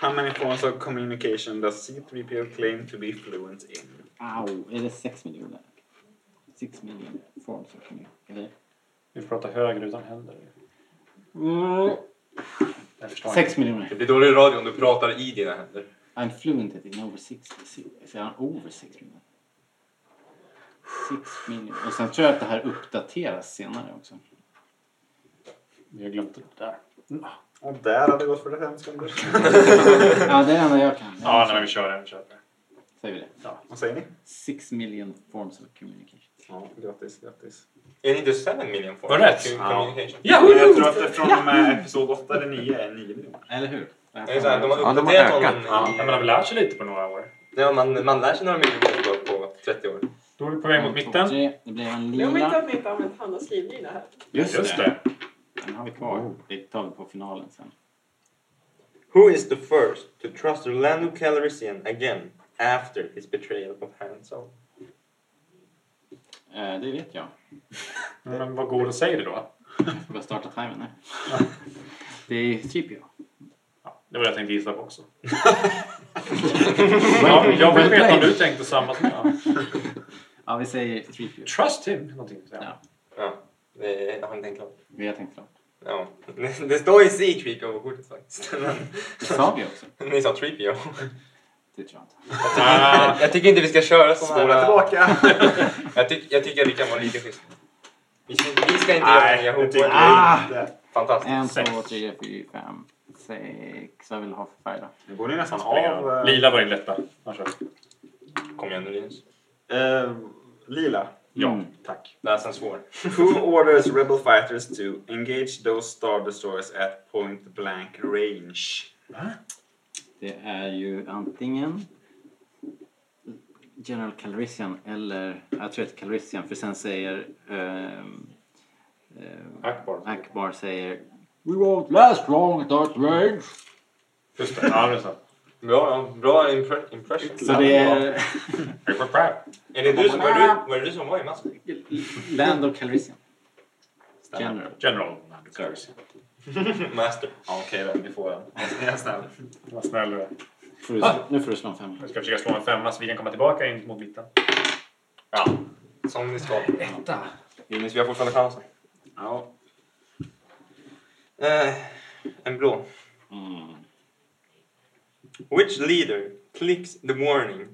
Speaker 7: How many forms of communication does C3PO claim to be fluent in?
Speaker 3: Au, är det sex miljoner? Sex miljoner forms of communication.
Speaker 2: Vi pratar högre utan händer.
Speaker 3: Mm.
Speaker 2: Jag förstår
Speaker 3: Sex miljoner.
Speaker 6: Det blir dålig radio om du pratar i dina händer.
Speaker 3: I'm fluent in over six. Så jag har over six million. Six million. Och sen tror jag att det här uppdateras senare också.
Speaker 2: inte. Jag har glömt det där.
Speaker 7: Och där hade det gått 45 sekunder.
Speaker 3: Ja, det är det enda jag kan.
Speaker 2: Ja, nej, men vi kör den. Vi kör den.
Speaker 3: Säger vi det.
Speaker 7: Vad säger ni?
Speaker 3: Six million forms of communication.
Speaker 7: Ja, grattis, grattis.
Speaker 6: Är det inte 7 million forms?
Speaker 2: Var det rätt?
Speaker 6: Ja. Communication.
Speaker 7: Men jag tror att det
Speaker 2: eh,
Speaker 7: från och med episod 8 eller 9 är 9 miljoner.
Speaker 3: Eller hur?
Speaker 6: Det är så här, de har
Speaker 5: Ja, de har
Speaker 6: uppdaterat
Speaker 5: ökat.
Speaker 6: honom.
Speaker 2: Men
Speaker 6: i-
Speaker 2: man har väl lärt sig lite på några år.
Speaker 6: Ja, man, man lär sig några miljoner på- på 30 år.
Speaker 2: Då är vi på väg mot mitten.
Speaker 3: Det blir en
Speaker 4: Glöm inte
Speaker 3: lila.
Speaker 4: att ni inte har använt Hannas livlina här.
Speaker 2: Just det.
Speaker 3: Den har vi kvar. Det tar vi på finalen sen.
Speaker 6: Who is the first to trust Orlando Calrissian again after his betrayal of Han Solo?
Speaker 3: Eh, det vet jag.
Speaker 2: Men vad går och säger det då?
Speaker 3: Jag får bara starta timern
Speaker 2: [laughs]
Speaker 3: här. Det är 3PO.
Speaker 2: Ja, det var det jag tänkte gissa på också. ja, jag vill veta om du tänkte samma som jag.
Speaker 3: Ja, vi säger 3PO.
Speaker 2: Trust him! Någonting. så här.
Speaker 3: Ja.
Speaker 6: Ja, det har ni tänkt klart.
Speaker 3: Vi har tänkt klart.
Speaker 6: Ja. [laughs] Det står ju C-Creepio på kortet faktiskt.
Speaker 3: Det sa vi också.
Speaker 6: [laughs] Ni sa Treepio.
Speaker 3: Det tror jag inte.
Speaker 2: Ah,
Speaker 6: Jag tycker inte vi ska köra sådana
Speaker 7: Spola
Speaker 6: här...
Speaker 7: tillbaka!
Speaker 6: [laughs] Jag, tyck, jag tycker det kan vara lite schysst. Vi ska, vi ska inte göra
Speaker 7: Nej,
Speaker 6: nya
Speaker 7: det
Speaker 6: hot
Speaker 7: tycker
Speaker 6: words.
Speaker 7: jag inte.
Speaker 6: Fantastiskt.
Speaker 3: En,
Speaker 2: Sex.
Speaker 3: två, tre, fyra, fem, sex. Vad vill du ha för färg då?
Speaker 7: Nu går ni nästan av... eh,
Speaker 2: Lila var din lätta. Alltså. Varsågod.
Speaker 6: Kom igen nu Linus.
Speaker 7: eh, lila.
Speaker 2: Ja,
Speaker 3: Mm.
Speaker 2: tack.
Speaker 6: Läs en svår.
Speaker 7: Who orders rebel fighters to engage those star destroyers at point blank range?
Speaker 3: Det Det är ju antingen General Calrissian eller... Jag tror att Calrissian, för sen säger... ehm, ehm,
Speaker 2: Akbar.
Speaker 3: Akbar säger... We won't last long at that range.
Speaker 2: Just det. Ja, det är så.
Speaker 6: Bra, bra impre- impression.
Speaker 3: Så det är
Speaker 6: Är det du som, var, du, var det du som var i masken?
Speaker 3: [laughs] Land of Calrissian. General.
Speaker 2: General Service.
Speaker 6: Master.
Speaker 2: Ja, okej då. Vi får en.
Speaker 7: Jag är snäll.
Speaker 2: Var snäll du är.
Speaker 3: Får
Speaker 7: Ah.
Speaker 3: du- Nu får du slå en femma.
Speaker 2: Jag ska försöka slå en femma så vi kan komma tillbaka in mot mitten.
Speaker 6: Ja, som ni ska.
Speaker 2: Etta.
Speaker 6: Jonas, vi har fortfarande chansen.
Speaker 7: Ja.
Speaker 6: Eh, en blå.
Speaker 3: Mm.
Speaker 6: Which leader clicks the warning?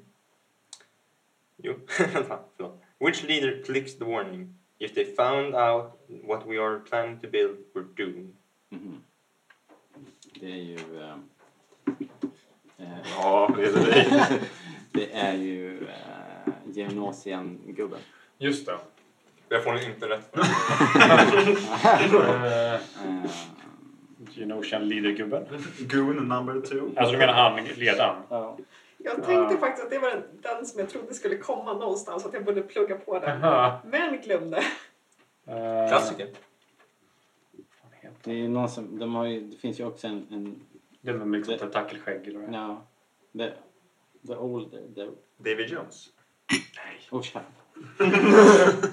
Speaker 6: Jo, [laughs] vänta, förlåt. Which leader clicks the warning? If they found out what we are planning to build, we're doomed.
Speaker 3: Mhm. Det är ju... ehm, eh,
Speaker 7: Ja, det är det.
Speaker 3: [laughs] det är ju eh, Geonosian-gubben.
Speaker 2: Just det.
Speaker 6: Jag får nog inte rätt [laughs] för
Speaker 2: Eh,
Speaker 3: Eh,
Speaker 2: Genosian leader-gubben.
Speaker 7: Goon number two.
Speaker 2: Alltså du menar han, ledaren?
Speaker 3: ja.
Speaker 4: Jag tänkte
Speaker 2: Ja.
Speaker 4: faktiskt att det var den, den som jag trodde skulle komma någonstans, att jag borde plugga på den.
Speaker 2: Aha.
Speaker 4: Men glömde.
Speaker 2: Eh,
Speaker 6: Klassiker.
Speaker 3: Det, är ju någon som, de har ju, det finns ju också en... en
Speaker 2: Det med liksom tentakelskägg eller vad det är.
Speaker 3: no, the, the older... The,
Speaker 7: David Jones.
Speaker 3: oh, shut up.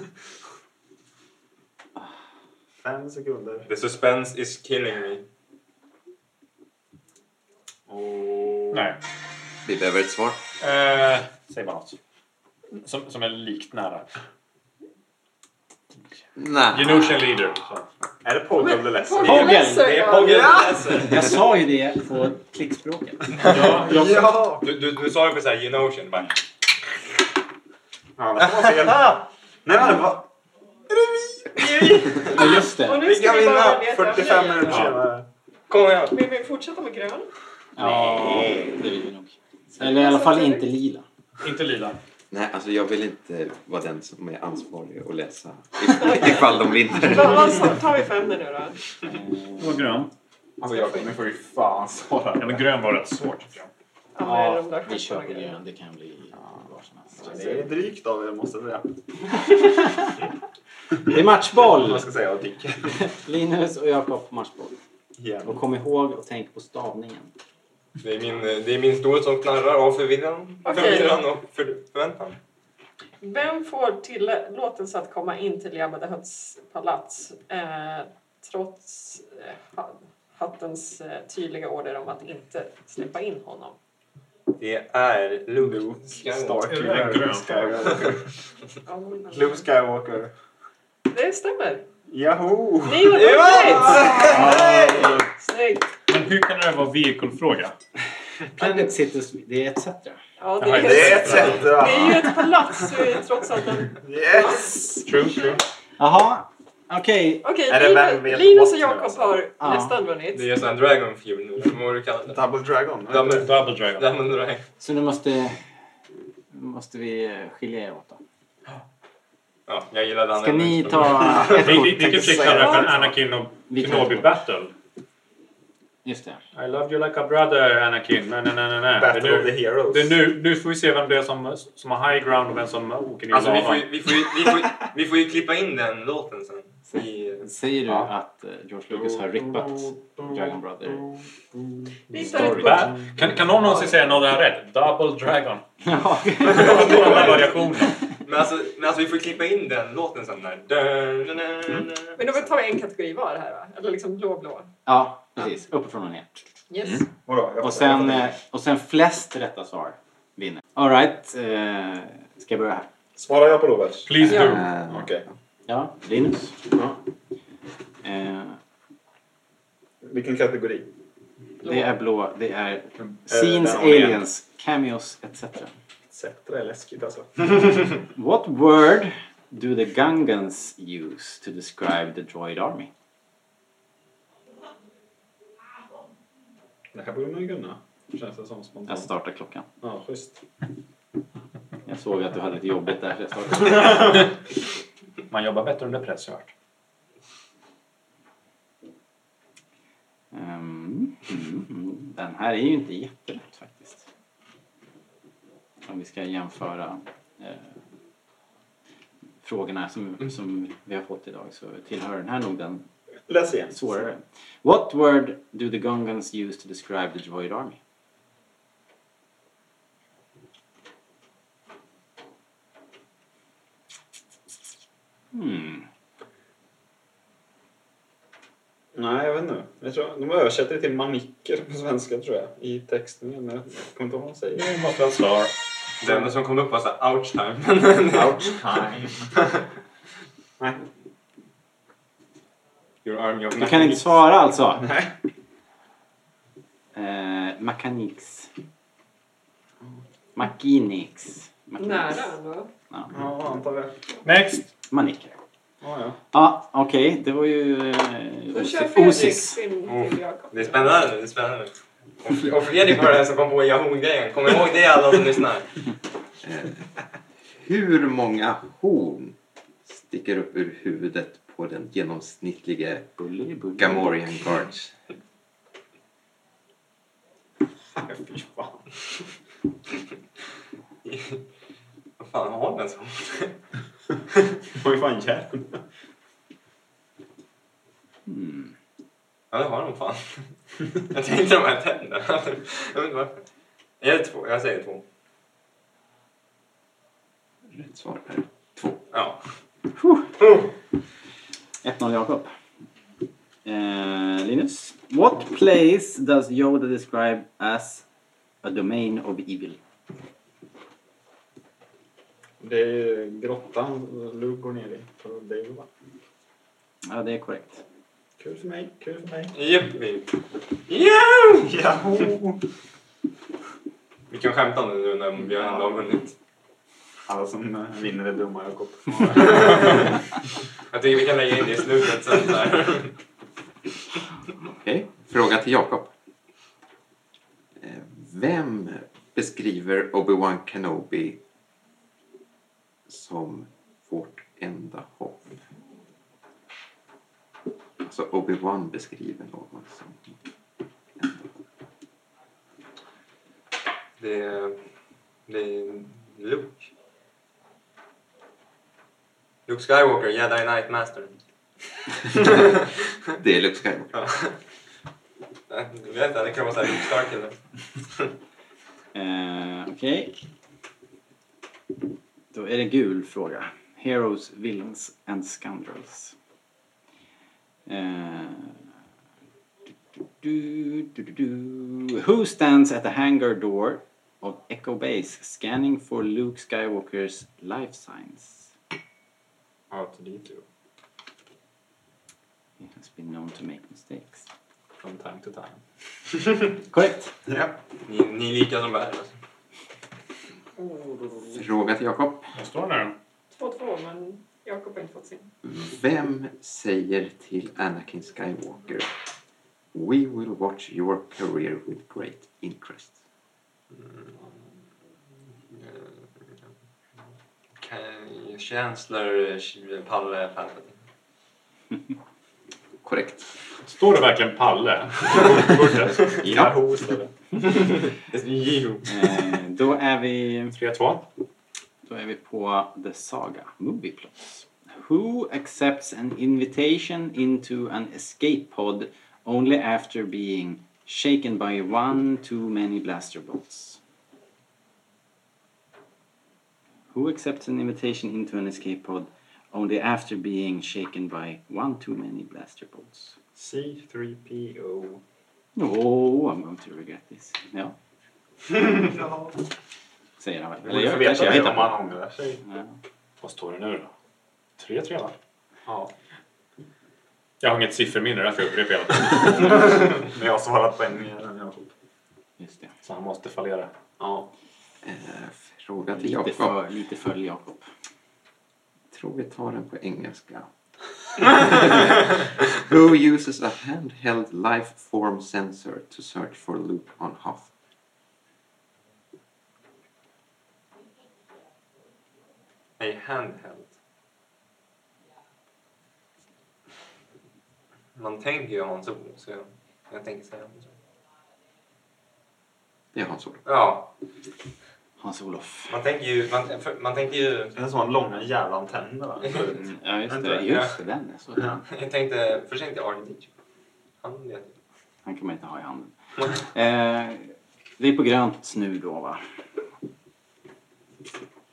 Speaker 7: Fem sekunder.
Speaker 6: The suspense is killing me. Oh.
Speaker 2: Nej.
Speaker 5: Vi behöver ett svar.
Speaker 2: Eh, säg bara något. Som, som är likt nära.
Speaker 5: Nej.
Speaker 2: Genosian leader. Så.
Speaker 7: Är det Pogge eller Lesser?
Speaker 3: Pogge.
Speaker 6: Det är Pogge
Speaker 3: Jag sa ju det på klickspråket.
Speaker 2: Ja, jag,
Speaker 7: Ja!
Speaker 6: du, du, du sa det på såhär Genosian, bara...
Speaker 7: Ja, det var fel. Nej, men det var...
Speaker 3: Ja, just
Speaker 4: Och
Speaker 3: det.
Speaker 4: nu
Speaker 7: Vi
Speaker 4: ska
Speaker 7: kan
Speaker 4: vi bara
Speaker 7: vinna
Speaker 4: leta
Speaker 7: 45
Speaker 4: efter
Speaker 7: minuter
Speaker 2: Ja.
Speaker 7: senare.
Speaker 6: Kom igen!
Speaker 4: Vill vi fortsätta med grön?
Speaker 3: Ja, det vill vi nog. Eller i alla fall inte lila.
Speaker 2: inte lila.
Speaker 5: Nej, alltså jag vill inte vara den som är ansvarig och läsa if- [laughs] ifall de vinner.
Speaker 4: Vad- vad sa- Tar vi fem nu då?
Speaker 2: Det var grön.
Speaker 7: Alltså Jakob, nu får du fan svara.
Speaker 2: Ja, men grön var rätt svårt tycker jag.
Speaker 4: Ja, men
Speaker 3: Ja,
Speaker 4: de där
Speaker 3: vi kör
Speaker 4: skitbra
Speaker 3: på
Speaker 4: grejerna.
Speaker 3: grön. Det kan bli var som helst.
Speaker 7: Det är drygt av er måste jag säga.
Speaker 3: Det är
Speaker 7: Om
Speaker 3: matchboll!
Speaker 7: man ska säga och Dick.
Speaker 3: Linus och Jakob på matchboll.
Speaker 7: Igen.
Speaker 3: Och kom ihåg och tänk på stavningen.
Speaker 6: Det är min, det är min stol som knarrar av förvirran,
Speaker 4: Okej.
Speaker 6: förvirran och för, förväntan.
Speaker 4: Vem får tillåtelse att komma in till Jabba the Hutts palats eh, trots eh, ha- hattens eh, tydliga order om att inte släppa in honom?
Speaker 6: Det är Luke
Speaker 7: Luke
Speaker 6: Skywalker.
Speaker 2: Är det grön?
Speaker 7: Stark. Skywalker.
Speaker 4: Ja, men-
Speaker 7: Luke Skywalker.
Speaker 4: Det stämmer.
Speaker 7: Yahoo!
Speaker 4: Ni gjorde
Speaker 6: Det
Speaker 4: rätt!
Speaker 7: Ah,
Speaker 4: Snyggt!
Speaker 2: Men hur kan det här vara vehicle-fråga?
Speaker 3: Planet Cities, det är etc.
Speaker 4: Ja, det,
Speaker 2: Jaha,
Speaker 4: är,
Speaker 7: Det är ett sätt.
Speaker 4: det är ju
Speaker 7: va?
Speaker 4: ett palats så är det trots allt en...
Speaker 7: Yes!
Speaker 2: True, true.
Speaker 3: Jaha, okej.
Speaker 4: Okej,
Speaker 7: Är det
Speaker 4: Linus,
Speaker 7: vem vet
Speaker 4: Linus och
Speaker 7: vad som
Speaker 4: Jakob
Speaker 7: är? alltså?
Speaker 4: har
Speaker 3: Ja.
Speaker 4: nästan vunnit.
Speaker 6: Det är sån här Dragon Fuel nu, eller vad du kallar det.
Speaker 7: Double Dragon.
Speaker 6: Double,
Speaker 2: Double dragon.
Speaker 6: Double Dragon.
Speaker 3: Så nu måste, måste vi skilja er åt då.
Speaker 6: Ja, jag gillar den.
Speaker 3: Ska ni ta ett
Speaker 2: Det är
Speaker 3: kort?
Speaker 2: typ precis kallade för Anakin och
Speaker 3: Vi kan-
Speaker 2: Kenobi battle.
Speaker 3: Just det.
Speaker 2: I love you like a brother Anakin. Nej, nej, nej, nej, nej. Det
Speaker 7: Battle
Speaker 2: är
Speaker 7: of the
Speaker 2: nu,
Speaker 7: Heroes.
Speaker 2: det är nu, nu får vi se vem det är som, som har high ground och vem som åker ner i
Speaker 6: Alltså vi får,
Speaker 2: lavan.
Speaker 6: ju, vi, får ju, vi, får ju, vi får ju klippa in den låten sen. I,
Speaker 3: Säger du
Speaker 7: Ja.
Speaker 3: att eh, George Lucas har rippat Dragon Brother?
Speaker 4: Vi hittar ett kort.
Speaker 2: Ba- Kan, kan någon någonsin säga något jag har rätt? Double [laughs] Dragon.
Speaker 3: Ja.
Speaker 2: Vad står den här variationen?
Speaker 6: men, alltså, men alltså vi får klippa in den låten sen. Där.
Speaker 7: Mm.
Speaker 4: Men då tar vi en kategori var här va? Eller liksom blå-blå.
Speaker 3: ja, precis. Uppifrån och ner.
Speaker 4: Yes.
Speaker 7: Vadå? Jag
Speaker 3: Och
Speaker 7: får- jag
Speaker 3: sen,
Speaker 7: får-
Speaker 3: eh, och sen flest rätta svar vinner. Alright, eh, ska jag börja här?
Speaker 7: Svarar jag på Roberts?
Speaker 2: Please do.
Speaker 5: Eh,
Speaker 7: Okej.
Speaker 3: Ja, Linus. Eh,
Speaker 7: Vilken kategori?
Speaker 3: det är blå, det är
Speaker 7: den
Speaker 3: Scenes,
Speaker 7: eh, har vi igen.
Speaker 3: Aliens, Cameos etc.
Speaker 7: Sätter är läskigt alltså.
Speaker 3: What word do the Gungans use to describe the droid army?
Speaker 7: Det här borde man ju kunna. Känns det som
Speaker 2: Alltså,
Speaker 7: spontant.
Speaker 3: Jag startar klockan.
Speaker 7: Ja, schysst.
Speaker 3: Jag såg att du hade ett jobbigt där så jag startade.
Speaker 2: Man jobbar bättre under press har jag hört.
Speaker 3: Ehm, mm, mm. Den här är ju inte jättelätt. Om vi ska jämföra eh, frågorna
Speaker 7: Mm.
Speaker 3: som, som vi har fått idag så tillhör den här nog den
Speaker 7: Läs igen.
Speaker 3: svårare. What word do the Gungans use to describe the droid army? Hmm.
Speaker 7: Nej, jag vet inte. Jag tror, de översätter det till manicker på svenska tror jag. I textningen. men Jag kommer inte ihåg vad de säger.
Speaker 2: Det måste vara svar.
Speaker 6: Det enda som kom upp var såhär ouch time. [laughs]
Speaker 7: [laughs] Ouch time. Nej.
Speaker 6: Your army of
Speaker 3: Du kan inte svara alltså? Eh, Makanix. Makinix. Makinix.
Speaker 4: Nära ändå.
Speaker 3: Ja.
Speaker 7: Ja, antar jag.
Speaker 2: Next!
Speaker 3: Manicker.
Speaker 7: Ja, ja.
Speaker 3: Ja, okej. Det var ju... eh,
Speaker 4: Då kör
Speaker 3: Osis-
Speaker 4: Fredrik
Speaker 3: Osis.
Speaker 4: sin till Jakob.
Speaker 6: Det är spännande, det är spännande. Och- Och Fredrik var den som kom på Yahoo-grejen. Kom ihåg det alla som lyssnar.
Speaker 5: Hur många horn sticker upp ur huvudet på den genomsnittlige
Speaker 3: Bully, bully.
Speaker 5: Gamorrean Guards?
Speaker 6: Fy fan. Vad fan har den så?
Speaker 7: De har ju fan hjärn.
Speaker 3: Hmm.
Speaker 6: Ja, det har de fan. Jag tänkte de här tänderna. Jag vet inte varför. Är det två? Jag säger två.
Speaker 5: Rätt svar är
Speaker 6: Ja.
Speaker 3: 1-0 Jakob. Eh, Linus. What place does Yoda describe as a domain of evil?
Speaker 7: Det är ju grottan Luke går ner i. För det är ju bara
Speaker 3: Ja, det är korrekt.
Speaker 7: Kul för mig, kul för mig.
Speaker 6: Jippi. Yeah!
Speaker 7: Yahoo!
Speaker 6: Vi kan skämta om det nu när vi ändå har vunnit.
Speaker 7: Alla som eh, vinner är dumma, Jakob.
Speaker 6: Jag tycker vi kan lägga in det i slutet sen. Där.
Speaker 5: Okej. Fråga till Jakob. Eh, Vem beskriver Obi-Wan Kenobi som vårt enda hopp? Alltså Obi-Wan beskriver någon som...
Speaker 6: Det är, det är Luke. Luke Skywalker, Jedi Knight Master.
Speaker 5: Det är Luke Skywalker.
Speaker 6: Ja. Nej, Jag vet inte, det kan vara såhär Luke Stark eller...
Speaker 3: Eh, Okej. Då är det gul fråga. Heroes, villains and scoundrels. Eh, du, du, du, du. Who stands at the hangar door of Echo Base scanning for Luke Skywalker's life signs?
Speaker 6: R2D2.
Speaker 3: He has been known to make mistakes.
Speaker 6: From time to time.
Speaker 3: [laughs] Korrekt.
Speaker 7: Ja.
Speaker 6: Ni, ni är lika som bär. Alltså.
Speaker 5: Fråga till Jakob.
Speaker 2: Vad står det nu?
Speaker 4: 2-2, men Jakob har inte fått sin.
Speaker 5: Vem säger till Anakin Skywalker We will watch your career with great interest?
Speaker 6: Kan- Chancellor eh, Palle Palpatine.
Speaker 5: Korrekt.
Speaker 2: Står det verkligen [laughs] Palle?
Speaker 5: Ja.
Speaker 6: Det är Jiho.
Speaker 3: Eh, då är vi
Speaker 2: 3-2.
Speaker 3: Då är vi på The Saga Movie Plots. Who accepts an invitation into an escape pod only after being shaken by one too many blaster bolts? Who accepts an invitation into an escape pod only after being shaken by one too many blaster bolts?
Speaker 7: C3PO.
Speaker 3: No, I'm going to regret this. Ja,
Speaker 7: Ja.
Speaker 3: säger han väl.
Speaker 7: Det
Speaker 3: Eller
Speaker 7: borde få
Speaker 3: jag kanske jag
Speaker 7: veta
Speaker 3: hittar
Speaker 7: det om
Speaker 3: på.
Speaker 7: man ångrar sig.
Speaker 3: Ja.
Speaker 2: Vad står det nu då? 3-3 va?
Speaker 7: Ja.
Speaker 2: Jag har inget sifferminne därför jag upprepar hela tiden. [laughs]
Speaker 7: Men jag har svarat på en mer än Jakob.
Speaker 3: Just det.
Speaker 2: Så han måste fallera.
Speaker 6: [laughs]
Speaker 7: Ja.
Speaker 5: Eh, fråga till
Speaker 3: Lite
Speaker 5: Jakob.
Speaker 3: för, lite för Jakob.
Speaker 5: Tror vi tar den på engelska. Who uses a handheld life form sensor to search for Luke on Hoth?
Speaker 6: Nej, handheld. Man tänker ju Hans Olo, så jag, jag tänker säga Hans Olo.
Speaker 5: Det är Hans Olo.
Speaker 6: Ja.
Speaker 3: Hans-Olof.
Speaker 6: Man tänker ju... Man, för, man tänker ju...
Speaker 7: Det är som har långa jävla antenner va?
Speaker 3: Mm, ja, Mm. just
Speaker 6: Vänta,
Speaker 3: det. Just det, den. är Så.
Speaker 7: Ja.
Speaker 6: [laughs] Jag tänkte... Först tänkte jag Arne Teacher. Han vet ju.
Speaker 3: Han kan man inte ha i handen. Eh, vi är på grönt nu då va?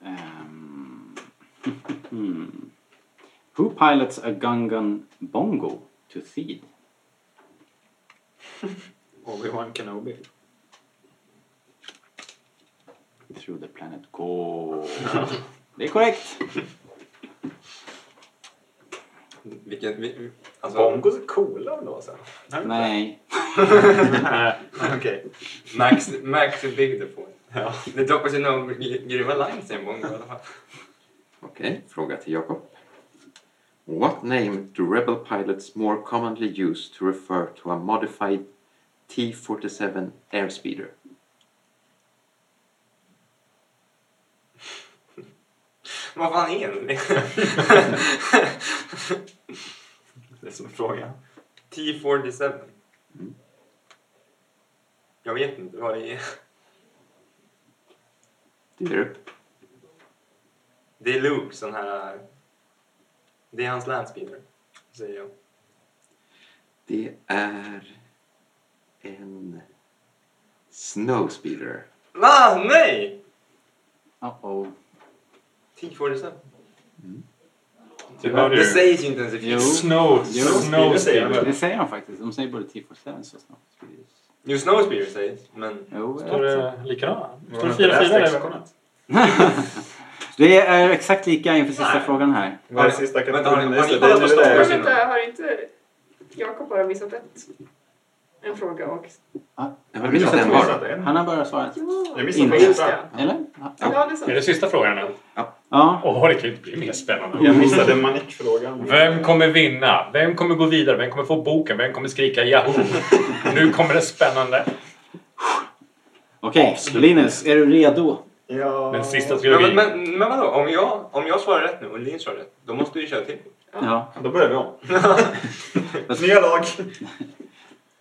Speaker 3: Ehm, [laughs] hmm. Who pilots a Gungan Bongo to feed?
Speaker 7: [laughs] Obi-Wan Kenobi.
Speaker 3: Through the planet [laughs] go. Det är korrekt.
Speaker 6: Vilken... vi- Alltså,
Speaker 7: Bongos är coola alltså. då sen.
Speaker 3: Nej.
Speaker 7: Okej.
Speaker 6: Max, Max är big the point. Det droppas ju några gr- grymma lines i en bongo i alla fall.
Speaker 5: Okej, fråga till Jakob. What name do rebel pilots more commonly use to refer to a modified T-47 airspeeder?
Speaker 6: Vad fan är det?
Speaker 7: Det är som en fråga.
Speaker 6: T47. Jag vet inte vad det är.
Speaker 5: Dyrup.
Speaker 6: Det är Luke sån här... Det är hans landspeeder, säger jag.
Speaker 5: Det är en snowspeeder.
Speaker 6: Va? Nej!
Speaker 3: Uh-oh.
Speaker 6: T47.
Speaker 2: Det hör
Speaker 6: Det
Speaker 2: du.
Speaker 6: sägs ju inte ens i
Speaker 3: Jo.
Speaker 6: filmen.
Speaker 2: Snow.
Speaker 3: Jo.
Speaker 2: Oh, Snow
Speaker 7: säger
Speaker 2: Speeder.
Speaker 3: Det säger de faktiskt. De säger både T47 och snabbt.
Speaker 6: Jo, Snowspeeder sägs, men...
Speaker 3: Jo,
Speaker 2: Står
Speaker 3: jag-
Speaker 2: det likadana? Står det
Speaker 7: Har du inte
Speaker 2: 4-4
Speaker 7: läst
Speaker 2: eller?
Speaker 7: lexikonat?
Speaker 3: Det är eh, exakt lika inför sista
Speaker 6: Nej.
Speaker 3: frågan här.
Speaker 7: Ja, det sista
Speaker 6: Vänta,
Speaker 7: kategorin,
Speaker 6: har ni-
Speaker 7: just
Speaker 6: har ni
Speaker 7: det, det är
Speaker 6: kollat på
Speaker 7: ju
Speaker 6: Star
Speaker 7: det där.
Speaker 6: Wars?
Speaker 4: Men vänta, har inte Jakob bara missat ett? En fråga och...
Speaker 5: Jag
Speaker 7: Jag
Speaker 5: har missat en
Speaker 7: missade
Speaker 5: var.
Speaker 7: en.
Speaker 3: Han har bara svarat.
Speaker 4: Ja,
Speaker 7: Jag
Speaker 3: Inte.
Speaker 7: missade
Speaker 4: just
Speaker 7: första.
Speaker 4: det.
Speaker 3: Eller? Ja.
Speaker 4: Ja, det är
Speaker 2: Är
Speaker 4: sant.
Speaker 2: det sista frågan nu?
Speaker 3: Ja.
Speaker 2: Åh, det kan ju inte bli mer spännande.
Speaker 7: Jag missade manikfrågan.
Speaker 2: Vem kommer vinna? Vem kommer gå vidare? Vem kommer få boken? Vem kommer skrika Yahoo? Nu kommer det spännande.
Speaker 3: Okej, Linus, är du redo?
Speaker 7: Ja.
Speaker 2: Den sista skulle
Speaker 6: Men,
Speaker 2: vi...
Speaker 6: men, men vadå? Om jag, om jag svarar rätt nu och Linn svarar rätt, då måste vi köra till.
Speaker 3: Ja.
Speaker 7: Då börjar vi om.
Speaker 3: [laughs]
Speaker 7: Nya lag.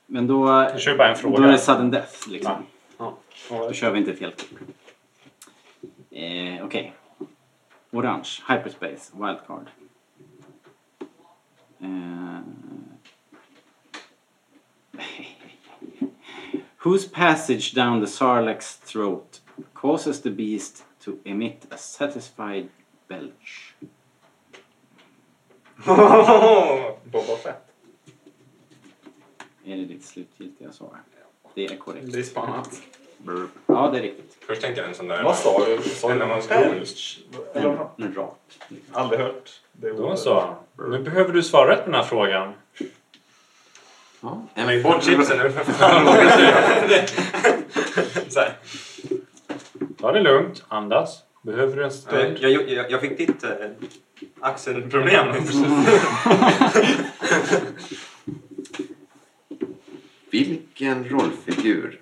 Speaker 3: Men då,
Speaker 2: Jag kör bara en
Speaker 3: då är det
Speaker 2: fråga.
Speaker 3: sudden death liksom.
Speaker 7: Ja.
Speaker 3: Då kör vi inte ett helt kort. Eh, Okej. Orange, hyperspace, wildcard. Eh. [laughs] Whose passage down the sarlacc's throat causes the beast to emit a satisfied belch?
Speaker 7: Boba Fett.
Speaker 3: Är det ditt slutgiltiga svar? Det är korrekt.
Speaker 7: Det är spannat.
Speaker 3: Ja, det är riktigt.
Speaker 6: Först tänkte jag en sån där...
Speaker 7: Vad sa du? Sa du
Speaker 6: Eller vad ska jag-
Speaker 7: Belch?
Speaker 3: En,
Speaker 7: Eller-
Speaker 3: en rap.
Speaker 7: Aldrig hört. Det
Speaker 2: Då så. Nu behöver du svara rätt på den här frågan.
Speaker 5: Ja,
Speaker 6: Lägg
Speaker 5: en
Speaker 6: bort chipsen
Speaker 7: [laughs]
Speaker 6: nu för fan. Så här.
Speaker 2: Ta det lugnt. Andas. Behöver du en
Speaker 6: Jag,
Speaker 2: stund?
Speaker 6: jag, jag, jag fick ditt eh, [laughs] axelproblem.
Speaker 5: Vilken rollfigur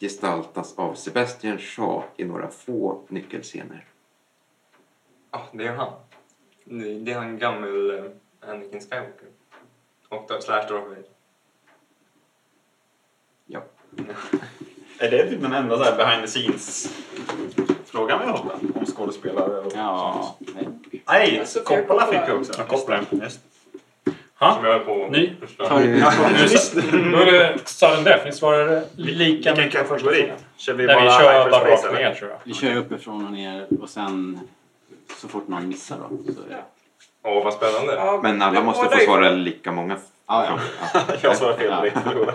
Speaker 5: gestaltas av Sebastian Shaw i några få nyckelscener?
Speaker 6: Ja, det är han. Det det är han gammel eh, Anakin Skywalker. Och då, slash Darth Vader.
Speaker 5: Ja.
Speaker 7: Är det typ den enda så här behind the scenes-frågan vi har? va? Om skådespelare och
Speaker 3: Ja, nej.
Speaker 7: Nej,
Speaker 4: Alltså,
Speaker 7: Coppola
Speaker 4: Coppola.
Speaker 7: fick jag också.
Speaker 2: Coppola.
Speaker 7: Just
Speaker 2: Ha?
Speaker 6: Som jag är på...
Speaker 2: Ny.
Speaker 6: Förstår.
Speaker 2: Då är det sudden death. Ni svarade lika
Speaker 7: Vilken kategori? Kör vi
Speaker 2: Nej,
Speaker 7: bara
Speaker 2: vi kör bara
Speaker 7: hyperspace,
Speaker 2: rakt
Speaker 7: eller?
Speaker 2: ner tror jag.
Speaker 3: Vi kör ju uppifrån och ner och sen så fort någon missar då. Så, ja.
Speaker 6: Åh, vad spännande.
Speaker 4: Ja,
Speaker 5: Men alla måste
Speaker 4: båda
Speaker 5: få
Speaker 4: är-
Speaker 5: svara lika många
Speaker 3: Ah, ja.
Speaker 5: frågor.
Speaker 7: Jag svarar fel direkt. förlorar.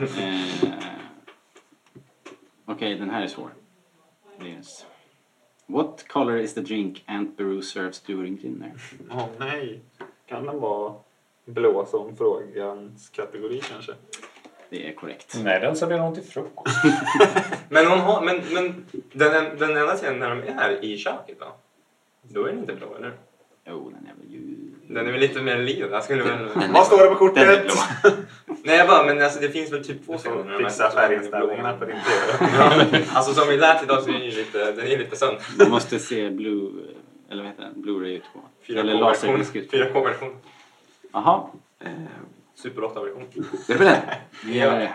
Speaker 3: Eh, Okej, den här är svår. Linus. What color is the drink Aunt Beru serves during dinner?
Speaker 7: Åh nej. Kan den vara blå som frågans kategori kanske?
Speaker 3: Det är korrekt.
Speaker 7: Mm.
Speaker 2: Nej, den serverar hon till frukost.
Speaker 6: Men, hon har, men, men den, den enda scenen när de är här i köket då? Då är den inte blå, eller?
Speaker 3: Jo, Oh, den är väl ju...
Speaker 6: Den är väl lite mer lila. Jag skulle väl...
Speaker 7: Vad står det på
Speaker 5: Den är
Speaker 7: [laughs] kortet?
Speaker 5: blå.
Speaker 6: Nej, jag bara, men alltså, det finns väl typ två sådana. när de är
Speaker 7: Fixa
Speaker 6: så-
Speaker 7: färginställningarna på din TV.
Speaker 6: Ja, alltså som vi lärt idag så är den ju lite, den är lite sönder.
Speaker 3: Du måste se Blue... eh, Eller vad heter den? Blu-ray-utgåvan. Eller
Speaker 6: 4K-version.
Speaker 3: laserdiskutgåvan.
Speaker 6: 4K-version.
Speaker 3: Jaha,
Speaker 5: Eh,
Speaker 6: Super 8-version.
Speaker 5: Det är väl den?
Speaker 3: det är det.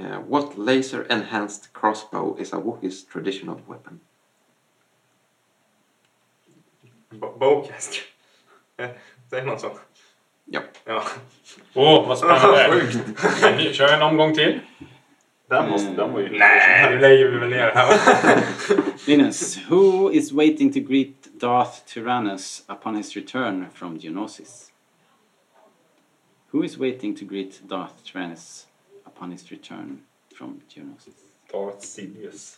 Speaker 5: Uh, what laser enhanced crossbow is a Wookiee's traditional weapon?
Speaker 6: Bo- Bowcaster. Eh, Säger man så?
Speaker 5: Ja.
Speaker 6: Ja.
Speaker 2: Åh, vad
Speaker 6: [laughs]
Speaker 7: [laughs]
Speaker 2: spännande! Vi Kör en omgång till.
Speaker 7: Den, måste, den var ju...
Speaker 6: Nej, nu lägger vi väl ner det här.
Speaker 3: Linus, who is waiting to greet Darth Tyrannus upon his return from Geonosis? Who is waiting to greet Darth Tyrannus upon his return from Geonosis?
Speaker 7: Darth Sidious.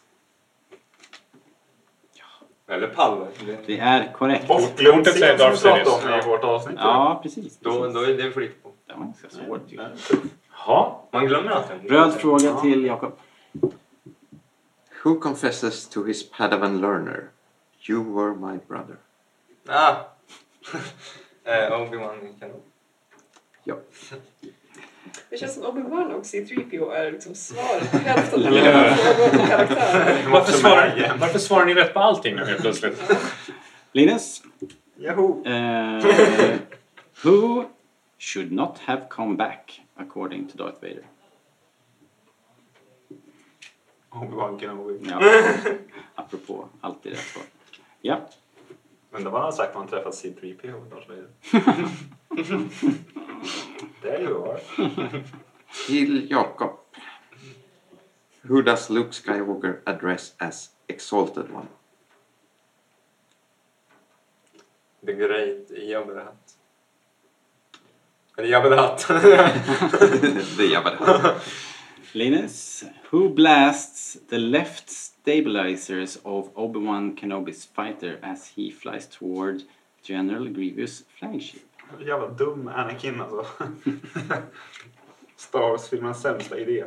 Speaker 6: Eller Palle.
Speaker 3: Det är korrekt.
Speaker 2: Kortet säger Darth
Speaker 7: som vi
Speaker 2: Sidious.
Speaker 7: pratade om i vårt avsnitt.
Speaker 3: Ja, precis.
Speaker 6: Då,
Speaker 3: precis.
Speaker 6: då är det fritt på.
Speaker 3: Det var ganska svårt. tycker jag.
Speaker 2: Jaha.
Speaker 6: Man glömmer alltid.
Speaker 3: Röd fråga till Jakob.
Speaker 5: Who confesses to his Padawan learner? You were my brother.
Speaker 6: Ah. [laughs] eh, Obi-Wan kan...
Speaker 4: Det känns som Obi-Wan och C3PO är
Speaker 3: [laughs]
Speaker 4: liksom svaret på hälften av alla frågor på karaktärer.
Speaker 2: Varför svarar, varför svarar ni rätt på allting nu helt plötsligt?
Speaker 3: Linus,
Speaker 7: Yahoo!
Speaker 3: eh, who should not have come back according to Darth Vader?
Speaker 7: Obi-Wan Kenobi.
Speaker 3: Ja, [laughs] apropå alltid rätt svar. Ja,
Speaker 7: Undrar vad han har sagt när han träffat C3PO. Darth Vader. There you are.
Speaker 5: Till Jakob. Who does Luke Skywalker address as Exalted One?
Speaker 6: The Great Jabba the Hutt. Eller Jabba the Hutt. [laughs]
Speaker 5: det är Jabba the Hutt.
Speaker 3: Linus, who blasts the left stabilizers of Obi-Wan Kenobi's fighter as he flies toward General Grievous flagship?
Speaker 7: Jävla dum Anakin alltså. [laughs] Star Wars-filmens sämsta idé.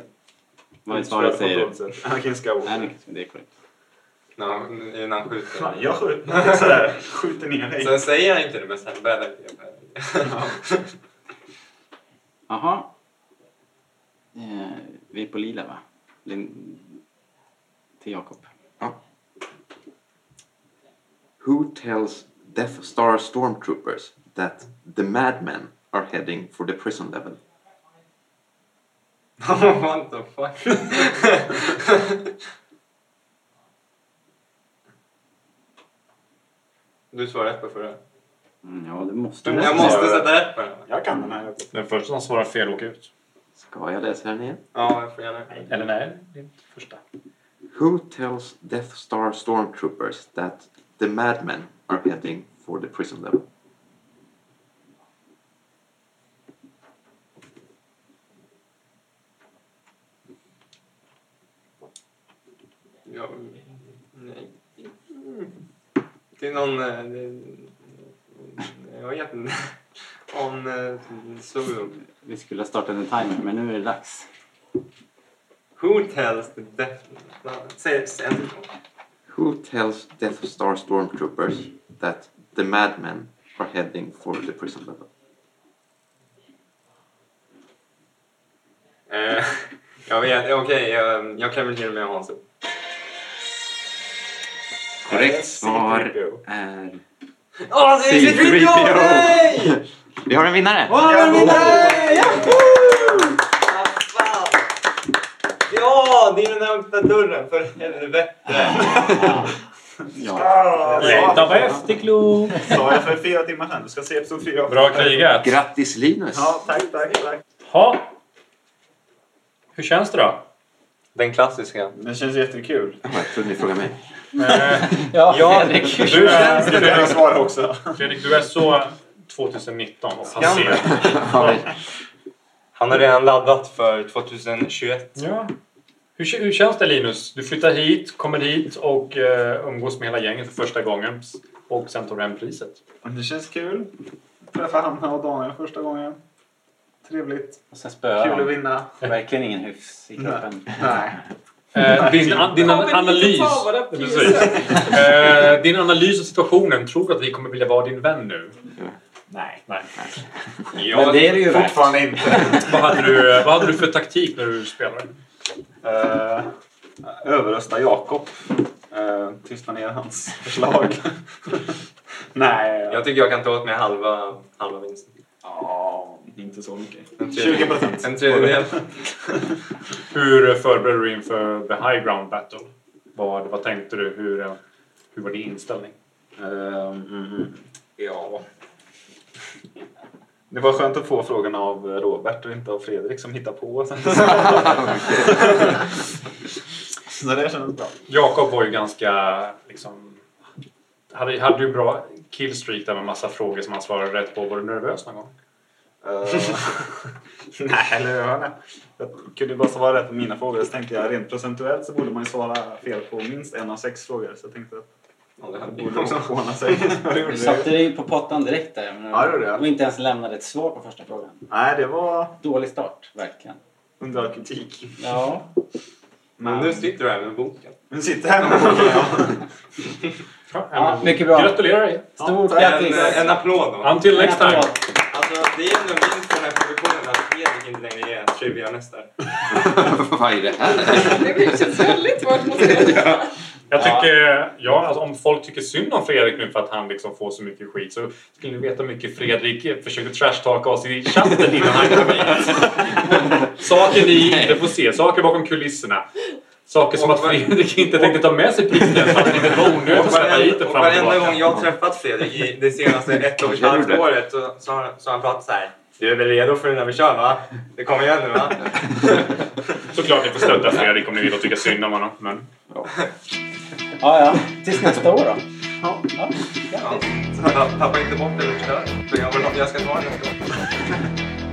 Speaker 3: Vad är svaret säger du?
Speaker 7: du? Anakin [laughs] Skywalker.
Speaker 3: Anakin, det är korrekt.
Speaker 6: när han- Innan han skjuter.
Speaker 7: Fan, jag skjuter, sådär, skjuter ner dig.
Speaker 6: Sen säger han inte det, men sen börjar han jabba.
Speaker 3: Jaha. Eh, vi är på lila va? Lin- till Jakob.
Speaker 5: Who tells Death Star stormtroopers that the madmen are heading for the prison level?
Speaker 6: [laughs] What the fuck? Du svarade rätt på förra.
Speaker 3: Mm, ja, det måste
Speaker 6: Men
Speaker 3: du.
Speaker 6: jag måste sätta rätt på den. va?
Speaker 7: Jag kan den här.
Speaker 2: Den första som svarar fel åker ut.
Speaker 5: Ska jag läsa den igen?
Speaker 6: Ja, jag får gärna.
Speaker 2: Eller nej, det är inte första.
Speaker 5: Who tells Death Star stormtroopers that the madmen are heading for the prison level?
Speaker 6: Ja, nej. Mm. Det är någon... eh, det- Jag vet inte. On... eh, Solo.
Speaker 3: Vi skulle ha startat en timer, men nu är det dags.
Speaker 6: Who tells the death... no, Säg säg en till gång.
Speaker 5: Who tells Death Star stormtroopers that the madmen are heading for the prison level?
Speaker 6: Eh, [laughs] Jag vet, okej. jag, jag kan väl till och med ha en så.
Speaker 5: Korrekt svar Eh, är...
Speaker 6: Åh, det är
Speaker 5: C3PO!
Speaker 6: C3PO! Nej!
Speaker 5: Vi har en vinnare!
Speaker 6: Nej! Ja, det är den där öppna dörren, för helvete!
Speaker 3: Ja.
Speaker 2: Leta på efterklok!
Speaker 7: Sa jag för fyra timmar sedan. Du ska se episod fyra.
Speaker 2: Bra krigat!
Speaker 5: Grattis Linus!
Speaker 7: Ja, tack, tack, tack.
Speaker 2: Ha. Hur känns det då?
Speaker 6: Den klassiska.
Speaker 7: Det känns jättekul.
Speaker 5: Jag trodde ni frågade mig.
Speaker 6: Ja,
Speaker 2: Du är,
Speaker 7: Det är jag svarar också.
Speaker 2: Fredrik, du är så 2019 och passerad.
Speaker 6: Skam. Han har redan laddat för 2021.
Speaker 2: Ja. Hur, k- hur känns det Linus? Du flyttar hit, kommer hit och eh, umgås med hela gänget för första gången. Och sen tar du hem priset.
Speaker 7: Det känns kul. Träffa Hanna och Daniel första gången. Trevligt.
Speaker 3: Och sen
Speaker 7: Kul att
Speaker 3: spöar
Speaker 7: vinna.
Speaker 3: han. Verkligen ingen hyfs i kroppen.
Speaker 7: Nej.
Speaker 2: Eh, din, an, din
Speaker 4: Kommer ni
Speaker 2: analys...
Speaker 4: inte ta våra priser?
Speaker 2: Precis. Eh, din analys av situationen. Tror du att vi kommer vilja vara din vän nu?
Speaker 7: Nej.
Speaker 2: Nej.
Speaker 3: Men det är det ju värt.
Speaker 7: Fortfarande inte.
Speaker 2: Vad hade du, vad hade du för taktik när du spelade?
Speaker 7: Eh, överrösta Jakob. Eh, tysta ner [laughs] hans förslag. Nej.
Speaker 6: Jag tycker jag kan ta åt mig halva, halva vinsten.
Speaker 7: Ja, inte så mycket.
Speaker 6: En
Speaker 7: 20
Speaker 6: tredjedel. En tredjedel.
Speaker 2: Hur förberedde du inför the high ground battle? Vad, vad tänkte du? Hur, eh, hur var din inställning?
Speaker 7: Ehm, ja. Det var skönt att få frågan av Robert och inte av Fredrik som hittar på. Så det kändes bra.
Speaker 2: [laughs] Jakob var ju ganska liksom... Hade, hade ju bra killstreak där med massa frågor som han svarade rätt på. Var du nervös någon gång?
Speaker 7: Eh, nej, eller hur? nej. Jag kunde ju bara svara rätt på mina frågor. Så tänkte jag rent procentuellt så borde man ju svara fel på minst en av sex frågor. Så jag tänkte att
Speaker 6: Ja, det
Speaker 7: jag
Speaker 6: hade
Speaker 7: borde också ordna [laughs] sig. Jag gjorde
Speaker 3: Du
Speaker 7: det.
Speaker 3: satte dig på pottan direkt där. men-
Speaker 7: Ja, det gjorde jag.
Speaker 3: Och inte ens lämnade ett svar på första frågan.
Speaker 7: Nej, det var
Speaker 3: Dålig start, verkligen.
Speaker 7: under all kritik.
Speaker 3: Ja.
Speaker 6: Men nu sitter du här med boken.
Speaker 7: Nu sitter jag här med boken. ja.
Speaker 2: Ja,
Speaker 3: Ja,
Speaker 2: men-
Speaker 3: mycket bra.
Speaker 2: Gratulerar dig!
Speaker 3: Stort
Speaker 7: tack.
Speaker 6: En,
Speaker 3: grattis!
Speaker 6: en applåd då.
Speaker 2: Until next time!
Speaker 6: Alltså, det är ändå minst den här produktionen att Fredrik inte längre är trivia-mästare.
Speaker 5: Vad är det här?
Speaker 4: Det känns väldigt hårt mot er.
Speaker 2: Jag tycker, ja, alltså, om folk tycker synd om Fredrik nu för att han liksom får så mycket skit så skulle ni veta hur mycket Fredrik försökte trashtalka oss i chatten innan han kom
Speaker 6: [laughs]
Speaker 2: hit. Saker ni inte får se, saker bakom kulisserna. Saker som
Speaker 6: Och
Speaker 2: att
Speaker 6: var-
Speaker 2: Fredrik inte tänkte ta med sig pinnen för att det inte var onödigt
Speaker 6: Och
Speaker 2: att släppa hit den
Speaker 6: varenda,
Speaker 2: fram
Speaker 6: och
Speaker 2: och
Speaker 6: varenda gång
Speaker 2: tillbaka.
Speaker 6: jag har träffat Fredrik i
Speaker 2: [laughs]
Speaker 6: det senaste ett och ett halvt året så, så, har, så har han pratat så här. Du är väl redo för det när vi kör va? Det kommer igen nu
Speaker 2: [laughs]
Speaker 6: va?
Speaker 2: Såklart ni får stötta Fredrik om ni vill och tycka synd om honom. Men
Speaker 3: Ja, ja. Tills nästa år då.
Speaker 6: Ja.
Speaker 3: Ja,
Speaker 6: Ja.
Speaker 3: grattis.
Speaker 6: Så ta- Tappa inte bort det du förstör. För jag, jag ska ta den nästa gång.